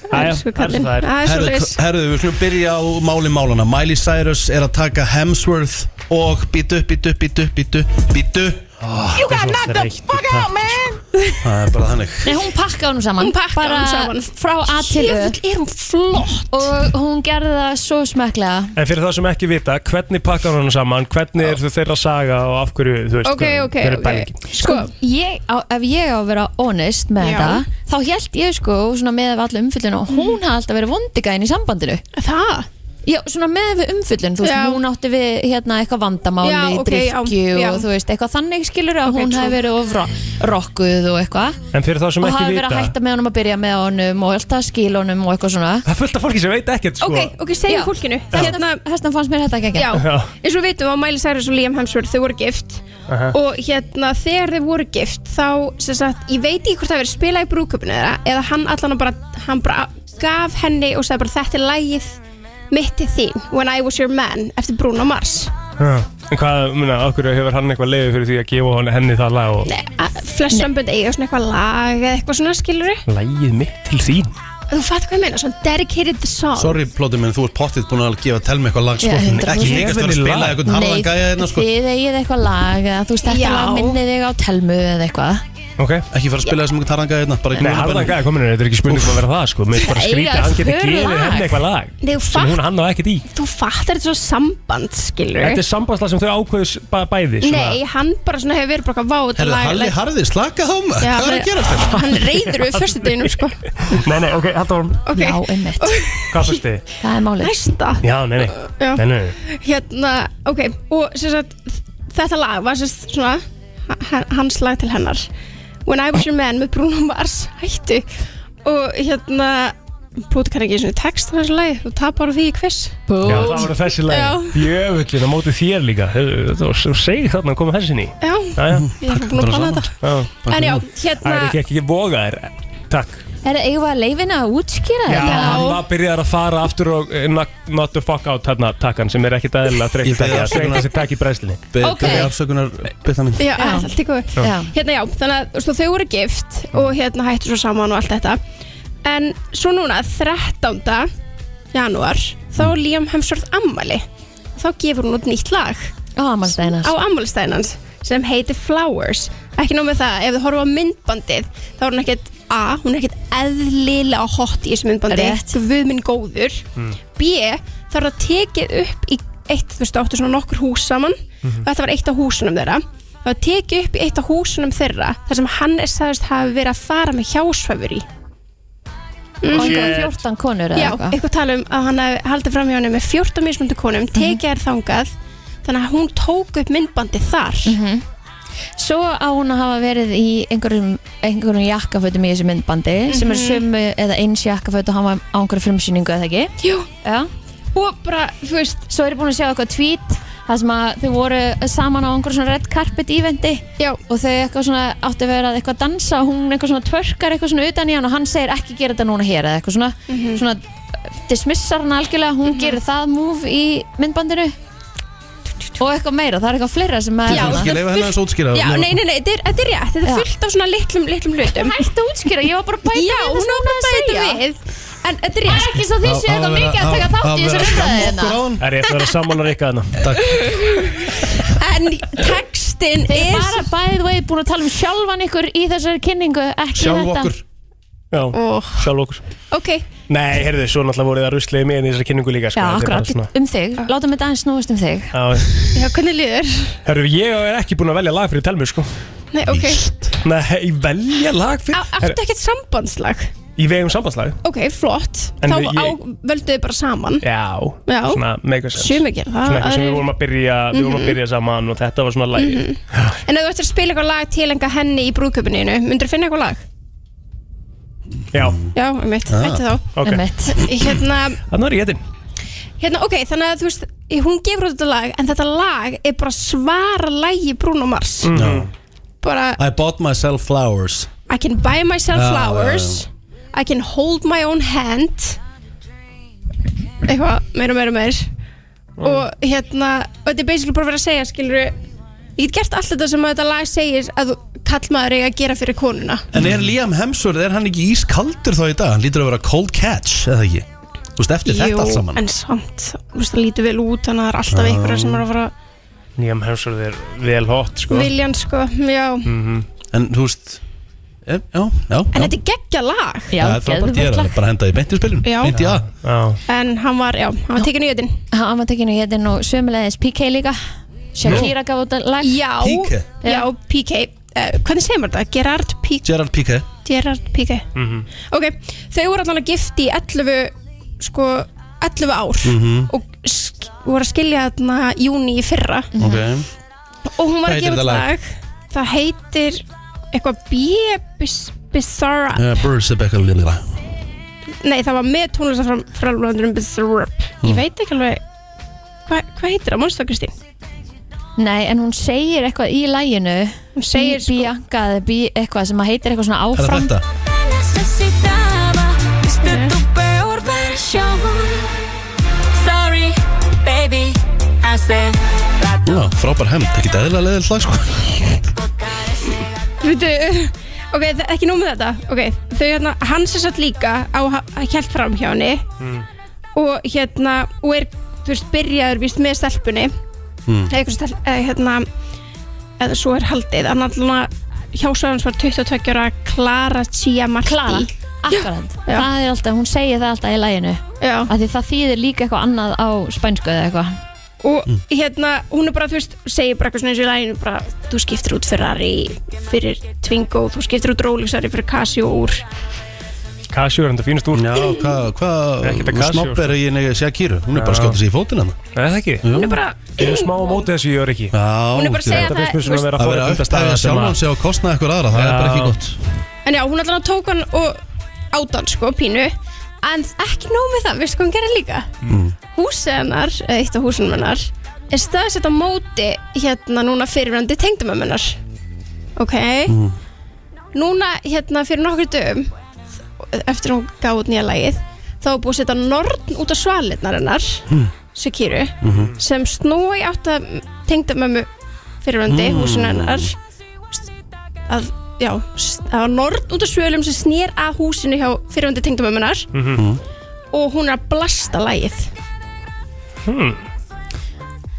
[SPEAKER 1] Jæja,
[SPEAKER 4] Elsku
[SPEAKER 1] það er
[SPEAKER 4] kallinn.
[SPEAKER 1] svo það er.
[SPEAKER 4] Herðu, hva- Herðu, við skulum byrja á máli málana Miley Cyrus er að taka Hemsworth og býtu, býtu, býtu, býtu, býtu Ah,
[SPEAKER 5] You got knocked the fuck out, man
[SPEAKER 4] sko. Það er bara þannig
[SPEAKER 5] Nei, hún pakkaði hún saman
[SPEAKER 14] Hún pakkaði honum saman.
[SPEAKER 5] Frá A til Ö
[SPEAKER 14] Djöfull
[SPEAKER 5] er hún flott Og hún gerði það svo smekklega
[SPEAKER 1] En fyrir það sem ekki vita, hvernig pakkar hann saman, hvernig er þeirra saga og af hverju, þú veist,
[SPEAKER 5] Ok,
[SPEAKER 1] hvað-
[SPEAKER 5] ok,
[SPEAKER 1] hver er
[SPEAKER 5] ok.
[SPEAKER 1] pælingin?
[SPEAKER 5] Sko, ég, á, ef ég á að vera honest með
[SPEAKER 14] Já.
[SPEAKER 5] þetta Þá held ég sko, svona með af allu umfyllinu Hún hafði alltaf verið vondigæðin í sambandinu
[SPEAKER 14] Það?
[SPEAKER 5] Já, svona með við umfyllun, þú veist,
[SPEAKER 14] Já.
[SPEAKER 5] hún átti við hérna eitthvað vandamáli,
[SPEAKER 14] Já,
[SPEAKER 5] já,
[SPEAKER 14] ok, já,
[SPEAKER 5] drikkju
[SPEAKER 14] já.
[SPEAKER 5] og þú veist, eitthvað þannig skilur að hún
[SPEAKER 14] true.
[SPEAKER 5] hefði verið of ro- rokkuð og eitthvað
[SPEAKER 1] En fyrir þá sem
[SPEAKER 5] og
[SPEAKER 1] ekki
[SPEAKER 5] hafi verið að
[SPEAKER 1] vita
[SPEAKER 5] hætta með honum að byrja með honum og alltaf skil honum og eitthvað svona
[SPEAKER 1] Það er fullt af fólki sem veit ekkert sko
[SPEAKER 14] ok, segjum fólkinu Hérna,
[SPEAKER 5] hérna fannst mér þetta ekki
[SPEAKER 14] Já,
[SPEAKER 1] Já.
[SPEAKER 14] eins og við vitum að Miley Cyrus og Liam Hemsworth þau voru gift
[SPEAKER 1] Aha.
[SPEAKER 14] og hérna þegar þau voru gift þá, sem sagt, ég veit ekki hvort það hafi verið spilað í brúköpunni þeirra eða hann allan bara, hann bara gaf henni og sagði bara þetta er lægið mitt til þín, When I Was Your Man eftir Bruno Mars
[SPEAKER 1] Já. En hvað, muna, okkur hefur hann eitthvað leiði fyrir því að gefa hon- henni það lag og
[SPEAKER 14] Að flest sambönd eiga svona eitthvað lag eða eitthvað svona skilur
[SPEAKER 1] Lægið mitt til þín
[SPEAKER 14] þú fattar hvað ég meina, svona dedicated song
[SPEAKER 4] Sorry plóti minn, þú ert pottið búin að gefa tel með eitthvað lag sko.
[SPEAKER 5] Já,
[SPEAKER 4] Ekki
[SPEAKER 5] 100%.
[SPEAKER 4] hengast að spila eitthvað halvan gæja
[SPEAKER 5] Hérna- Nei,
[SPEAKER 4] hérna sko.
[SPEAKER 5] þið eigið eitthvað lag eða þú veist,
[SPEAKER 14] Já.
[SPEAKER 5] þetta lag minnið þig á telmu eða eitthvað
[SPEAKER 1] okay.
[SPEAKER 4] Ekki fara að spila þessum eitthvað halvan gæja hérna bara í
[SPEAKER 1] Nei,
[SPEAKER 4] núna
[SPEAKER 1] harðan
[SPEAKER 4] bara.
[SPEAKER 1] gæði kominu, þetta er ekki spurning um að vera það sko Mér er bara
[SPEAKER 14] Nei,
[SPEAKER 1] skrítið að hann geti
[SPEAKER 14] það er
[SPEAKER 1] gefið
[SPEAKER 14] lag.
[SPEAKER 1] henni eitthvað lag
[SPEAKER 14] Nei, þú
[SPEAKER 1] sem hún
[SPEAKER 14] fatt-
[SPEAKER 1] hann á ekkert í
[SPEAKER 14] þú fattar þetta svona samband skilur
[SPEAKER 1] Þetta er sambandslag sem þau ákveðus bæði svona.
[SPEAKER 14] Nei, hann bara svona hefur verið bara eitthvað vátt
[SPEAKER 1] Herðu, Halli
[SPEAKER 4] Harði, slaka þá maður,
[SPEAKER 14] Já,
[SPEAKER 4] hvað er að
[SPEAKER 14] hann-
[SPEAKER 4] hérna? gera
[SPEAKER 1] hérna?
[SPEAKER 4] þetta?
[SPEAKER 14] Hann reyður við fyrstu deginum sko
[SPEAKER 1] Nei, nei, ok, haldur hún
[SPEAKER 14] Ok. Já,
[SPEAKER 5] einmitt
[SPEAKER 1] Hvað fyrst þið?
[SPEAKER 5] Það er málið
[SPEAKER 14] Næsta
[SPEAKER 1] Já, nei, nei,
[SPEAKER 14] Já.
[SPEAKER 1] nei, nei.
[SPEAKER 14] Hérna, ok Og sem sagt, þetta lag var sem sagt svona h- Hans lag til hennar When I Was Your Man með Bruno Mars Hættu Og hérna Plúti kann ekki svona text á þessu lagi Þú tapar á því í quiz
[SPEAKER 1] Já, það voru þessi
[SPEAKER 14] Já.
[SPEAKER 1] lag Jöfullin á móti þér líka Heyrðu, Þetta var svo segið þarna að koma þessin í
[SPEAKER 14] Já,
[SPEAKER 1] Jæja.
[SPEAKER 14] ég er búin að plana þetta
[SPEAKER 1] þetta
[SPEAKER 14] En já, hérna-
[SPEAKER 1] Það er ekki ekki voga þér Takk
[SPEAKER 5] Er það eigum við að leifin að útskýra
[SPEAKER 1] Já,
[SPEAKER 5] þetta?
[SPEAKER 1] hann var byrjaðar að fara aftur og eh, knock, not the fuck out hérna takkan sem er ekkit aðeinslega þreytt
[SPEAKER 4] Ég bið
[SPEAKER 1] takki að
[SPEAKER 4] afsökunar.
[SPEAKER 1] segja þessi takk í bræðslinni
[SPEAKER 4] Be-
[SPEAKER 14] Ok.
[SPEAKER 4] Byrja afsökunar, byrja minn
[SPEAKER 14] Já, já. allt í góðu
[SPEAKER 4] Já.
[SPEAKER 14] Hérna já, þannig að þú veist, þau voru gift og hérna hættu svo saman og allt þetta En svo núna, 13. janúar þá er Liam Hemsworth ammali Þá gefur hún út nýtt lag
[SPEAKER 5] Á ammálstæðin
[SPEAKER 14] Á ammálistæðin hans sem heitir Flowers Ekki nóg með það, ef þú horfum á myndbandið þá er hún ekkert A, hún er ekkert eðlilega hot í þessu myndbandi
[SPEAKER 5] Rétt.
[SPEAKER 14] Guð minn góður B, þá er það tekið upp í eitt, þú veist, það áttu svona nokkur hús saman og
[SPEAKER 5] Mhm.
[SPEAKER 14] þetta var eitt af húsunum þeirra það var tekið upp í eitt af húsunum þeirra þar sem hann er sagðist hafi verið að fara með hjásfæfur í
[SPEAKER 5] Og einhverjum 14 konur eða
[SPEAKER 14] Mm. Já,
[SPEAKER 5] eitthvað? Mhm.
[SPEAKER 14] eitthvað tala um að hann hafi haldið fram hjá henni með 14 mismundu konum, tekið þær þangað þannig að hún tók upp myndbandi þar
[SPEAKER 5] Mhm. Svo á hún að hafa verið í einhverjum, einhverjum jakkafötum í þessu myndbandi sem er
[SPEAKER 14] Mhm.
[SPEAKER 5] sömu eða eins jakkaföt og hann var á einhverju frumsýningu eða ekki
[SPEAKER 14] Jú
[SPEAKER 5] Já
[SPEAKER 14] Og bara, þú veist
[SPEAKER 5] Svo er ég búin að sjá eitthvað tweet þar sem að þau voru saman á einhverjum svona red carpet eventi
[SPEAKER 14] Já
[SPEAKER 5] Og þau eitthvað svona áttu að vera að eitthvað dansa og hún eitthvað svona tvörkar eitthvað svona utan í hann og hann segir ekki gera þetta núna hér eða eitthvað svona
[SPEAKER 14] Mhm.
[SPEAKER 5] Svona dismissar hann algjörlega, hún gerir það move í myndbandinu Og eitthvað meira, það er eitthvað fleira sem að
[SPEAKER 4] Já, Þú skil, leyfa henni aðeins að útskýra það.
[SPEAKER 14] Já, nei, nei, nei, þetta er, þetta er rétt Þetta er fullt af svona litlum, litlum hlutum
[SPEAKER 5] Hættu að útskýra, ég var bara að bæta
[SPEAKER 14] Já,
[SPEAKER 5] við það
[SPEAKER 14] hún
[SPEAKER 5] sem
[SPEAKER 14] var bara
[SPEAKER 5] hún
[SPEAKER 14] að
[SPEAKER 5] var
[SPEAKER 14] bæta
[SPEAKER 5] að segja.
[SPEAKER 14] við En þetta er rétt
[SPEAKER 5] Það er ekki svo þið séu eitthvað mikið að taka þátt í þessu umræði hérna.
[SPEAKER 1] Það er rétt að vera sammálar ykkar þarna Takk
[SPEAKER 14] En textin
[SPEAKER 5] Þið
[SPEAKER 14] er
[SPEAKER 5] er bara by the way búin að tala um sjálfan ykkur í þessari kynningu, ekki þetta
[SPEAKER 1] Já,
[SPEAKER 14] Oh.
[SPEAKER 1] sjálf okkur
[SPEAKER 14] Ok,
[SPEAKER 1] Nei, heyrðu, svo náttúrulega voru það ruslið mig inn í þessari kynningu líka
[SPEAKER 5] Já,
[SPEAKER 1] sko. Þetta er bara
[SPEAKER 5] akkurat,
[SPEAKER 1] svona-
[SPEAKER 5] um þig Látum þetta aðeins snúast um þig
[SPEAKER 1] Já,
[SPEAKER 14] Já, hvernig liður?
[SPEAKER 1] Herru, ég er ekki búin að velja lag fyrir Telmu, sko
[SPEAKER 14] Nei, ok
[SPEAKER 1] Nei, velja lag fyrir
[SPEAKER 14] Áttu ekkert sambandslag?
[SPEAKER 1] Í vegum sambandslag
[SPEAKER 14] Ok, flott
[SPEAKER 1] En
[SPEAKER 14] Þá
[SPEAKER 1] við-
[SPEAKER 14] á,
[SPEAKER 1] ég-
[SPEAKER 14] völduðu bara saman
[SPEAKER 1] Já,
[SPEAKER 14] Já.
[SPEAKER 1] svona make a sense
[SPEAKER 14] Sumir gera það,
[SPEAKER 1] Svona eitthvað sem
[SPEAKER 14] aðrir-
[SPEAKER 1] við vorum að byrja, við vorum að
[SPEAKER 14] Mhm.
[SPEAKER 1] byrja saman og þetta var svona lagi
[SPEAKER 14] En ef þú ættir að spila eitthvað lag tilenga henni í brúðköpuninu Myndur þú finna eitthvað lag?
[SPEAKER 1] Já,
[SPEAKER 14] Já, um mitt,
[SPEAKER 1] Ah.
[SPEAKER 14] hættu þá
[SPEAKER 1] Ok. Einmitt.
[SPEAKER 14] Hérna,
[SPEAKER 1] þannig var ég getinn
[SPEAKER 14] hérna, ok, þannig að þú veist Hún gefur út þetta lag, en þetta lag er bara svara lagi Bruno Mars
[SPEAKER 1] Mm.
[SPEAKER 14] Mm. Bara,
[SPEAKER 4] I bought myself flowers
[SPEAKER 14] I can buy myself
[SPEAKER 4] Já,
[SPEAKER 1] Ah,
[SPEAKER 14] flowers
[SPEAKER 4] já,
[SPEAKER 14] I can hold my own hand Eitthvað, meira, meira, meira Og hérna, og þetta er basically bara verið að segja, skilur Ég get gert allt þetta sem að þetta lag segir Að þú kallmaður eiga að gera fyrir konuna
[SPEAKER 4] En er Liam Hemsworth, er hann ekki ískaldur þá í dag? Hann lítur að vera cold catch, eða ekki? Þú veist, eftir þetta allt saman
[SPEAKER 14] en samt, þú veist, það lítur vel út þannig að það er alltaf
[SPEAKER 4] Já.
[SPEAKER 14] einhverja sem er að fara
[SPEAKER 1] Nýjum hefnsvörð er vel hot, sko
[SPEAKER 14] viljan, sko, já
[SPEAKER 1] Mhm.
[SPEAKER 4] En þú veist, e, já, já
[SPEAKER 14] en þetta er geggja lag
[SPEAKER 4] Það er frábært, ég er að bara henda í beint í spilun
[SPEAKER 14] Já.
[SPEAKER 4] Beint í að
[SPEAKER 14] en hann var, já, hann var tekinn í jötin
[SPEAKER 5] Hann var tekinu hétin og sömulegis PK líka Shakira gaf út lag
[SPEAKER 14] já,
[SPEAKER 4] PK?
[SPEAKER 14] já, PK uh, hvernig segir maður þetta? Gerard PK
[SPEAKER 4] Gerard Piqué
[SPEAKER 14] Gerard PK ok, þau voru allan að gift í 11 sko 11 ár
[SPEAKER 4] Mhm.
[SPEAKER 14] og sk- voru að skilja þarna júni í fyrra
[SPEAKER 4] Ok
[SPEAKER 14] Mhm. og hún var
[SPEAKER 4] Mm. Hvað
[SPEAKER 14] að
[SPEAKER 4] heitir þetta
[SPEAKER 14] gefa þetta
[SPEAKER 4] lag?
[SPEAKER 14] lag það heitir eitthvað B- Bis- Bizarra
[SPEAKER 4] Burns er bekkar lilla
[SPEAKER 14] nei það var með tónlistaframlöðurum Bizarra
[SPEAKER 4] Mm.
[SPEAKER 14] ég veit ekki alveg hva- hvað heitir það, mannstu það Kristín?
[SPEAKER 5] Nei, en hún segir eitthvað í læginu Hún
[SPEAKER 14] segir
[SPEAKER 5] sko Bianca, eða bí, eitthvað sem að heitir eitthvað svona
[SPEAKER 4] Er það
[SPEAKER 5] áfram
[SPEAKER 4] þetta?
[SPEAKER 8] necesitaba Viste tu peor versión Sorry, baby Hace
[SPEAKER 4] Já, frábær hemmt, ekki dæðilega leðilega slag sko
[SPEAKER 14] Veitu, ok, þa- ekki nóg með þetta ok, þau hérna, hann sér satt líka á að hjælt fram hjá henni og hérna, og er þú veist, byrjaður víst með stelpunni
[SPEAKER 8] Mm.
[SPEAKER 14] eða eitthvað stelp, eða hérna eða svo er haldið, hann allan hjásvæðans var 22 ára Clara Giamarti
[SPEAKER 5] Clara, akkurat Það er alltaf, hún segir það alltaf í læginu
[SPEAKER 14] Já
[SPEAKER 5] Af því það þýðir líka eitthvað annað á spænsku eða eitthvað
[SPEAKER 14] og hérna, hún er bara, þú veist, segir bara eitthvað svona eins og í læginu, bara, þú skiptir út Ferrari fyrir Twingo, þú skiptir út Rolexari fyrir Casio úr
[SPEAKER 1] Casio er enda fínust úr
[SPEAKER 4] Já, hvað hva,
[SPEAKER 1] Ekkert að
[SPEAKER 4] hva,
[SPEAKER 1] Casio, sko?
[SPEAKER 4] snopp er ég nefnir að segja kýru Hún er bara
[SPEAKER 1] Já.
[SPEAKER 4] skjótið sér í fótinn hann
[SPEAKER 1] Nei, það ekki
[SPEAKER 4] Hún er
[SPEAKER 14] bara
[SPEAKER 1] Ég er smá á móti þessu, ég er ekki
[SPEAKER 4] Já,
[SPEAKER 14] Hún er bara að segja
[SPEAKER 1] Þetta finnst
[SPEAKER 14] það-
[SPEAKER 1] mér svona að vera
[SPEAKER 4] Að vera
[SPEAKER 1] fórhundast
[SPEAKER 4] uppdæða sjálfan sig og kostna eitthvað aðra Það er bara ekki gott
[SPEAKER 14] En já, hún allan tók hann og át hann sko, pínu En ekki nóg með það, veistu hvað hún gerir líka?
[SPEAKER 8] Mm.
[SPEAKER 14] Húsið hennar, eða eitt af húsunum hennar Er staðsett á móti hérna núna fyrirverandi tengdumum hennar Ok
[SPEAKER 4] Mm.
[SPEAKER 14] Núna hérna fyrir nokkur dögum Eftir hún gaf út nýja lagið Þá er búið að setja norn út af svalirnar hennar
[SPEAKER 11] Mm.
[SPEAKER 14] Sekiru
[SPEAKER 8] Mhm.
[SPEAKER 14] Sem snúi átt að tengdumömmu fyrirverandi
[SPEAKER 8] Mm.
[SPEAKER 14] mm. húsinu hennar að, já, s- það var norn út af svölum sem snýr að húsinu hjá fyrirvandi tengdamömmunar
[SPEAKER 11] Mm.
[SPEAKER 14] og hún er að blasta lægið
[SPEAKER 1] Hmm.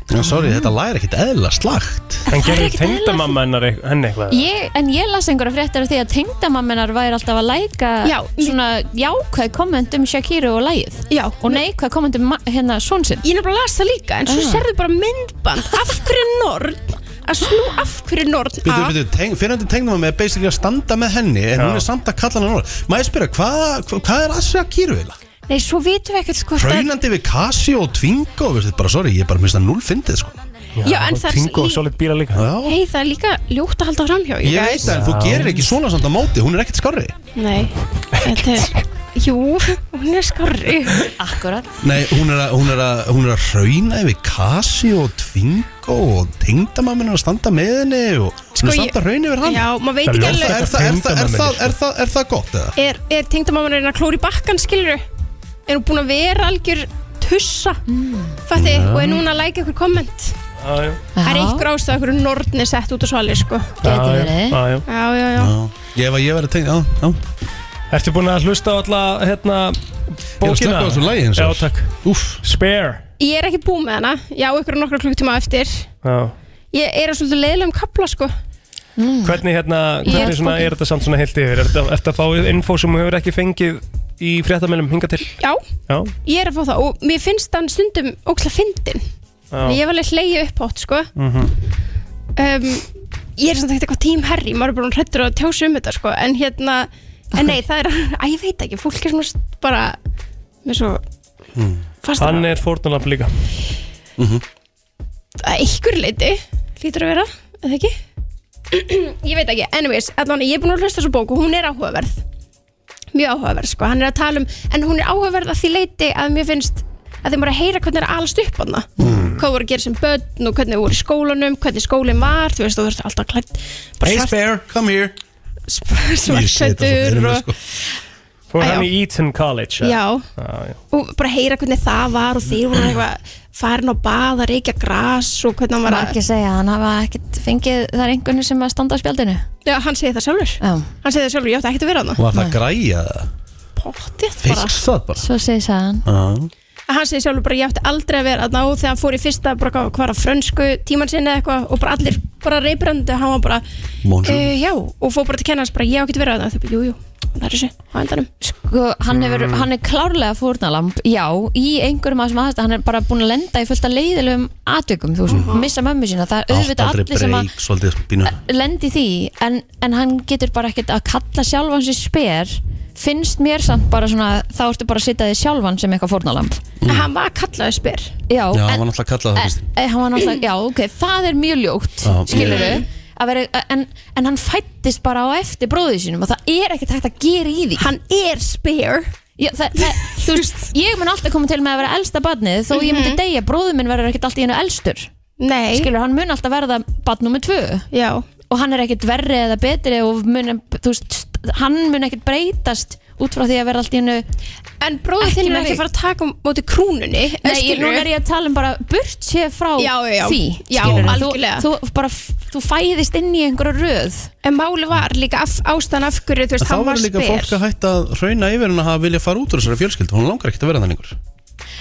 [SPEAKER 4] Já, sorry, þetta lag er ekkert eðla slagt
[SPEAKER 1] En
[SPEAKER 5] Það er
[SPEAKER 1] gerði
[SPEAKER 5] ekkert
[SPEAKER 1] tengdamamma hennar eit- henni eitthvað
[SPEAKER 5] ég, En ég las einhverja fréttar af því að tengdamamminar væri alltaf að læka já, svona jákvæð komment um Shakiru og lægið
[SPEAKER 14] já,
[SPEAKER 5] og neikvæð komment um ma- hérna són sinn Ah.
[SPEAKER 14] Ég er nefnilega að las það líka en svo
[SPEAKER 4] Ah.
[SPEAKER 14] serðu bara myndband af hverju er norn að snú af hverju er norn
[SPEAKER 4] Býtu,
[SPEAKER 14] að
[SPEAKER 4] býtu, teng, fyrirandi tengdum er basically að standa með henni en hún er samt að kalla hann orð Má ég spyrja, hvað hva, hva er að segja kýru eða?
[SPEAKER 14] nei, svo vitum við ekkert sko
[SPEAKER 4] Hraunandi við Casio og Twingo veistu, bara, sorry, ég er bara minnst að null fyndið sko.
[SPEAKER 14] Já, en það er Twingo og lí-
[SPEAKER 1] solid bíla líka
[SPEAKER 4] Já,
[SPEAKER 14] hei, það er líka ljótt að halda framhjá you
[SPEAKER 4] ég veit
[SPEAKER 14] guys.
[SPEAKER 4] það, en þú gerir ekki svona samt á móti, hún er ekkert skarri
[SPEAKER 14] nei, þetta er jú, hún er skarri
[SPEAKER 5] akkurat
[SPEAKER 4] Nei, hún er að, hún er að, hún er að hrauna yfir Casio og Twingo og tengdamaminn er að standa með henni og hún
[SPEAKER 14] Sko,
[SPEAKER 4] er
[SPEAKER 14] ég-
[SPEAKER 4] samt að hrauna yfir hann
[SPEAKER 14] Já, maður veit ekki alveg-
[SPEAKER 4] Er það, er það, er það, er það, er það gott eða?
[SPEAKER 14] er, er tengdamamman að reyna að klóra í bakkan skilur er hún búin að vera algjör tussa fatti,
[SPEAKER 1] Já.
[SPEAKER 14] og er núna að læka ykkur komment
[SPEAKER 1] Já, já.
[SPEAKER 14] það er einhver ástæð að ykkur nortni sett út á svali sko.
[SPEAKER 1] Já, já, já, já.
[SPEAKER 14] já, já, já.
[SPEAKER 4] Ég hef að ég verið tengd, já, já
[SPEAKER 1] Ertu búin að hlusta á alla hérna
[SPEAKER 4] Ég er að
[SPEAKER 1] bókina?
[SPEAKER 4] slökkva á þessu lagi eins og-
[SPEAKER 1] Já, takk
[SPEAKER 4] Úff
[SPEAKER 1] Spare
[SPEAKER 14] ég er ekki búin með hana já, ykkur nokkra klukktíma eftir
[SPEAKER 1] Já
[SPEAKER 14] ég er að svolítið leiðilegum kapla sko.
[SPEAKER 1] Hvernig hérna,
[SPEAKER 14] Ég er
[SPEAKER 1] hvernig svona
[SPEAKER 14] bókin.
[SPEAKER 1] er þetta samt svona heilt yfir? Er þetta- Ertu að fá info sem þú hefur ekki fengið í fréttamælum hinga til?
[SPEAKER 14] já,
[SPEAKER 1] Já,
[SPEAKER 14] ég er að fá það og mér finnst hann stundum óksla fyndin
[SPEAKER 1] já
[SPEAKER 14] ég var alveg hleyja upp átt sko.
[SPEAKER 1] Mhm.
[SPEAKER 14] um, ég er samt ekkert eitthvað tím herri maður er bara hrættur að tjása um þetta sko. en hérna, en nei það er að ég veit ekki, fólk er svona st- bara með svo Fast
[SPEAKER 1] Hann er fórnalab líka
[SPEAKER 4] Mhm.
[SPEAKER 14] að einhver leiti lítur að vera, eða ekki ég veit ekki, anyways allan ég er búin að hlusta á þessa bók og hún er áhugaverð mjög áhugaverð sko, hann er að tala um en hún er áhugaverð að því leiti að mér finnst að þeim bara að heyra hvernig er allast upp hann
[SPEAKER 4] Hmm.
[SPEAKER 14] mm. hvað voru að gera sem börn og hvernig þau voru í skólanum hvernig skólinn var, þú veist þú þurfti alltaf klætt
[SPEAKER 4] Hey spare, come here
[SPEAKER 14] svartsendur
[SPEAKER 4] sko.
[SPEAKER 14] og,
[SPEAKER 1] Fór
[SPEAKER 14] Æ,
[SPEAKER 1] hann
[SPEAKER 14] já.
[SPEAKER 1] í Eton College
[SPEAKER 14] já,
[SPEAKER 1] já, já.
[SPEAKER 14] og bara heyra hvernig það var og þeir voru eitthvað farin á bað að reykja gras og hvernig hann
[SPEAKER 5] Má
[SPEAKER 14] var
[SPEAKER 5] ekki segja, hann hafa ekkert fengið það er einhvern sem að standa á spjaldinu
[SPEAKER 14] Já, hann segir það sjálfur
[SPEAKER 5] Já.
[SPEAKER 14] Hann segir það sjálfur, ég átti ekkert að vera hann
[SPEAKER 4] Var það græja eða?
[SPEAKER 14] Pottið bara
[SPEAKER 4] Fiksað bara
[SPEAKER 5] Svo segir sagan
[SPEAKER 4] Já
[SPEAKER 14] Hann segir sjálfur bara, ég átti aldrei að vera hann og þegar hann fór í fyrsta, bara hvað hvað var að frönsku tíman sinni eða eitthvað og bara allir bara reybrandi, hann var bara
[SPEAKER 4] Bonjour.
[SPEAKER 14] eh, Já, og fór bara til kennans bara, ég átti að vera hann Þau bara, jú, jú, nær þessu á endanum
[SPEAKER 5] sko, hann, hefur,
[SPEAKER 14] Mm.
[SPEAKER 5] hann er klárlega fórnalamb já, í einhverjum af þessum aðstæðum hann er bara búin að lenda í fullt að leiðilegum atveikum, þú veist, missa mömmu sína það er
[SPEAKER 4] Átt
[SPEAKER 5] auðvitað
[SPEAKER 4] aldrei
[SPEAKER 5] allir sem að
[SPEAKER 4] breyk, svolítið bínu
[SPEAKER 5] lendi því en, en hann getur bara ekkert að kalla sjálfan sér sper finnst mér samt bara svona þá ertu bara að sitja þig sjálfan sem eitthvað fórnalamb
[SPEAKER 14] En hann var kallaði spyr
[SPEAKER 5] já,
[SPEAKER 4] Já, hann var náttúrulega kallað það fyrst
[SPEAKER 5] e, hann var náttúrulega, já, ok, það er mjög ljótt
[SPEAKER 4] Já.
[SPEAKER 5] skilur Veri, en, en hann fættist bara á eftir bróðið sínum og það er ekkert hægt að gera í því hann er spare Já, það, það, þú veist, ég mun alltaf koma til með að vera elsta barnið þó ég myndi deyja, bróðið minn verður ekkert alltaf í hennu elstur
[SPEAKER 14] Mhm. Nei.
[SPEAKER 5] skilur, hann mun alltaf verða barn nummer tvö
[SPEAKER 14] Já.
[SPEAKER 5] og hann er ekkert verri eða betri og mun, þú veist, hann mun ekkert breytast út frá því að verða alltaf í hennu
[SPEAKER 14] En bróðið þinn er
[SPEAKER 5] meira
[SPEAKER 14] ekki að fara að taka á móti krúnunni
[SPEAKER 5] Nei, ég, núna er ég að tala um bara burt séð frá
[SPEAKER 14] Já, já, já.
[SPEAKER 5] því
[SPEAKER 14] Já,
[SPEAKER 5] skilurðu.
[SPEAKER 14] algjörlega.
[SPEAKER 5] þú, þú, bara, f- þú fæðist inn í einhverja röð
[SPEAKER 14] En máli var líka af, ástæðan af hverju
[SPEAKER 4] En
[SPEAKER 14] þú veist,
[SPEAKER 4] þá
[SPEAKER 14] hann var
[SPEAKER 4] verður líka
[SPEAKER 14] spyr
[SPEAKER 4] fólk að hætta að hrauna yfir en að hafa vilja fara út úr þessari fjölskyldu hún langar ekkert að vera þannig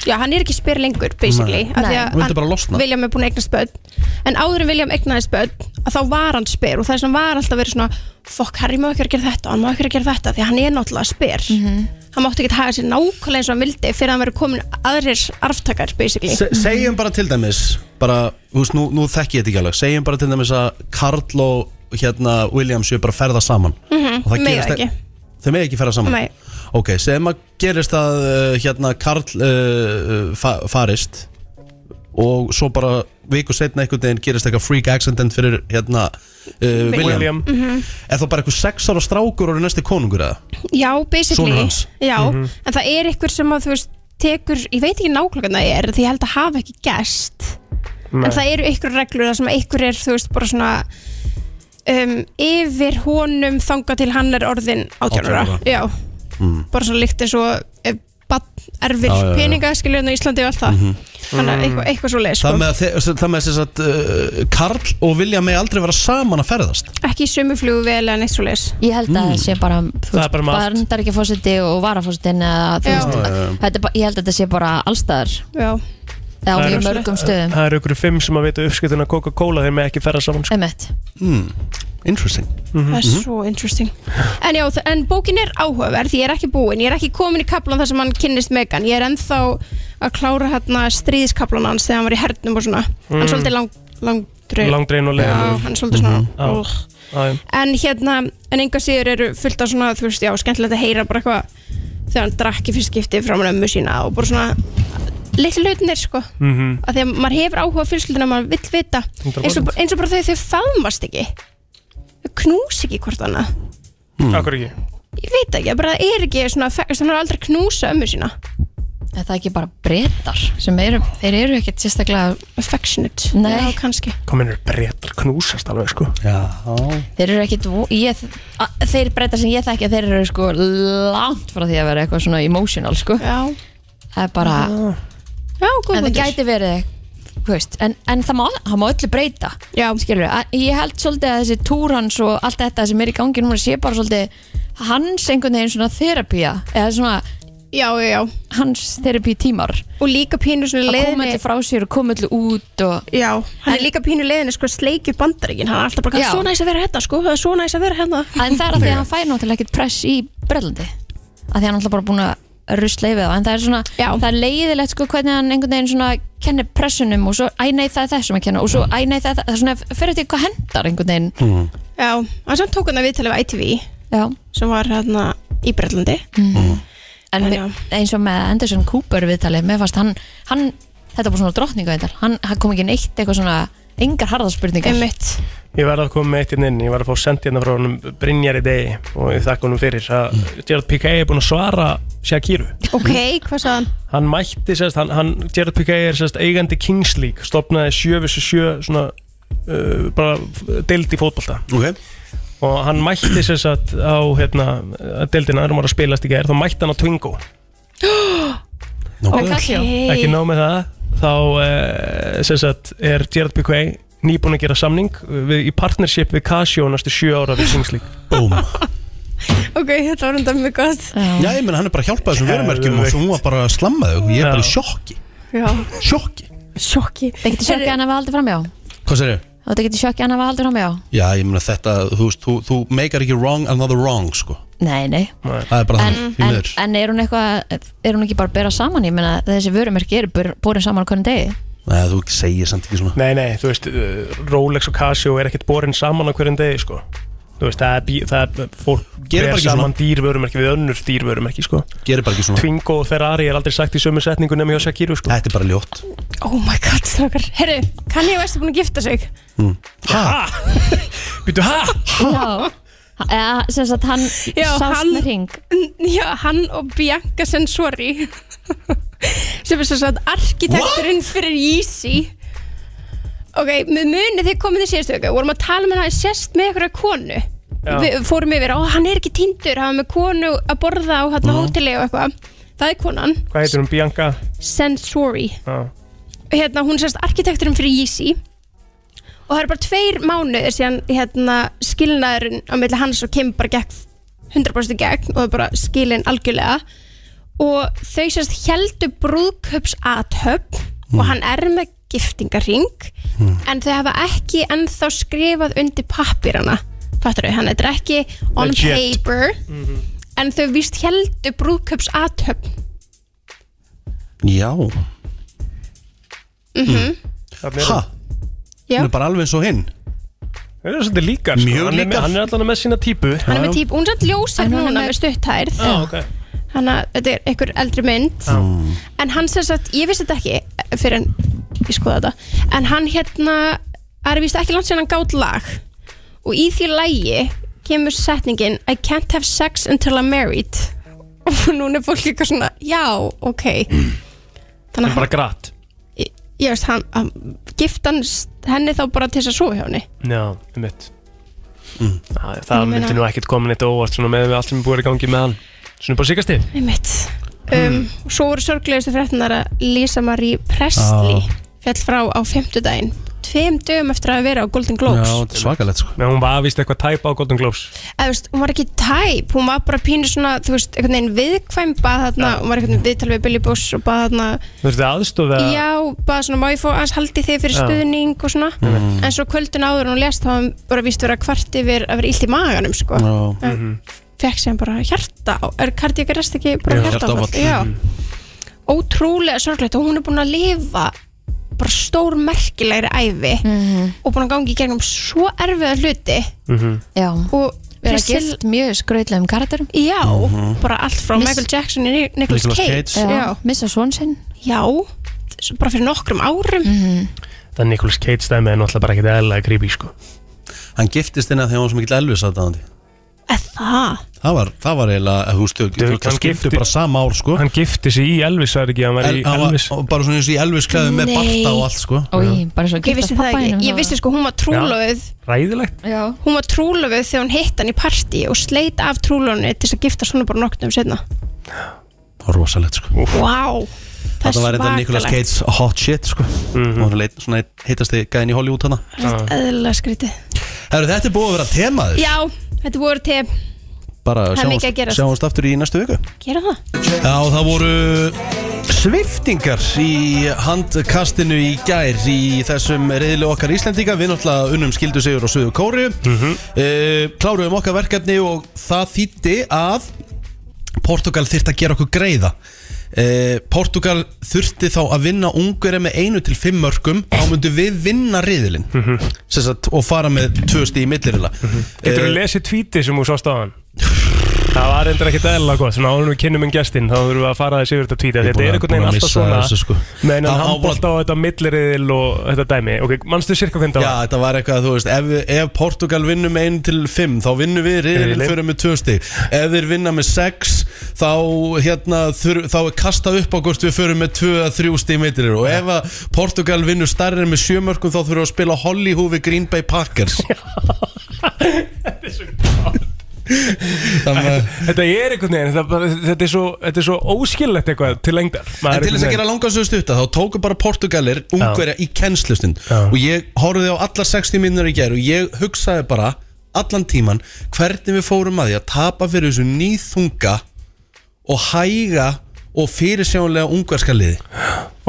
[SPEAKER 14] Já, hann er ekki spyr lengur, basically
[SPEAKER 4] Nei.
[SPEAKER 14] af því
[SPEAKER 4] Nei.
[SPEAKER 14] að
[SPEAKER 4] Hún vildi bara losna.
[SPEAKER 14] William er búin að eignast börn En áður en William eignaðist börn að Þá var hann spyr og þess að hann var alltaf verið svona Fokk, Harry má ekki vera að gera þetta og Hann má ekki vera að gera þetta Því að hann er náttúrulega spyr
[SPEAKER 5] Mhm.
[SPEAKER 14] Hann mátti ekki haga sér nákvæmlega eins og hann vildi Fyrir að hann verið komin aðrir arftakar, basically
[SPEAKER 4] Se segjum bara til dæmis bara, þú veist, nú, nú þekki ég þetta ekki alveg segjum bara til dæmis að Karl og hérna, Williams séu bara að ferða saman
[SPEAKER 14] Mhm,
[SPEAKER 4] Og það
[SPEAKER 14] mega
[SPEAKER 4] gerist e-
[SPEAKER 14] ekki.
[SPEAKER 4] þau megi ekki ferða saman
[SPEAKER 14] Nei.
[SPEAKER 4] ok, segjum að gerist að uh, hérna Karl uh, fa farist og svo bara viku setna einhvern veginn gerist eitthvað freak accident fyrir hérna uh, William,
[SPEAKER 14] Mhm.
[SPEAKER 4] er þá bara eitthvað sex ára strákur og er næsti konungur eða?
[SPEAKER 14] Já, basically
[SPEAKER 4] Sonur hans.
[SPEAKER 14] Já,
[SPEAKER 4] Mhm.
[SPEAKER 14] en það er ykkur sem að þú veist tekur, ég veit ekki nákvæmlega hvað það er því ég held að hafa ekki gæst en það eru ykkur reglur þar sem ykkur er þú veist bara svona um, yfir honum þanga til hann er orðin 18
[SPEAKER 8] 18 ára.
[SPEAKER 14] ára Já,
[SPEAKER 8] Mm.
[SPEAKER 14] bara svona líkt eins og eh, barn erfir
[SPEAKER 4] Já, já, já.
[SPEAKER 14] peninga skiljaðan á Íslandi og allt það
[SPEAKER 4] Mhm.
[SPEAKER 14] þannig að eitthvað, eitthvað svo leið sko.
[SPEAKER 4] Það með að þe- það með þess að uh, Karl og Vilja með aldrei vera saman að ferðast
[SPEAKER 14] ekki í sömu flug vel eða neitt svo leis
[SPEAKER 5] Ég held að
[SPEAKER 14] Mm.
[SPEAKER 5] það sé bara
[SPEAKER 4] Það er bara með allt.
[SPEAKER 5] barndar ekki fósiti og varafósitin eða þú
[SPEAKER 14] Já.
[SPEAKER 5] veist
[SPEAKER 1] Já, já, já.
[SPEAKER 5] þetta er bara- ég held að þetta sé bara allstaðar
[SPEAKER 14] Já.
[SPEAKER 5] eða á mjög mörgum stöðum
[SPEAKER 1] Það eru ykkur fimm sem að vita uppskriftin að Coca-Cola þeir með ekki ferra saman sko. Mhm.
[SPEAKER 5] Emmett
[SPEAKER 4] hmm. Interesting
[SPEAKER 14] Það er svo interesting En já, þ- en bókin er áhugaverð, ég er ekki búin Ég er ekki komin í kaplan þar sem hann kynnist Megan Ég er ennþá að klára hérna stríðskaplan hans þegar hann var í hernum og svona Hann
[SPEAKER 1] Mm.
[SPEAKER 14] er svolítið lang, langdreið
[SPEAKER 1] Langdrein og leið
[SPEAKER 14] Já, hann er svolítið svona úff.
[SPEAKER 1] -hmm.
[SPEAKER 14] En hérna, en enga síður eru fullt af svona, þú veist, já, skemmtilegt að heyra bara eitthvað Þegar hann drakk í fyrst skipti frá hann ömmu sína og bara svona Litli hlutinir, sko
[SPEAKER 1] Mhm.
[SPEAKER 14] að því að maður hefur áhuga fjölskyldina maður vill vita
[SPEAKER 1] 100%.
[SPEAKER 14] eins og, eins og bara þau þau faðmast ekki þau knús ekki hvort annað Hmm.
[SPEAKER 1] Akkur ekki
[SPEAKER 14] ég veit ekki, bara það er ekki svona þannig að aldrei knúsa ömmu sína
[SPEAKER 5] Er það ekki bara breytar sem eru, þeir eru ekkert sérstaklega
[SPEAKER 14] affectionate,
[SPEAKER 5] Nei,
[SPEAKER 14] kannski
[SPEAKER 1] Komin er breytar knúsast alveg sko
[SPEAKER 4] Já
[SPEAKER 5] þeir eru ekkert, vo- ég, a- þeir breytar sem ég þekki að þeir eru sko langt frá því að vera eitthvað svona emotional sko
[SPEAKER 14] Já Ah.
[SPEAKER 5] Það er bara
[SPEAKER 14] Já,
[SPEAKER 5] En það gæti verið þú veist, en, en það má, það má öllu breyta
[SPEAKER 14] Já.
[SPEAKER 5] skilur ég held svolítið að þessi túr hans og allt þetta sem er í gangi núna sé bara svolítið hans einhvern veginn svona þerapía eða svona
[SPEAKER 14] já, já, já.
[SPEAKER 5] hans þerapí tímar
[SPEAKER 14] og líka pínu svona
[SPEAKER 5] að koma
[SPEAKER 14] leiðinni-
[SPEAKER 5] öllu frá sér og koma öllu út og
[SPEAKER 14] já, hann er líka pínu leiðinu sko sleikju bandaríkin, hann er alltaf bara
[SPEAKER 5] Já.
[SPEAKER 14] svona næs að vera hérna sko, það er svona næs að vera hérna
[SPEAKER 5] en það er að því að hann fær náttúrulega ekkert press í Brellandi að því að hann er alltaf bara búin að rusla yfir það en það er svona, það er leiðilegt sko hvernig hann einhvern veginn svona kennir pressunum og svo, æ nei það er þessum að kenna og svo, æ nei það er það, það er svona, fyrir eftir hvað hendar einhvern veginn
[SPEAKER 4] mm.
[SPEAKER 14] já, hann sem tók hann að viðtala við ITV
[SPEAKER 5] já. Mm.
[SPEAKER 14] sem var hérna í Bretlandi
[SPEAKER 5] En mér, eins og með Anderson Cooper viðtalið, mér fannst hann, hann þetta var svona drottninga viðtal, hann, hann kom ekki neitt eitthvað svona, engar harðarspurningar
[SPEAKER 14] Einmitt.
[SPEAKER 1] Ég verði að koma með eitt inn inn, ég verði að fá sendi hérna frá honum Brynjar í degi og ég þakka honum fyrir að
[SPEAKER 14] Hmm.
[SPEAKER 1] Gerard Piqué er búin að svara Shakiru.
[SPEAKER 14] ok, hvað sagði hann?
[SPEAKER 1] Hann mætti, sérst, hann, hann, Gerard Piqué er sérst eigandi Kings League, stopnaði 7-7 svona, uh, bara deild í fótbolta.
[SPEAKER 4] Ok.
[SPEAKER 1] Og hann mætti sérst á, hérna, deildina, þegar hann var að spilast í gær, þá mætti hann á Twingo.
[SPEAKER 5] Með Casio.
[SPEAKER 1] Ekki nóg með það Þá eh, sem sagt, er Gerard Piqué nýbúin að gera samning við, í partnership við Casio næstu sjö ára við Kingslík
[SPEAKER 4] Búm
[SPEAKER 14] ok, þetta var undar mjög gott
[SPEAKER 4] Já, ég menn hann er bara að hjálpa þessum vörumerkjum og
[SPEAKER 1] Geðveikt.
[SPEAKER 4] svo hún var bara að slamma þau og ég er bara í sjokki
[SPEAKER 14] já.
[SPEAKER 4] Sjokki
[SPEAKER 14] sjokki
[SPEAKER 5] Það getur sjokkið hann að við haldið framjá
[SPEAKER 4] Hvað sér ég?
[SPEAKER 5] og þetta getur sjokkið hann að hafa haldur á mig á
[SPEAKER 4] Já, ég meina þetta, þú veist, þú, þú meikar ekki wrong another wrong, sko
[SPEAKER 5] Nei, nei
[SPEAKER 4] Það er bara
[SPEAKER 5] en,
[SPEAKER 4] þannig, því
[SPEAKER 5] en,
[SPEAKER 4] miður
[SPEAKER 5] en er hún eitthvað er hún ekki bara að bera saman ég meina þessi vörumerki eru bur- borin saman á hvernig degi
[SPEAKER 4] Nei, þú segir samt ekki svona
[SPEAKER 1] Nei, nei, þú veist, uh, Rolex og Casio er ekkert borin saman á hverjum degi, sko Þú veist, það er, bí- það er fólk
[SPEAKER 4] Gerir bara
[SPEAKER 1] ber
[SPEAKER 4] ekki svona.
[SPEAKER 1] saman dýrvörumerki við önnur dýrvörumerki, sko
[SPEAKER 4] Gerir bara ekki svona
[SPEAKER 1] Twingo og Ferrari er aldrei sagt í sömu setningu nema hjá Shakiru, sko
[SPEAKER 4] Þetta er bara ljótt
[SPEAKER 14] Oh my god, strákar Herru, kann ég veist að búin að gifta sig?
[SPEAKER 1] Hæ? Býtu, hæ?
[SPEAKER 5] Já Eða, sem sagt, hann
[SPEAKER 14] Já,
[SPEAKER 5] sást
[SPEAKER 14] hann-
[SPEAKER 5] með ring
[SPEAKER 14] Já, hann og Bianca Sensori sem er svo sagt arkitekturinn fyrir Yeezy Ok, með muni þið komið í síðustu vöku vorum að tala með hann sérst með einhverja konu
[SPEAKER 5] Já.
[SPEAKER 14] Við fórum yfir, ó, hann er ekki tindur hann var með konu að borða á hann
[SPEAKER 1] Mhm.
[SPEAKER 14] hóteli og eitthvað Það er konan,
[SPEAKER 1] Hvað heitir hún, Bianca?
[SPEAKER 14] Sensori
[SPEAKER 1] Já,
[SPEAKER 14] hérna, hún sérst arkitekturinn fyrir Yeezy og það eru bara tveir mánuðir síðan hérna, skilnaðurinn á milli hans og Kim bara gekk 100% í gegn og bara skilin algjörlega og þau sérst heldu brúðköpsatöp og hann er með giftingarring en þau hafa ekki ennþá skrifað undir pappirana fattur þau, hann þetta er ekki on
[SPEAKER 8] Legit.
[SPEAKER 14] paper en þau víst heldu brúðköpsatöp
[SPEAKER 4] Já,
[SPEAKER 14] mm
[SPEAKER 1] Þarna er
[SPEAKER 4] hæ,
[SPEAKER 1] hún.
[SPEAKER 14] Já.
[SPEAKER 4] hún er bara alveg eins og hinn
[SPEAKER 1] Það er svolítið líkar, sko
[SPEAKER 4] Mjög
[SPEAKER 1] hann, er,
[SPEAKER 4] líkar.
[SPEAKER 1] með- hann er allan með sína típu
[SPEAKER 14] hann er með típ, hún er alltaf ljósar
[SPEAKER 5] En hún er
[SPEAKER 14] núna
[SPEAKER 5] með-
[SPEAKER 14] með stutthærð
[SPEAKER 1] Já, ok
[SPEAKER 14] þannig að þetta er einhver eldri mynd
[SPEAKER 1] Mm.
[SPEAKER 14] en hann sem sagt, ég vissi þetta ekki fyrir en ég skoða þetta en hann hérna, það er vist ekki langt sér hann gátt lag og í því lægi kemur setningin I can't have sex until I'm married og núna er fólk eitthvað svona já, ok þannig að
[SPEAKER 1] Bara
[SPEAKER 14] hann,
[SPEAKER 1] grætt
[SPEAKER 14] ég veist, hann, hann giftan henni þá bara til þess að sofa hjá henni
[SPEAKER 1] Já, um mitt
[SPEAKER 4] Mm.
[SPEAKER 1] Það, það
[SPEAKER 14] Ég meina-
[SPEAKER 1] myndi nú ekkert komin eitt óvart svona með við allt sem er búið að gangi með hann Svona bara síkast þið
[SPEAKER 14] Einmitt. Um,
[SPEAKER 1] Hmm.
[SPEAKER 14] Svo voru sorglegustu fréttinar að Lisa Marie Presley
[SPEAKER 1] Já.
[SPEAKER 14] fjall frá á fimmtudaginn tveim dögum eftir að vera á Golden Globes
[SPEAKER 1] þetta er svakalegt sko Menn hún var vist eitthvað tæpa á Golden Globes
[SPEAKER 14] eða þú veist, hún var ekki tæp hún var bara pínu svona, þú veist, einhvern veginn viðkvæm bað þarna, hún var einhvern veginn viðtal við Billy Bush og bað þarna,
[SPEAKER 1] Þú veist þið aðstofa
[SPEAKER 14] já, bað svona má ég fá aðeins haldi þig fyrir
[SPEAKER 1] Já.
[SPEAKER 14] stuðning og svona,
[SPEAKER 1] Mm.
[SPEAKER 14] en sko, svo kvöldin áður en hún lest þá var hún bara víst vera kvart yfir að vera illt í maganum, sko
[SPEAKER 1] Já.
[SPEAKER 14] en, fekk sem bara hjarta er kardiakarest ekki bara
[SPEAKER 1] Já. Mm. Hjartaáfall.
[SPEAKER 14] hjartaáfall já. ótrúlega sorglegt og hún er búin að lifa bara stór merkilegri æfi
[SPEAKER 5] Mhm.
[SPEAKER 14] og búin að gangi í gegnum svo erfiða hluti
[SPEAKER 5] Já,
[SPEAKER 14] og
[SPEAKER 5] vera gift mjög skrautlegum karakterum
[SPEAKER 14] já,
[SPEAKER 5] Mhm.
[SPEAKER 14] bara allt frá
[SPEAKER 5] Miss-
[SPEAKER 14] Michael Jackson í Ni- Nicolas
[SPEAKER 1] Nicolas
[SPEAKER 14] Cage,
[SPEAKER 1] Cage.
[SPEAKER 14] Já.
[SPEAKER 1] Já.
[SPEAKER 5] missa svon sinn Mhm.
[SPEAKER 14] já, svo bara fyrir nokkrum árum
[SPEAKER 1] Það er Nicolas Cage stæmi en náttúrulega bara ekkert eðlilega creepy sko
[SPEAKER 4] Hann giftist henni að því að hún var sem ekki Elvis aðdáðandi
[SPEAKER 14] það
[SPEAKER 4] Það var, það var eiginlega, eh, þú veist,
[SPEAKER 1] Þú-
[SPEAKER 4] það
[SPEAKER 1] hann
[SPEAKER 4] skiptu
[SPEAKER 1] gifti-
[SPEAKER 4] bara sama ár, sko
[SPEAKER 1] Hann gifti sig í Elvis, það er ekki, hann var í
[SPEAKER 4] El- hann var-
[SPEAKER 1] Elvis
[SPEAKER 4] og Bara svona eins og í Elvis klæðu með
[SPEAKER 14] Nei.
[SPEAKER 4] barta og allt, sko
[SPEAKER 5] Ói, bara svo
[SPEAKER 14] ég vissi það ekki, ég vissi sko hún var trúlöfuð
[SPEAKER 1] Ræðilegt
[SPEAKER 5] Já.
[SPEAKER 14] hún var trúlöfuð þegar hún hitt hann í partí og sleit af trúlöfunni til þess að gifta svona bara nokkrum setna
[SPEAKER 4] Það var rosalegt, sko
[SPEAKER 14] Vá Það
[SPEAKER 4] Þetta var þetta
[SPEAKER 14] svakalegt.
[SPEAKER 4] Nicolas Cage hot shit, sko
[SPEAKER 1] Mhm.
[SPEAKER 4] Og hann leit svona einn heitasti gæðin í Hollywood hana
[SPEAKER 1] Ah.
[SPEAKER 14] Eðlilega skrítið
[SPEAKER 4] Herru, þetta er búið að vera temaður
[SPEAKER 14] Já, þetta voru til
[SPEAKER 4] Bara
[SPEAKER 14] það er
[SPEAKER 4] sjáumst,
[SPEAKER 14] mikið að gerast.
[SPEAKER 4] sjáumst aftur í næstu viku
[SPEAKER 14] Gera það
[SPEAKER 4] Já, það voru sviftingar í handkastinu í gær í þessum reyðli okkar Íslendinga. Við náttúrulega unnum skildu sigur á Suðu Kóri, mm
[SPEAKER 1] Mhm.
[SPEAKER 4] kláruðum okkar verkefni og það þýtti að Portugal þyrfti að gera okkur greiða. Uh, Portugal þurfti þá að vinna ungverja með einu til fimm mörgum þá myndu við vinna riðilinn mm
[SPEAKER 1] Mhm.
[SPEAKER 4] -hmm. og fara með tvö stíð í millirila mm
[SPEAKER 1] Getur þú lesið tweetið sem þú sást á hann? Það var endur ekkert eðlilega gott, svona áður en við kynnum um gestinn, þá þurfum við að fara þessi yfir þetta
[SPEAKER 4] Ég
[SPEAKER 1] tweetið,
[SPEAKER 4] er
[SPEAKER 1] þetta
[SPEAKER 4] búin
[SPEAKER 1] er
[SPEAKER 4] að-
[SPEAKER 1] einhvern
[SPEAKER 4] búin
[SPEAKER 1] veginn
[SPEAKER 4] að
[SPEAKER 1] alltaf
[SPEAKER 4] missa
[SPEAKER 1] svona,
[SPEAKER 4] þessu, sko.
[SPEAKER 1] með hennan
[SPEAKER 4] Það á bara-
[SPEAKER 1] handbólt á þetta milliriðil og þetta dæmi, ok, mannstu cirka hvernig það
[SPEAKER 4] Já,
[SPEAKER 1] var?
[SPEAKER 4] þetta var eitthvað, þú veist, ef, ef Portugal vinnur með 1 til 5 þá vinnum við riðilinn
[SPEAKER 1] Riðilinn.
[SPEAKER 4] fyrir með 2 stig ef þeir vinna með 6 þá, hérna, þur, þá er kastað upp á hvort við fyrir með 2 að 3 stig meitrir og ef að Portugal vinnur starri með 7 mörgum þá þurfum við að spila Hollywood við Green Bay Packers
[SPEAKER 1] Þetta, þetta er einhvern veginn, þetta, bara- þetta er svo, þetta er svo óskillett eitthvað til lengdar.
[SPEAKER 4] En til þess að gera langansöðu stutta þá tóku bara Portugalir ungverja í kennslustund og ég horfði á allar 60 minnur í gær og ég hugsaði bara allan tíman hvernig við fórum að því að tapa fyrir þessu nýþunga og hæga og fyrirsjónlega ungverska liði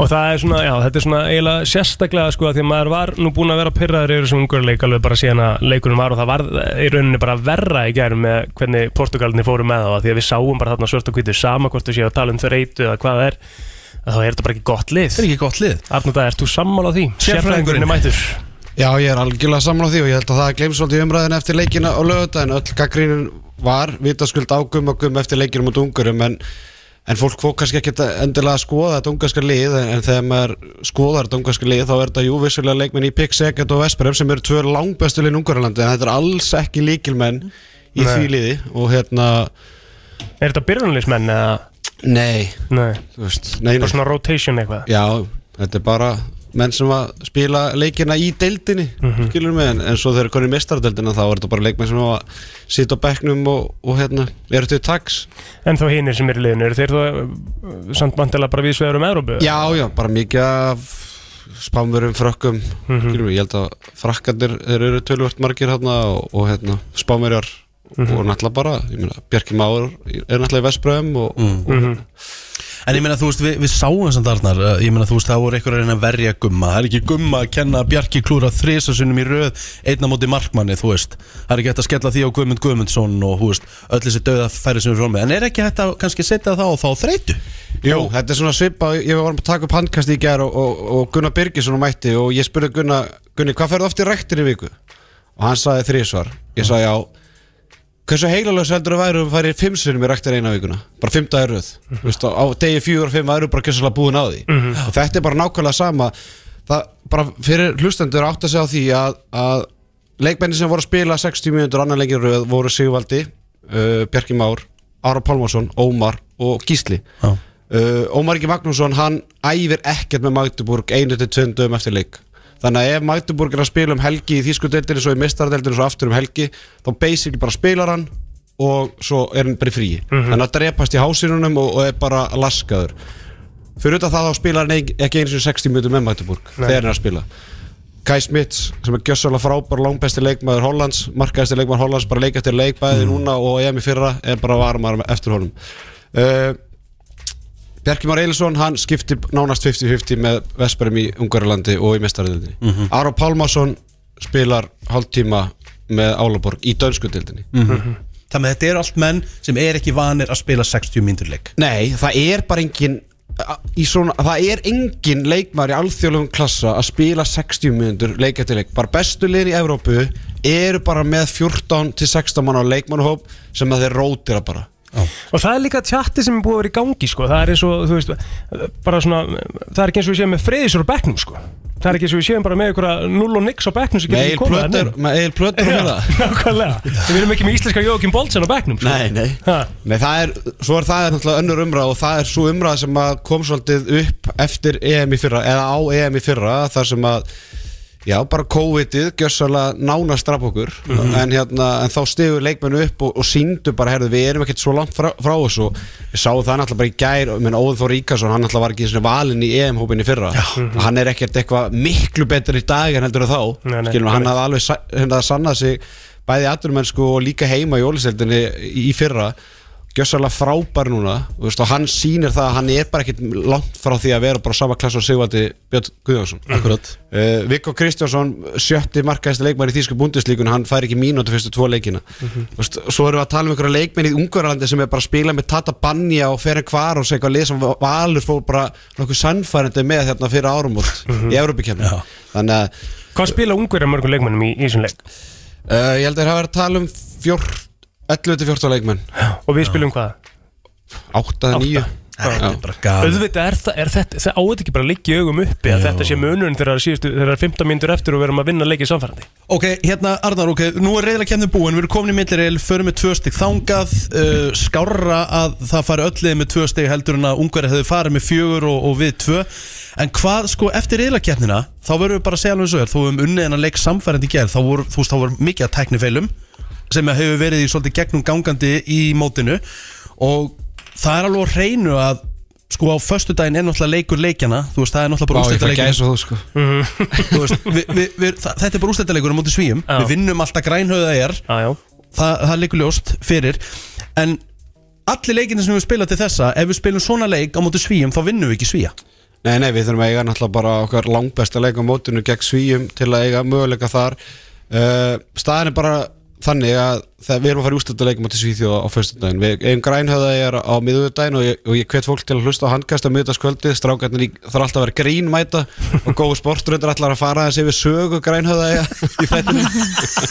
[SPEAKER 1] Og það er svona, já, þetta er svona eiginlega sérstaklega sko að því að maður var nú búin að vera pyrraður yfir þessum ungurleik alveg bara síðan að leikunum var og það var í rauninni bara verra í gærum með hvernig Portugalinni fóru með það því að við sáum bara þarna svört og hvítu sama hvort þú séu að tala um þreytu eða hvað það er að þá er þetta bara ekki gott lið Það
[SPEAKER 4] er ekki gott lið
[SPEAKER 1] Arnúta, ert þú sammála því? Sérfræðingurinn er mættur
[SPEAKER 15] Já, ég er algjörlega sammála því og ég held að það glems svolítið umræðin eftir leikina á lögudaginn öll gaggrínin var vitaskuld águm og gum eftir leikinum út ungurum en, en fólk fók kannski ekki endilega að skoða þetta ungarska lið en, en þegar maður skoðar þetta ungarska lið þá er þetta jú vissulega leikminn í Pík, Segget og Vesperum sem eru tvö langbestu lið í Ungarlandi en þetta er alls ekki líkilmenn í
[SPEAKER 1] Nei.
[SPEAKER 15] því liði og hérna
[SPEAKER 1] Er þetta byrjunlismenn eða?
[SPEAKER 15] Nei
[SPEAKER 1] Nei,
[SPEAKER 15] þú veist nei, nei.
[SPEAKER 1] Bara svona rotation eitthvað
[SPEAKER 15] Já, þetta er bara menn sem að spila leikina í deildinni mm
[SPEAKER 1] Mhm.
[SPEAKER 15] skilur mig, en, en svo þegar konið mistardeldina þá er þetta bara leikmenn sem að sita á bekknum og, og hérna, eru til taks
[SPEAKER 1] En þá hinir sem eru í liðinu, eru þeir þá uh, samt vantilega bara viðsvegar um Európu?
[SPEAKER 15] Já, já, bara mikið af spámurum, frökkum
[SPEAKER 1] Mhm.
[SPEAKER 15] skilur mig, ég held að frakkandir þeir eru tölvört margir hérna og, og hérna, spámurjar
[SPEAKER 4] Mhm.
[SPEAKER 15] og náttúrulega bara, ég meina, Bjarki Már er náttúrulega í Vestbröðum og,
[SPEAKER 1] Mhm.
[SPEAKER 15] hérna. og
[SPEAKER 4] En ég meina þú veist, við, við sáum samt Arnar uh, Ég meina þú veist, það voru einhverjar reyna að verja gumma Það er ekki gumma að kenna Bjarki Klúra þrisasunum í röð Einna móti markmanni, þú veist Það er ekki hægt að skella því á Guðmund Guðmundsson Og þú veist, öll þessi dauða færi sem við fórum með En er ekki hægt að kannski setja það á þá þreytu?
[SPEAKER 15] Jú, þetta er svona svipa, ég var að taka upp handkast í gær og, og, og Gunnar Birgisson mætti og ég spurði Gunnar, Gunni, hvað ferðu oft í ræktin í viku? Og hann sagði þrísvar, ég sagði já, hversu heilalös heldur að væru um færi fimm sinnum í ræktin eina vikuna? Bara fimm dagar röð, mm veist, á, á degi fjúr og fimm væru bara kjössalega búin á því.
[SPEAKER 1] Mhm.
[SPEAKER 15] Og þetta er bara nákvæmlega sama, það bara fyrir hlustendur átt að segja á því að, að leikmenni sem voru að spila 60 mínútur annan leikir röð voru Sigvaldi, uh, Bjarki Már, Ára Pálmarsson, Ómar og Gísli uh, Ómar Ingi Magnússon hann æfir ekkert með Magdeburg einu til tveim dögum eftir leik þannig að ef Magdeburg er að spila um helgi í þýskudeldinu svo í mistaradeldinu svo aftur um helgi þá basically bara spilar hann og svo er hann bara í fríi
[SPEAKER 1] Mhm.
[SPEAKER 15] þannig að drepast í hásinunum og, og er bara laskaður fyrir utan það þá spilar hann ein- ekki einu sinni 60 minutur með Magdeburg
[SPEAKER 1] Nei.
[SPEAKER 15] þegar hann er að spila Kai Smits sem er gjössalega frábær langbæsti leikmaður Hollands, markaðasti leikmaður Hollands bara leik eftir leik bæði núna og EM í fyrra en bara varmar eftir honum uh, Bjarki Már Eilisson hann skipti nánast 50-50 með Vesperum í Ungarlandi og í mestaröldinni mm
[SPEAKER 4] Mhm.
[SPEAKER 15] Aron Pálmarsson spilar hálftíma með Álaborg í dönskutildinni
[SPEAKER 4] Þannig að þetta eru allt menn sem er ekki vanir að spila 60 mínútur leik
[SPEAKER 15] Nei, það er bara engin a- í svona, það er engin leikmaður í alþjóðlegum klassa að spila 60 mínútur leik eftir leik, bara bestu liðin í Evrópu eru bara með 14 til 16 mann á leikmannhóp sem að þeir rótira bara
[SPEAKER 1] Og það er líka tjatti sem er búið að vera í gangi sko. Það er eins og, þú veist, bara svona Það er ekki eins og við séum með freyðisur á bekknum sko. Það er ekki eins og við séum bara með einhverja null og nix á bekknum sem
[SPEAKER 15] Með
[SPEAKER 1] getur
[SPEAKER 15] Egil
[SPEAKER 1] ekki komið þarna
[SPEAKER 15] Plötur-
[SPEAKER 1] inn.
[SPEAKER 15] með Egil Plötur og
[SPEAKER 1] Já,
[SPEAKER 15] fleira.
[SPEAKER 1] Nákvæmlega Við erum ekki með íslenska Jókim Boltsen á bekknum sko.
[SPEAKER 15] Nei, nei
[SPEAKER 1] Ha.
[SPEAKER 15] Nei, það er, svo er það náttúrulega önnur umræð og það er svo umræð sem að kom svolítið upp eftir EM í fyrra, eða á EM í fyrra, þar sem að já, bara COVID-ið gjössalega nánast draf okkur,
[SPEAKER 4] Mhm.
[SPEAKER 15] en hérna en þá stigur leikmennu upp og, og síndu bara, herðu, við erum ekkert svo langt frá, frá þessu við sáum það náttúrulega bara í gær, menn Óðun Þór Ríkarsson, hann náttúrulega var ekki svona valinn í EM-hópinni fyrra,
[SPEAKER 1] Mhm.
[SPEAKER 15] hann er ekkert eitthvað miklu betur í dag en heldur en þá
[SPEAKER 1] Nei, nei,
[SPEAKER 15] skilum, hann
[SPEAKER 1] einmitt.
[SPEAKER 15] hafði alveg sa- hérna, sannað sig bæði aturmennsku og líka heima í óliseldinni í fyrra gjössalega frábær núna og, veist, og hann sýnir það að hann er bara ekkit langt frá því að vera bara á sama klass og Sigvaldi Björn Guðjónsson
[SPEAKER 4] Akkurat
[SPEAKER 15] uh, Viggo Kristjánsson, sjötti markaðist leikmæri í Þýsku búndislíkun, hann fær ekki mínútu fyrstu tvo leikina
[SPEAKER 4] Mhm.
[SPEAKER 15] Þú veist, Svo erum við að tala um einhverja leikmenn í Ungarlandi sem er bara að spila með Tata Banja og Ferri Kvar og segja eitthvað lið sem Valur fór bara nokkuð sannfærandi með þarna fyrir árum út í Európikefni Þannig að
[SPEAKER 1] Mhm. Hvað spila ungverja mörgum leikmennum í, í þessum leik?
[SPEAKER 15] Uh, ég held að það hafa verið að tala um fjór, 11-14 leikmenn
[SPEAKER 1] Og við spilum hvað?
[SPEAKER 15] 8-9 er
[SPEAKER 1] Þetta
[SPEAKER 15] bara
[SPEAKER 1] Auðvitað er, það- er þetta, það áður ekki bara að liggja í augum uppi að
[SPEAKER 4] Jú.
[SPEAKER 1] þetta sé munurinn þegar það er síðustu- þegar það er 15 mínútur eftir og við erum að vinna leikið samfærandi
[SPEAKER 4] Ok, hérna Arnar, ok, nú er reyðilega kemni búin Við erum komin í millireil, förum með tvö stig þangað uh, Skárra að það fari öllið með tvö stig heldur en að Ungari hefði farið með fjögur og, og við tvö En hvað, sko, eftir reyðilega kemnina Þá verðum við bara að segja alveg eins og er Þú hefum unnið en að leik samfærandi gerð Þá voru, þú veist, þá voru mikið að tækni feilum Sem hefur verið í svolítið gegnum gangandi í mótinu Og það er alveg á hreinu að Sko á föstudaginn er náttúrulega leikur leikjana Þú veist, það er náttúrulega
[SPEAKER 15] Vá,
[SPEAKER 4] bara
[SPEAKER 15] ég fæ gæs
[SPEAKER 4] úrslitaleikurinn.
[SPEAKER 15] á þú, sko.
[SPEAKER 4] Þú veist, vi, vi, vi, það, þetta er bara úrstættilegur á móti svíum,
[SPEAKER 1] Já.
[SPEAKER 4] við vinnum alltaf grænhöða er
[SPEAKER 1] Þa,
[SPEAKER 4] það er leikur ljóst fyrir en allir leikinni sem við spila til þessa ef við spilum svona leik á móti svíum þá vinnum við ekki svíja
[SPEAKER 15] Nei, nei, við þurfum að eiga náttúrulega bara okkar langbesta leik á mótinu gegn svíjum til að eiga möguleika þar uh, staðan er bara þannig að það, við erum að fara í ústölduleikum á til Svíþjóð á föstudaginn, við eigum grænhöða ég er á miðugudaginn og ég, og ég hvet fólk til að hlusta á handkast á miðugudagskvöldið, strákarnir í- þarf alltaf að vera grínmæta og góðu sportröndur allar að fara þessi yfir sögu grænhöða í þettinni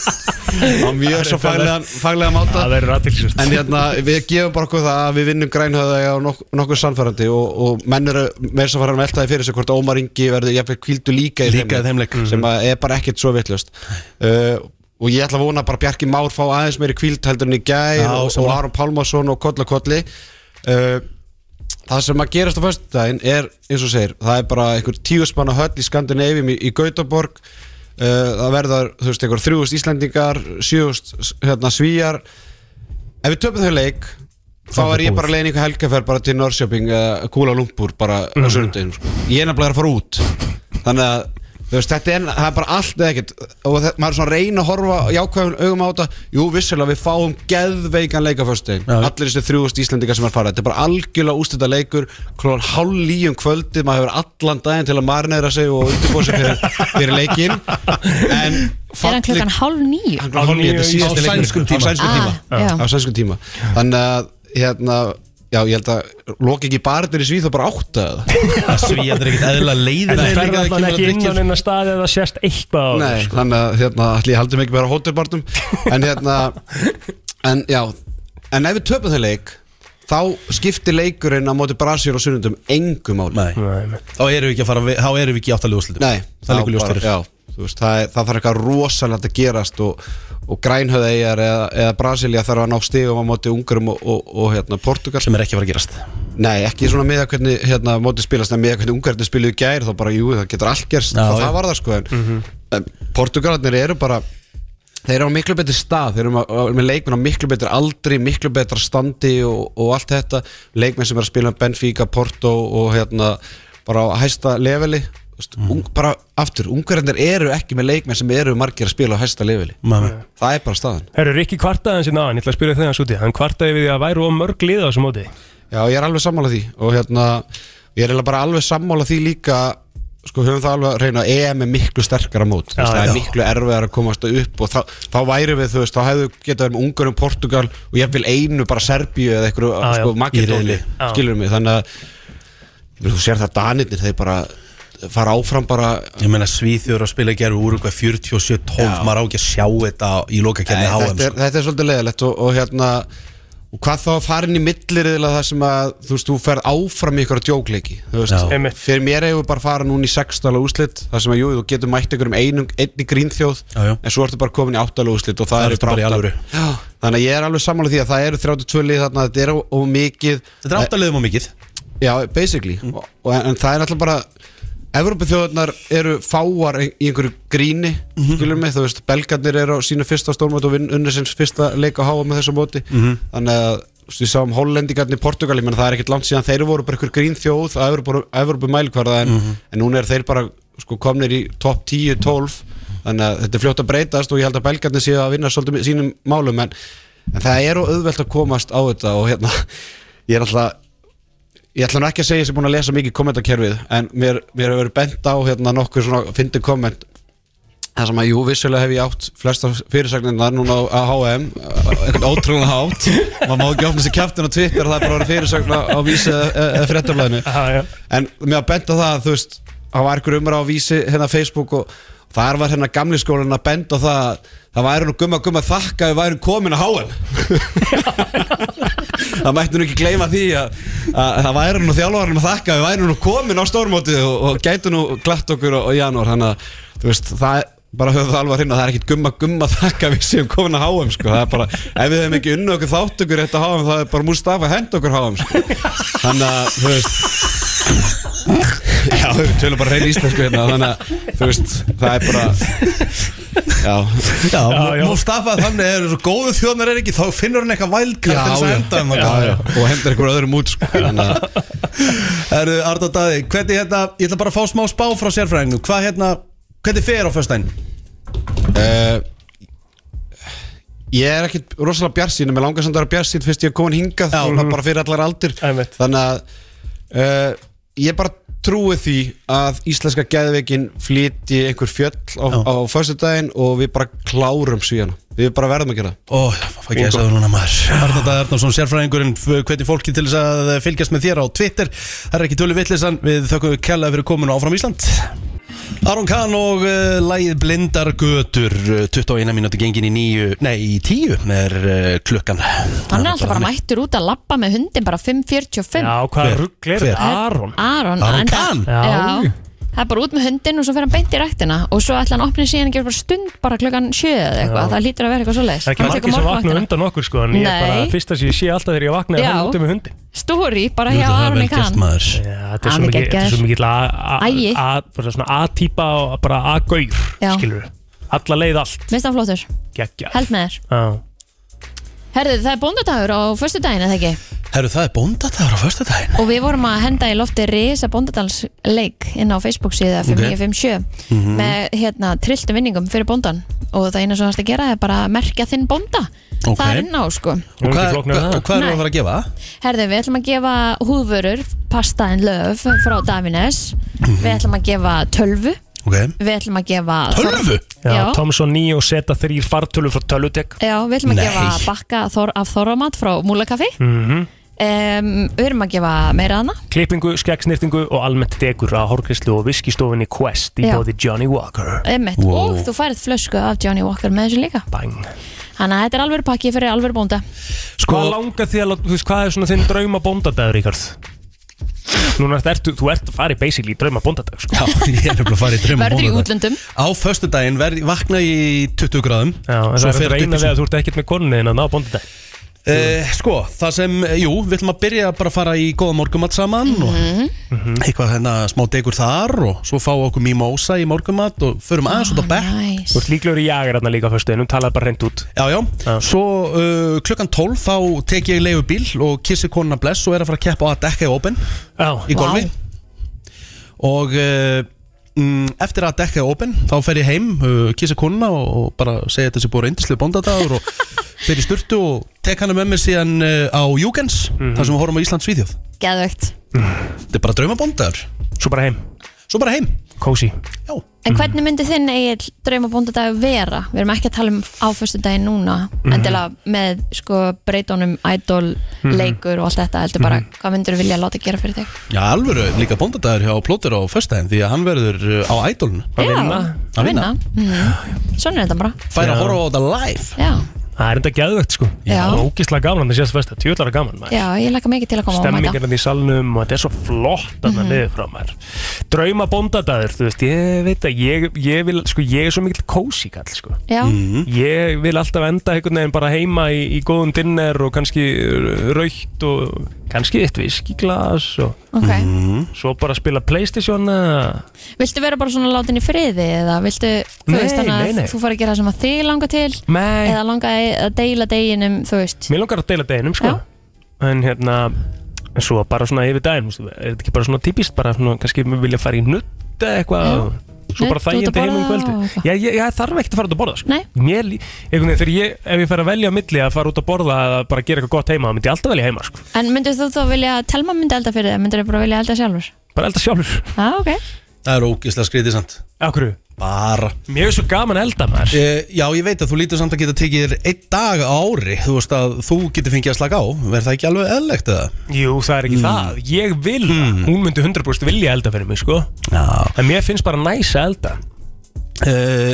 [SPEAKER 15] á mjög svo faglegan, faglegan máta
[SPEAKER 1] Það verður aðtilsvært
[SPEAKER 15] En hérna, við gefum bara okkur það að við vinnum grænhöða á nok nokkuð sannfærandi og, og menn eru með þess að fara að velta því fyrir sig hvort Ómar Ingi verður jafnveg kvíldu líka í
[SPEAKER 4] Líka í þeim leik.
[SPEAKER 15] sem að er bara ekkert svo vittlust uh, og ég ætla að vona bara að Bjarki Már fá aðeins meiri kvíld heldur en í gær
[SPEAKER 4] Já,
[SPEAKER 15] og, og
[SPEAKER 4] sammála.
[SPEAKER 15] Aron Pálmarsson og Kolla Kolli uh, það sem að gerast á föstudaginn er, eins og segir, það er bara einhver tíusmanna höll í Skandinavíum í, í Gautaborg uh, það verða, þú veist, einhver þrjúust Íslendingar, sjöust hérna, svíjar ef við töpum þau leik þá
[SPEAKER 4] Það er
[SPEAKER 15] er ég
[SPEAKER 4] búið.
[SPEAKER 15] bara leiðin einhver helgaferð bara til Norrköping eða Kúla Lumpur bara á
[SPEAKER 4] Mhm.
[SPEAKER 15] söndaginum sko. ég er nefnilega að fara út þannig að þú veist, þetta er, það er bara allt eða ekkert og það, maður er svona að reyna að horfa jákvæðum augum á þetta jú, vissulega við fáum geðveikan leika föstudaginn, allir þessi þrjúust Íslendingar sem er farið, þetta er bara algjörlega ústæta leikur klóðan hálf líum kvöldið maður hefur allan daginn til að marnera sig og undirbúa sig fyrir, fyrir leikin en
[SPEAKER 5] Er hann klukkan hálf nýju?
[SPEAKER 15] Á
[SPEAKER 5] níu
[SPEAKER 15] þetta er
[SPEAKER 5] í-
[SPEAKER 15] síðasti
[SPEAKER 5] á
[SPEAKER 15] leikurinn.
[SPEAKER 5] sænskum tíma.
[SPEAKER 15] Á sænskum tíma,
[SPEAKER 5] Ah, já.
[SPEAKER 15] á sænskum tíma. Þannig að hérna, já, ég held að loki ekki barnir í svíð og bara átta það
[SPEAKER 4] Svíarnir er ekkert eðlilega leiðir
[SPEAKER 1] En það fer alltaf ekki inn á neina staði eða sérst eitthvað á
[SPEAKER 15] Nei,
[SPEAKER 1] þér, sko.
[SPEAKER 15] þannig að hérna, allir haldum ekki bara hótelbarnum en hérna en já, en ef við töpum þau leik þá skiptir leikurinn á móti Brasíl og sunnundum engum máli
[SPEAKER 4] Nei. Þá erum við ekki að fara, við- þá erum við ekki átt að ljóðslitum
[SPEAKER 15] Nei,
[SPEAKER 4] Það liggur ljóst
[SPEAKER 15] bara-
[SPEAKER 4] fyrir.
[SPEAKER 15] já, þú veist, það, er- það þarf eitthvað rosalegt að gerast og, og grænhöðeigjar eða, eða Brasilia þarf að ná stigum á móti ungurum og, og, og hérna, Portugal
[SPEAKER 4] sem er ekki að fara að gerast
[SPEAKER 15] Nei, ekki svona með að hvernig hérna, móti spilast en með að hvernig ungarnir spiluðu í gær þá bara, jú, það getur allt gerst
[SPEAKER 4] Já,
[SPEAKER 15] og
[SPEAKER 4] já.
[SPEAKER 15] það var það sko en Portugalarnir eru bara þeir eru á miklu betri stað þeir eru ma- á- með leikmenn á miklu betri aldri miklu betra standi og, og allt þetta leikmenn sem er að spila með Benfica, Porto og hérna bara á hæsta leveli Þú veist,
[SPEAKER 4] Mhm.
[SPEAKER 15] ung, bara aftur, ungarnir eru ekki með leikmenn sem eru margir að spila á hæsta leveli
[SPEAKER 4] Nei.
[SPEAKER 15] það er bara staðan
[SPEAKER 1] Herru, Rikki kvartaði hans í náðan, ég ætla að spyrja þegar hans úti Hann kvartaði við því að væru of mörg lið á þessu móti
[SPEAKER 15] Já, ég er alveg sammála því og hérna, ég er eiginlega bara alveg sammála því líka sko, höfum það alveg að reyna EM er miklu sterkara mót já,
[SPEAKER 1] Já,
[SPEAKER 15] það
[SPEAKER 1] já.
[SPEAKER 15] er miklu erfiðar að komast upp og þá, þá væri við, þú veist, þá hefðu getað verið með ungarum Portugal og ég vil einu bara Serbíu eða einhverju,
[SPEAKER 1] Já, já.
[SPEAKER 15] sko, Makedóni
[SPEAKER 1] Í riðli. Já.
[SPEAKER 15] skilur mig, þannig að ég meina, þú sér það Danirnir, þeir bara fara áfram bara
[SPEAKER 4] Ég meina Svíþjóður að spila gerfi úr eitthvað 47-12
[SPEAKER 15] Já.
[SPEAKER 4] Maður á ekki að sjá þetta í
[SPEAKER 15] Nei,
[SPEAKER 4] lokakerni HM
[SPEAKER 15] þetta, er,
[SPEAKER 4] sko.
[SPEAKER 15] þetta er svolítið leðilegt og, og hérna og hvað þá að fara inn í milliriðla það sem að þú veist, þú ferð áfram í ykkur djókleiki þú
[SPEAKER 4] Já.
[SPEAKER 15] veist, fyrir mér hefur bara fara núna í sextala úslit, það sem að jú, þú getur mætt ykkur um einung, einni grínþjóð
[SPEAKER 4] Já, já.
[SPEAKER 15] en svo ertu bara komin í áttala úslit og það,
[SPEAKER 4] Það
[SPEAKER 15] eru
[SPEAKER 4] ertu bara í
[SPEAKER 15] átta-
[SPEAKER 4] alvöru.
[SPEAKER 15] Já, þannig að ég er alveg sammála því að það eru 32 lið þarna, þetta er of mikið Eh,
[SPEAKER 4] Þetta er áttalegum og mikið Mhm.
[SPEAKER 15] Já, basically og, og, en, en það er alltaf bara Evropaþjóðarnar eru fáar í í einhverju gríni mm
[SPEAKER 4] Mhm.
[SPEAKER 15] mig, þú veist, belgarnir eru á sínu fyrsta stórmót og vinn unnur sinns fyrsta leik á háa með þessu móti
[SPEAKER 4] Mhm.
[SPEAKER 15] þannig að þú veist, við sáum hollendingarnir í Portugal, ég menn það er ekkert langt síðan þeir voru bara einhver grín þjóð að Evropa mælkvarða en,
[SPEAKER 4] Mhm.
[SPEAKER 15] en núna er þeir bara sko, komnir í topp 10-12 þannig að þetta er fljótt að breytast og ég held að belgarnir séu að vinna svolítið með sínum málum en, en það er auðvelt að komast á þetta og hérna, ég er alltaf Ég ætla nú ekki að segja sem búin að lesa mikið kommentakerfið en mér, mér hefur verið bent á hérna nokkur svona fyndið komment þar sem að jú, vissulega hef ég átt flesta fyrirsagnirnar núna á á HM eitthvað ótrúlega hátt maður má ekki opna sér kæftin á Twitter það er bara að vera fyrirsagna á vísi eða- eða fréttablaðinu en mér að benda á það að þú veist það var einhver umra á vísi hérna Facebook og þar var hérna gamli skólan að benda á það að það væri nú gumma gumma þakka að við værum komin á HM það mætti nú ekki gleyma því að, að það væri nú þjálfarnum að þakka að við væri nú komin á stórmótið og, og gætu nú glatt okkur á, á janúar þannig að þú veist það er bara höfðu það alveg að hrinna, það er ekkit gumma gumma þakka að við séum komin að háum sko. það er bara, ef við hefum ekki unnu okkur þátt okkur þetta háum, það er bara Mustafa að henda okkur háum sko. þannig að, þú veist já, við tölum bara reyna íslensku hérna þannig að, þú veist, það er bara já,
[SPEAKER 4] Já, Mustafa þannig er svo góðu þjóðnar er ekki Þá finnur hann eitthvað
[SPEAKER 15] Já,
[SPEAKER 4] vælkart til þess að
[SPEAKER 15] já.
[SPEAKER 4] enda um
[SPEAKER 15] Já, já. og hendur einhver öðrum út sko. þannig að
[SPEAKER 4] Herru, Arda Daði, hvernig hérna Ég ætla bara að fá smá spá frá sérfræðingum Hvað hérna, hvernig fer á föstæn?
[SPEAKER 15] Uh, ég er ekkit rosalega bjarsýn en mér langar samt að vera bjarsýn fyrst ég er komin hingað Já, bara fyrir allar aldur Æmitt. þannig að uh, ég bara trúi því að íslenska geðveikin flytji einhver fjöll á, á föstudaginn og við bara klárum svíjana Við bara verðum að gera það
[SPEAKER 4] Ó, ég fæ ekki að segja núna maður Arnald Arnarsson, sérfræðingurinn, f- hvernig fólki til þess að fylgjast með þér á Twitter Það er ekki tölu vittlisann, við þökkum við kella fyrir komin á áfram Ísland Aron Kahn og uh, lægið Blindar Götur uh, 21 mínúti gengin í nýju, nei í tíu er uh, klukkan
[SPEAKER 5] Hann er alltaf bara mættur út að labba með hundin bara 5.45
[SPEAKER 4] Já, hvaða Hver? rugl er Hver? þetta? Aron?
[SPEAKER 5] Aron,
[SPEAKER 4] Aron
[SPEAKER 5] enda-
[SPEAKER 4] Kahn?
[SPEAKER 5] Já Það er bara út með hundin og svo fer hann beint í ræktina og svo ætla hann að opna síðan að gera bara stund bara klukkan 7 eða eitthvað,
[SPEAKER 1] Já.
[SPEAKER 5] það lítur að vera eitthvað svoleiðis
[SPEAKER 1] Það er ekki
[SPEAKER 5] Hann
[SPEAKER 1] margir
[SPEAKER 5] tekur
[SPEAKER 1] sem vakna
[SPEAKER 5] morgunvaktina.
[SPEAKER 1] undan okkur sko En ég er
[SPEAKER 5] Nei.
[SPEAKER 1] bara fyrsta sem ég sé alltaf þegar ég vakna Er
[SPEAKER 5] Já.
[SPEAKER 1] hann úti með hundi
[SPEAKER 5] Story bara hjá Aroni Kahn
[SPEAKER 1] Já, Þetta er
[SPEAKER 5] Hann
[SPEAKER 1] svo mikið- þetta
[SPEAKER 5] er
[SPEAKER 1] er
[SPEAKER 5] geggjaður.
[SPEAKER 1] svo mikill
[SPEAKER 5] Æi.
[SPEAKER 1] A-típa og bara A-gaur
[SPEAKER 5] Já.
[SPEAKER 1] Skilur Alla leið allt
[SPEAKER 5] Mist hann flottur,
[SPEAKER 1] Gekkja
[SPEAKER 5] held með þér
[SPEAKER 1] Herru,
[SPEAKER 5] Herðu, það er bóndadagur á förstu daginn eða ekki
[SPEAKER 4] það er bóndadagur á förstu daginn
[SPEAKER 5] og við vorum að henda í lofti Risa bóndadalsleik inn á Facebook síða 5957
[SPEAKER 4] Mhm.
[SPEAKER 5] með hérna trilltum vinningum fyrir bóndan og það eina sem þú þarfst að gera er bara að merkja þinn bónda
[SPEAKER 4] Ok.
[SPEAKER 5] það er inn á sko
[SPEAKER 4] Og hvað, hvað, og hvað erum við
[SPEAKER 5] Nei.
[SPEAKER 4] að fara að gefa?
[SPEAKER 5] Herði, við ætlum að gefa húðvörur Pasta and Love frá Davines
[SPEAKER 4] Mhm.
[SPEAKER 5] Við ætlum að gefa tölvu
[SPEAKER 4] Ok
[SPEAKER 5] Við ætlum að gefa Já,
[SPEAKER 1] Já, Thomson 9 og seta þrýr fartölu frá tölutek
[SPEAKER 5] Já, við ætlum að
[SPEAKER 1] Nei.
[SPEAKER 5] gefa bakka þor, af Þorramat frá Múlakaffi mm.
[SPEAKER 1] Mhm.
[SPEAKER 5] Við erum að gefa meira hana
[SPEAKER 1] Klippingu, skeggsnýrtingu og almennt degur á Horkesslu og viskistofinni Quest í
[SPEAKER 5] Já.
[SPEAKER 1] bóði Johnny Walker
[SPEAKER 5] Einmitt. Og þú færið flösku af Johnny Walker með þessu líka
[SPEAKER 1] Bang
[SPEAKER 5] Þannig að þetta er alveg pakki fyrir alveg bónda
[SPEAKER 1] Sko, hvað langar því að, þú veist, hvað er svona þinn drauma bóndadagur, Ríkard? Núna ertu, þú ert að fara í basically drauma bóndadag, sko.
[SPEAKER 4] Já, ég er nefnilega að fara í drauma
[SPEAKER 5] Verður í
[SPEAKER 4] bóndadag.
[SPEAKER 5] útlöndum
[SPEAKER 4] Á förstu daginn verð, vakna ég í 20 gráðum Já,
[SPEAKER 1] En það er þetta eina við að þú ert ekkert með konunni en að ná bóndadag.
[SPEAKER 4] Uh, sko, það sem, eh, jú, við ætlum að byrja bara að fara í góða morgumat saman og eitthvað hérna smá degur þar og svo fá okkur mimosa í morgumat og förum aðeins út á bekk
[SPEAKER 5] nice.
[SPEAKER 1] Þú ert líklegur í jagar hérna líka á föstuðinu, talað bara hreint út.
[SPEAKER 4] Já, já, svo uh, klukkan 12 þá tek ég leigubíl og kissi konuna bless og er að fara að keppa á að dekka í open
[SPEAKER 1] já.
[SPEAKER 4] í golfi og uh, mm, eftir að dekka í open þá fer ég heim, uh, kissi konuna og, og bara segja þetta sé búið reyndislega bóndadagur og fer í sturtu og tek hana með mér síðan uh, á Júgens
[SPEAKER 1] Mhm.
[SPEAKER 4] þar sem við horfum á Íslands Svíðjóð
[SPEAKER 5] Geðvögt
[SPEAKER 4] Þetta er bara draumabóndagur
[SPEAKER 1] Svo bara heim
[SPEAKER 4] Svo bara heim
[SPEAKER 1] Kósi
[SPEAKER 5] En hvernig myndi þinn eigin draumabóndadag vera? Við erum ekki að tala um áfyrstu daginn núna
[SPEAKER 1] Mhm.
[SPEAKER 5] endilega með sko breytónum, idol,
[SPEAKER 4] Mhm.
[SPEAKER 5] leikur og allt þetta heldur bara hvað myndur vilja láta gera fyrir þig?
[SPEAKER 4] Já, alvöru líka bóndadagur hjá Plóter á föstæðin því að hann verður uh, á ædolun
[SPEAKER 5] Já,
[SPEAKER 4] Að vinna
[SPEAKER 5] Mhm. Svona er þetta bara
[SPEAKER 4] Fær að horfa á þetta live
[SPEAKER 5] Já,
[SPEAKER 1] Það er enda geðvögt, sko.
[SPEAKER 5] Já.
[SPEAKER 1] Og ógislega gaman, það séast fyrst að tjóðlara gaman, maður.
[SPEAKER 5] já, ég lakka mikið til að koma og mæta
[SPEAKER 1] Stemmingarna hérna í salnum og þetta er svo flott að það
[SPEAKER 5] Mhm.
[SPEAKER 1] niður frá maður. Drauma bóndadagur, þú veist, ég veit að ég, ég vil, sko, ég er svo mikill kósi kall, sko.
[SPEAKER 5] Já,
[SPEAKER 1] Ég vil alltaf enda einhvern veginn bara heima í, í góðum dinner og kannski uh, raukt og kannski eitt viskiglas og
[SPEAKER 5] ok
[SPEAKER 1] svo bara spila Playstation uh, eða-
[SPEAKER 5] Viltu vera bara svona látin í friði eða viltu, þú
[SPEAKER 1] Nei,
[SPEAKER 5] veist þannig
[SPEAKER 1] nei, nei.
[SPEAKER 5] að þú fara að gera það sem að þig langa til
[SPEAKER 1] Nei.
[SPEAKER 5] eða langa að deila deginum, þú veist
[SPEAKER 1] Mér langar að deila deginum sko En hérna en svo bara svona yfir daginn veistu, Er þetta ekki bara svona típist bara svona, kannski við vilja fara í nutt eða eitthvað og Svo
[SPEAKER 5] Nudd
[SPEAKER 1] bara
[SPEAKER 5] út að
[SPEAKER 1] þægjandi heim um
[SPEAKER 5] borða
[SPEAKER 1] kvöldi
[SPEAKER 5] og eitthvað.
[SPEAKER 1] Já, ég, ég þarf ekkert að fara út að borða sko.
[SPEAKER 5] Nei.
[SPEAKER 1] Mér, lí- einhvern veginn, þegar ég, ef ég fer að velja á milli að fara út að borða eða bara gera eitthvað gott heima, þá myndi ég alltaf velja heima sko.
[SPEAKER 5] En myndur þú þá vilja, Telma myndi elda fyrir þig, myndur þú bara vilja elda sjálfur?
[SPEAKER 1] Bara elda sjálfur
[SPEAKER 5] Já, ok
[SPEAKER 4] Það er ógislega skrítið samt
[SPEAKER 1] Akkur?
[SPEAKER 4] Bara Eh,
[SPEAKER 1] Mér er svo gaman að elda maður
[SPEAKER 4] Já, ég veit að þú lítur samt að geta tekið þér einn dag á ári Þú veist að þú getur fengið að slaka á Verð það ekki alveg eðlegt eða? Mm.
[SPEAKER 1] Jú, það er ekki það Ég vil það, hún myndi 100% vilja elda fyrir mig sko. En mér finnst bara næs að elda
[SPEAKER 4] uh,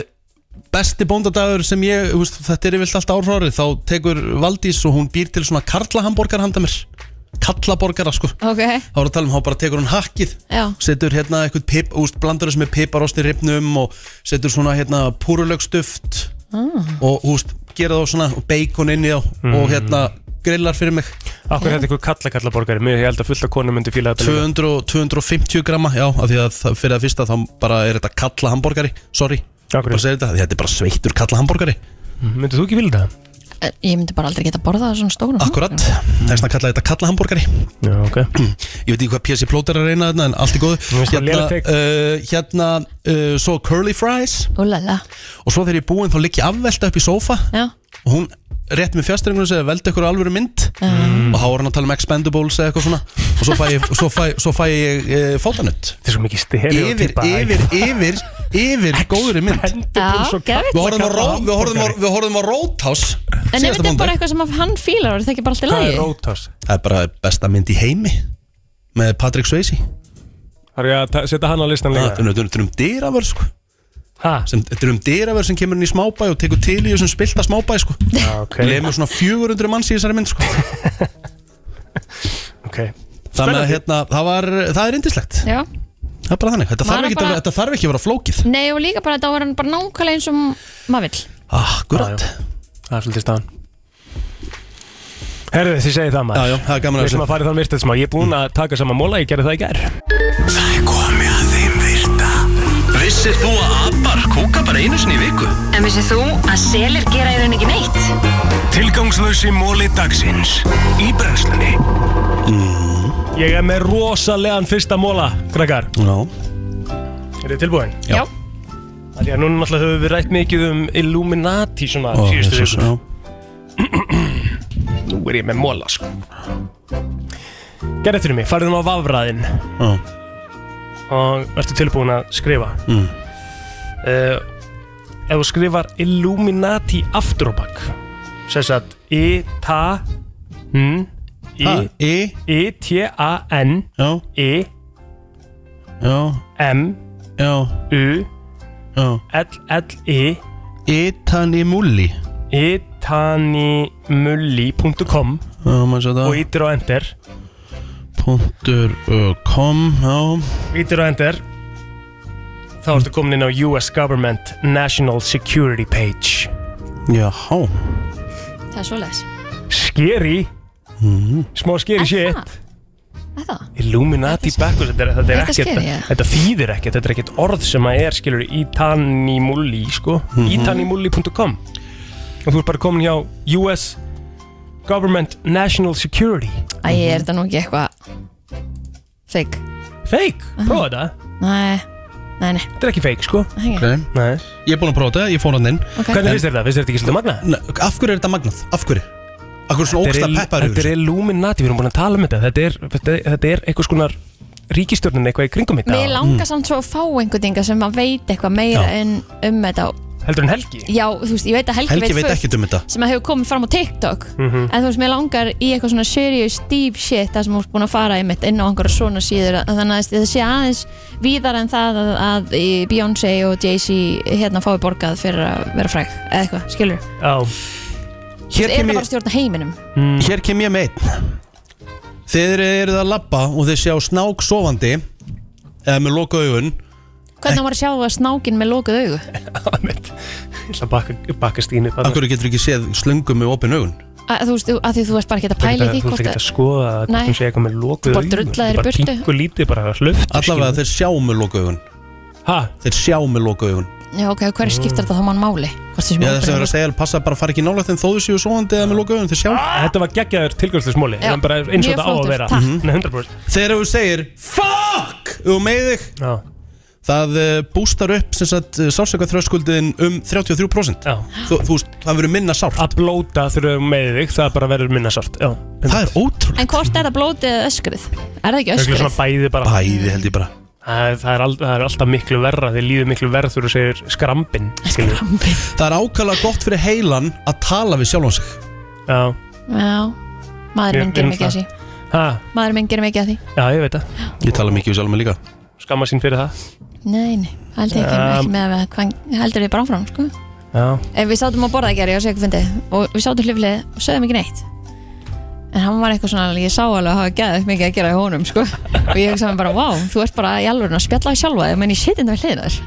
[SPEAKER 4] Besti bóndadagur sem ég, þú veist, þetta er yfirlt allt ár frá ári Þá tekur Valdís og hún býr til svona karlahamborgar handa mér Kallaborgara sko
[SPEAKER 5] Ok,
[SPEAKER 4] Þá voru að tala um, þá bara tekur hún hakkið
[SPEAKER 5] já
[SPEAKER 4] setur hérna eitthvað pip, úst, blandur þessu með piparost í ripnum og setur svona hérna púrulögstuft
[SPEAKER 5] Ah.
[SPEAKER 4] og úst, gera þá svona bacon inn í þá
[SPEAKER 1] Mhm.
[SPEAKER 4] og hérna grillar fyrir mig
[SPEAKER 1] Akkur Mm. er þetta eitthvað kallakallaborgari Mér held að fullt af konum myndi fíla þetta líka.
[SPEAKER 4] 200, og 250 gramma, já, af því að það- fyrir að fyrsta þá bara er þetta kalla hambúrgari, sorry bara segir þetta, þetta er bara sveittur kalla hambúrgari
[SPEAKER 1] Myndið Mhm. þú ekki vilja það?
[SPEAKER 5] Eh, Ég myndi bara aldrei geta borðað svona stórum
[SPEAKER 4] Akkurat, það er svona að kalla þetta kalla hambúrgari
[SPEAKER 1] Já, ok
[SPEAKER 4] Ég veit ekki hvað PSI plóter er að reyna þarna en allt í góðu
[SPEAKER 1] veist það,
[SPEAKER 4] Hérna,
[SPEAKER 1] lélegt teik.
[SPEAKER 4] uh, hérna uh, svo curly fries
[SPEAKER 5] Úlala
[SPEAKER 4] og svo þegar ég er búinn þá ligg ég afvelta upp í sófa
[SPEAKER 5] Já.
[SPEAKER 4] og hún rétt með fjastrengunum og segja veldu ykkur alvöru mynd og þá var hann að tala um expendables eða eitthvað svona og svo fæ ég, svo fæ, svo fæ ég e, fótanutt
[SPEAKER 1] þetta er svo mikið
[SPEAKER 4] yfir,
[SPEAKER 1] stereotypa,
[SPEAKER 4] yfir, yfir, yfir góðri mynd
[SPEAKER 5] Já,
[SPEAKER 4] við horfum á, ró, við horfum á,
[SPEAKER 5] geðvitt
[SPEAKER 4] við horfum á Roadhouse
[SPEAKER 5] En ef
[SPEAKER 4] síðasta
[SPEAKER 5] þetta er bara
[SPEAKER 4] mánudag.
[SPEAKER 5] eitthvað sem að hann fílar Það er ekki bara allt í lagi
[SPEAKER 1] Roadhouse?
[SPEAKER 4] það er bara besta mynd í heimi með Patrick Swayze
[SPEAKER 1] Þarf ég að ta- setja hann á listan líka?
[SPEAKER 4] Þetta er um- þetta er um dýravörð sko
[SPEAKER 1] Ha?
[SPEAKER 4] sem, Þetta er um dýravörð sem kemur inn í smábæ og tekur til í þessum spilta smábæ sko
[SPEAKER 1] Já, ok.
[SPEAKER 4] Lemur svona 400 manns í þessari mynd sko
[SPEAKER 1] Ok
[SPEAKER 4] Þannig að hérna, það, var, það er indislegt
[SPEAKER 5] Já.
[SPEAKER 4] Það er bara þannig, þetta
[SPEAKER 5] Maður
[SPEAKER 4] þarf,
[SPEAKER 5] er
[SPEAKER 4] ekki,
[SPEAKER 5] bara-
[SPEAKER 4] að, þetta þarf ekki að vera flókið
[SPEAKER 5] Nei og líka bara þetta var hann bara nákvæmlega eins og maður vill
[SPEAKER 4] Akkurat
[SPEAKER 1] Það er svolítið staðan Herðu þið segið það maður
[SPEAKER 4] Já, já, það er gaman að
[SPEAKER 1] Við sem að fara í þann virtið smá Ég er búinn að taka saman móla, ég gerði það í gær
[SPEAKER 2] Það er komið að þeim virta Vissir þú að abar kúka bara einu sinni í viku?
[SPEAKER 16] En vissið þú að selir gera í rauninni ekki neitt?
[SPEAKER 2] Tilgangslösi móli dagsins Í brennslunni
[SPEAKER 1] Mm. Ég er með rosalegan fyrsta móla, krakkar
[SPEAKER 4] Já
[SPEAKER 1] Er þið tilbúin?
[SPEAKER 4] Já
[SPEAKER 1] Það er núna náttúrulega höfum við rætt mikið um Illuminati svona
[SPEAKER 4] Ó,
[SPEAKER 1] síðustu
[SPEAKER 4] Jesus,
[SPEAKER 1] vikur Nú er ég með móla sko Gerðið fyrir mig, farið um á vafraðinn
[SPEAKER 4] Já.
[SPEAKER 1] Og ertu tilbúin að skrifa
[SPEAKER 4] Mm.
[SPEAKER 1] uh, Ef þú skrifar Illuminati aftur á bak Sess að I-ta-n
[SPEAKER 4] Ha, E? I-
[SPEAKER 1] E I-T-A-N E I-M-U-L-L-I
[SPEAKER 4] Itanimulli
[SPEAKER 1] Itanimulli.com
[SPEAKER 4] Já, maður svo það
[SPEAKER 1] og ítir á enter
[SPEAKER 4] Punktur uh, com Já,
[SPEAKER 1] ítir á enter þá ertu komin inn á US Government National Security Page
[SPEAKER 4] jáhá
[SPEAKER 5] Það er svo les
[SPEAKER 1] Skeri
[SPEAKER 4] mm.
[SPEAKER 1] smá skeri shit Illuminati backwards þetta, er- þetta, er
[SPEAKER 5] Þetta
[SPEAKER 1] ekkert,
[SPEAKER 5] skeri, já.
[SPEAKER 1] þetta þýðir ekkert þetta er ekkert orð sem að er skilur itanimulli sko
[SPEAKER 4] Mhm.
[SPEAKER 1] itanimulli.com og þú ert bara komin hjá US Government National Security
[SPEAKER 5] Æ, er þetta nú ekki eitthvað Feik
[SPEAKER 1] Feik? Prófa þetta
[SPEAKER 5] Nei, nei, nei
[SPEAKER 1] Þetta er ekki feik sko
[SPEAKER 5] Nei.
[SPEAKER 1] Nei.
[SPEAKER 4] Ég er búin að prófa þetta, ég fór hann inn
[SPEAKER 5] Ok. Hvernig finnst
[SPEAKER 1] þér það? Finnst þér þetta ekki svolítið magnað?
[SPEAKER 4] Af hverju er þetta magnað? Af hverju? Af hverju er svona
[SPEAKER 1] Þetta er
[SPEAKER 4] ógsta
[SPEAKER 1] il-
[SPEAKER 4] peppar
[SPEAKER 1] Þetta er Illuminati, við erum búin að tala um þetta Þetta er, þetta, þetta er einhvers konar ríkistjórnin eitthvað í kringum þetta
[SPEAKER 5] Mér
[SPEAKER 4] Mm.
[SPEAKER 5] langar samt svo að fá einhvern dinga sem að veit eitthvað meira
[SPEAKER 1] Já.
[SPEAKER 5] en um þetta og-
[SPEAKER 1] Heldur en Helgi?
[SPEAKER 5] Já, þú veist, ég veit að Helgi,
[SPEAKER 4] Helgi veit
[SPEAKER 5] fullt
[SPEAKER 4] ekkert um þetta.
[SPEAKER 5] sem að hefur komið fram á TikTok
[SPEAKER 4] Mhm.
[SPEAKER 5] en þú veist, mér langar í eitthvað svona serious deep shit það sem þú ert búin að fara einmitt inn á einhverja svona síður að- þannig að það sé aðeins víðar en það að, að í Beyoncé og Jay-Z hérna fái borgað fyrir að vera fræg eða eitthvað, skilur
[SPEAKER 1] Já
[SPEAKER 5] Hér er það bara að stjórna heiminum
[SPEAKER 4] mm. Hér kem ég með einn Þeir eruð að labba og þeir sjá snák sofandi eða með loka augun
[SPEAKER 5] Hvernig á maður að sjá að snákin með lokuð augu?
[SPEAKER 1] Ég ætla að bakka, bakka Stínu
[SPEAKER 4] Af hverju getur ekki séð slöngum með opin augun?
[SPEAKER 5] Að, þú veist, að því þú ert bara ekki að pæla í því
[SPEAKER 1] Þú ert
[SPEAKER 5] hvort
[SPEAKER 1] ekki að skoða að
[SPEAKER 5] Nei.
[SPEAKER 1] þú sé eitthvað með
[SPEAKER 5] Þú
[SPEAKER 1] lokuð
[SPEAKER 5] bara drullar þér í burtu.
[SPEAKER 1] Bara pingu lítið bara hlöft
[SPEAKER 4] Allavega þeir sjá með loka augun
[SPEAKER 1] Ha?
[SPEAKER 4] Þeir sjá með loka augun
[SPEAKER 5] Já, ok, hverju
[SPEAKER 1] Mm.
[SPEAKER 5] skiptir þetta þá mann máli? Hvort sem
[SPEAKER 4] Já,
[SPEAKER 5] er
[SPEAKER 4] þess að vera að segja, passa bara að fara ekki nálægt en þó þú séu sofandi eða með loka augun, þeir sjá
[SPEAKER 1] Þetta var geggjaður tilgjörslega smóli
[SPEAKER 5] Já.
[SPEAKER 1] En bara eins og
[SPEAKER 5] Mjög
[SPEAKER 1] þetta á að
[SPEAKER 5] flottur,
[SPEAKER 1] vera
[SPEAKER 5] takk.
[SPEAKER 1] Nei, 100%
[SPEAKER 4] Mhm. Þegar þú segir FUCK og með þig
[SPEAKER 1] Já.
[SPEAKER 4] Það uh, bústar upp sem sagt sálsöka þröskuldiðin um 33%
[SPEAKER 1] Já.
[SPEAKER 4] Þú, þú veist, það verður minna sárt
[SPEAKER 1] Að blóta þurfum með þig, það bara verður minna sárt Já,
[SPEAKER 4] Það er ótrúlega
[SPEAKER 5] En hvort er það blótið eða öskrið? Er það ekki
[SPEAKER 1] Öskri svona
[SPEAKER 5] öskrið?
[SPEAKER 1] bæði bara
[SPEAKER 4] Bæði held ég bara
[SPEAKER 1] Það er, það er, al, það er alltaf miklu verra Þið líður miklu verð þú segir skrambin Skrambin
[SPEAKER 4] Það er ákala gott fyrir heilan að tala við sjálfan sig
[SPEAKER 1] Já
[SPEAKER 5] Já, maður minn
[SPEAKER 1] Mér finnst
[SPEAKER 5] gerir mikið að því
[SPEAKER 1] það. Ha,
[SPEAKER 5] Maður minn gerir mikið að því
[SPEAKER 1] já, ég veit það
[SPEAKER 4] Ég tala mikið við sjálfan mig líka
[SPEAKER 1] Skamma sín fyrir það
[SPEAKER 5] Nei, nei, held
[SPEAKER 4] Um,
[SPEAKER 5] ég ekki,
[SPEAKER 1] Já.
[SPEAKER 5] ekki með að við- hvað heldur við bara áfram, sko
[SPEAKER 1] Já
[SPEAKER 5] Ef við sátum að borða að gera, ég á segjufundi og við sátum hliflið og sögðum ekki neitt En hann var eitthvað svona, ég sá alveg að hafa geðið mikið að gera í honum, sko Og ég hugsaði mér bara, vá, þú ert bara í alvörun að spjalla við sjálfa þig, menn ég sitjum við hliðin þar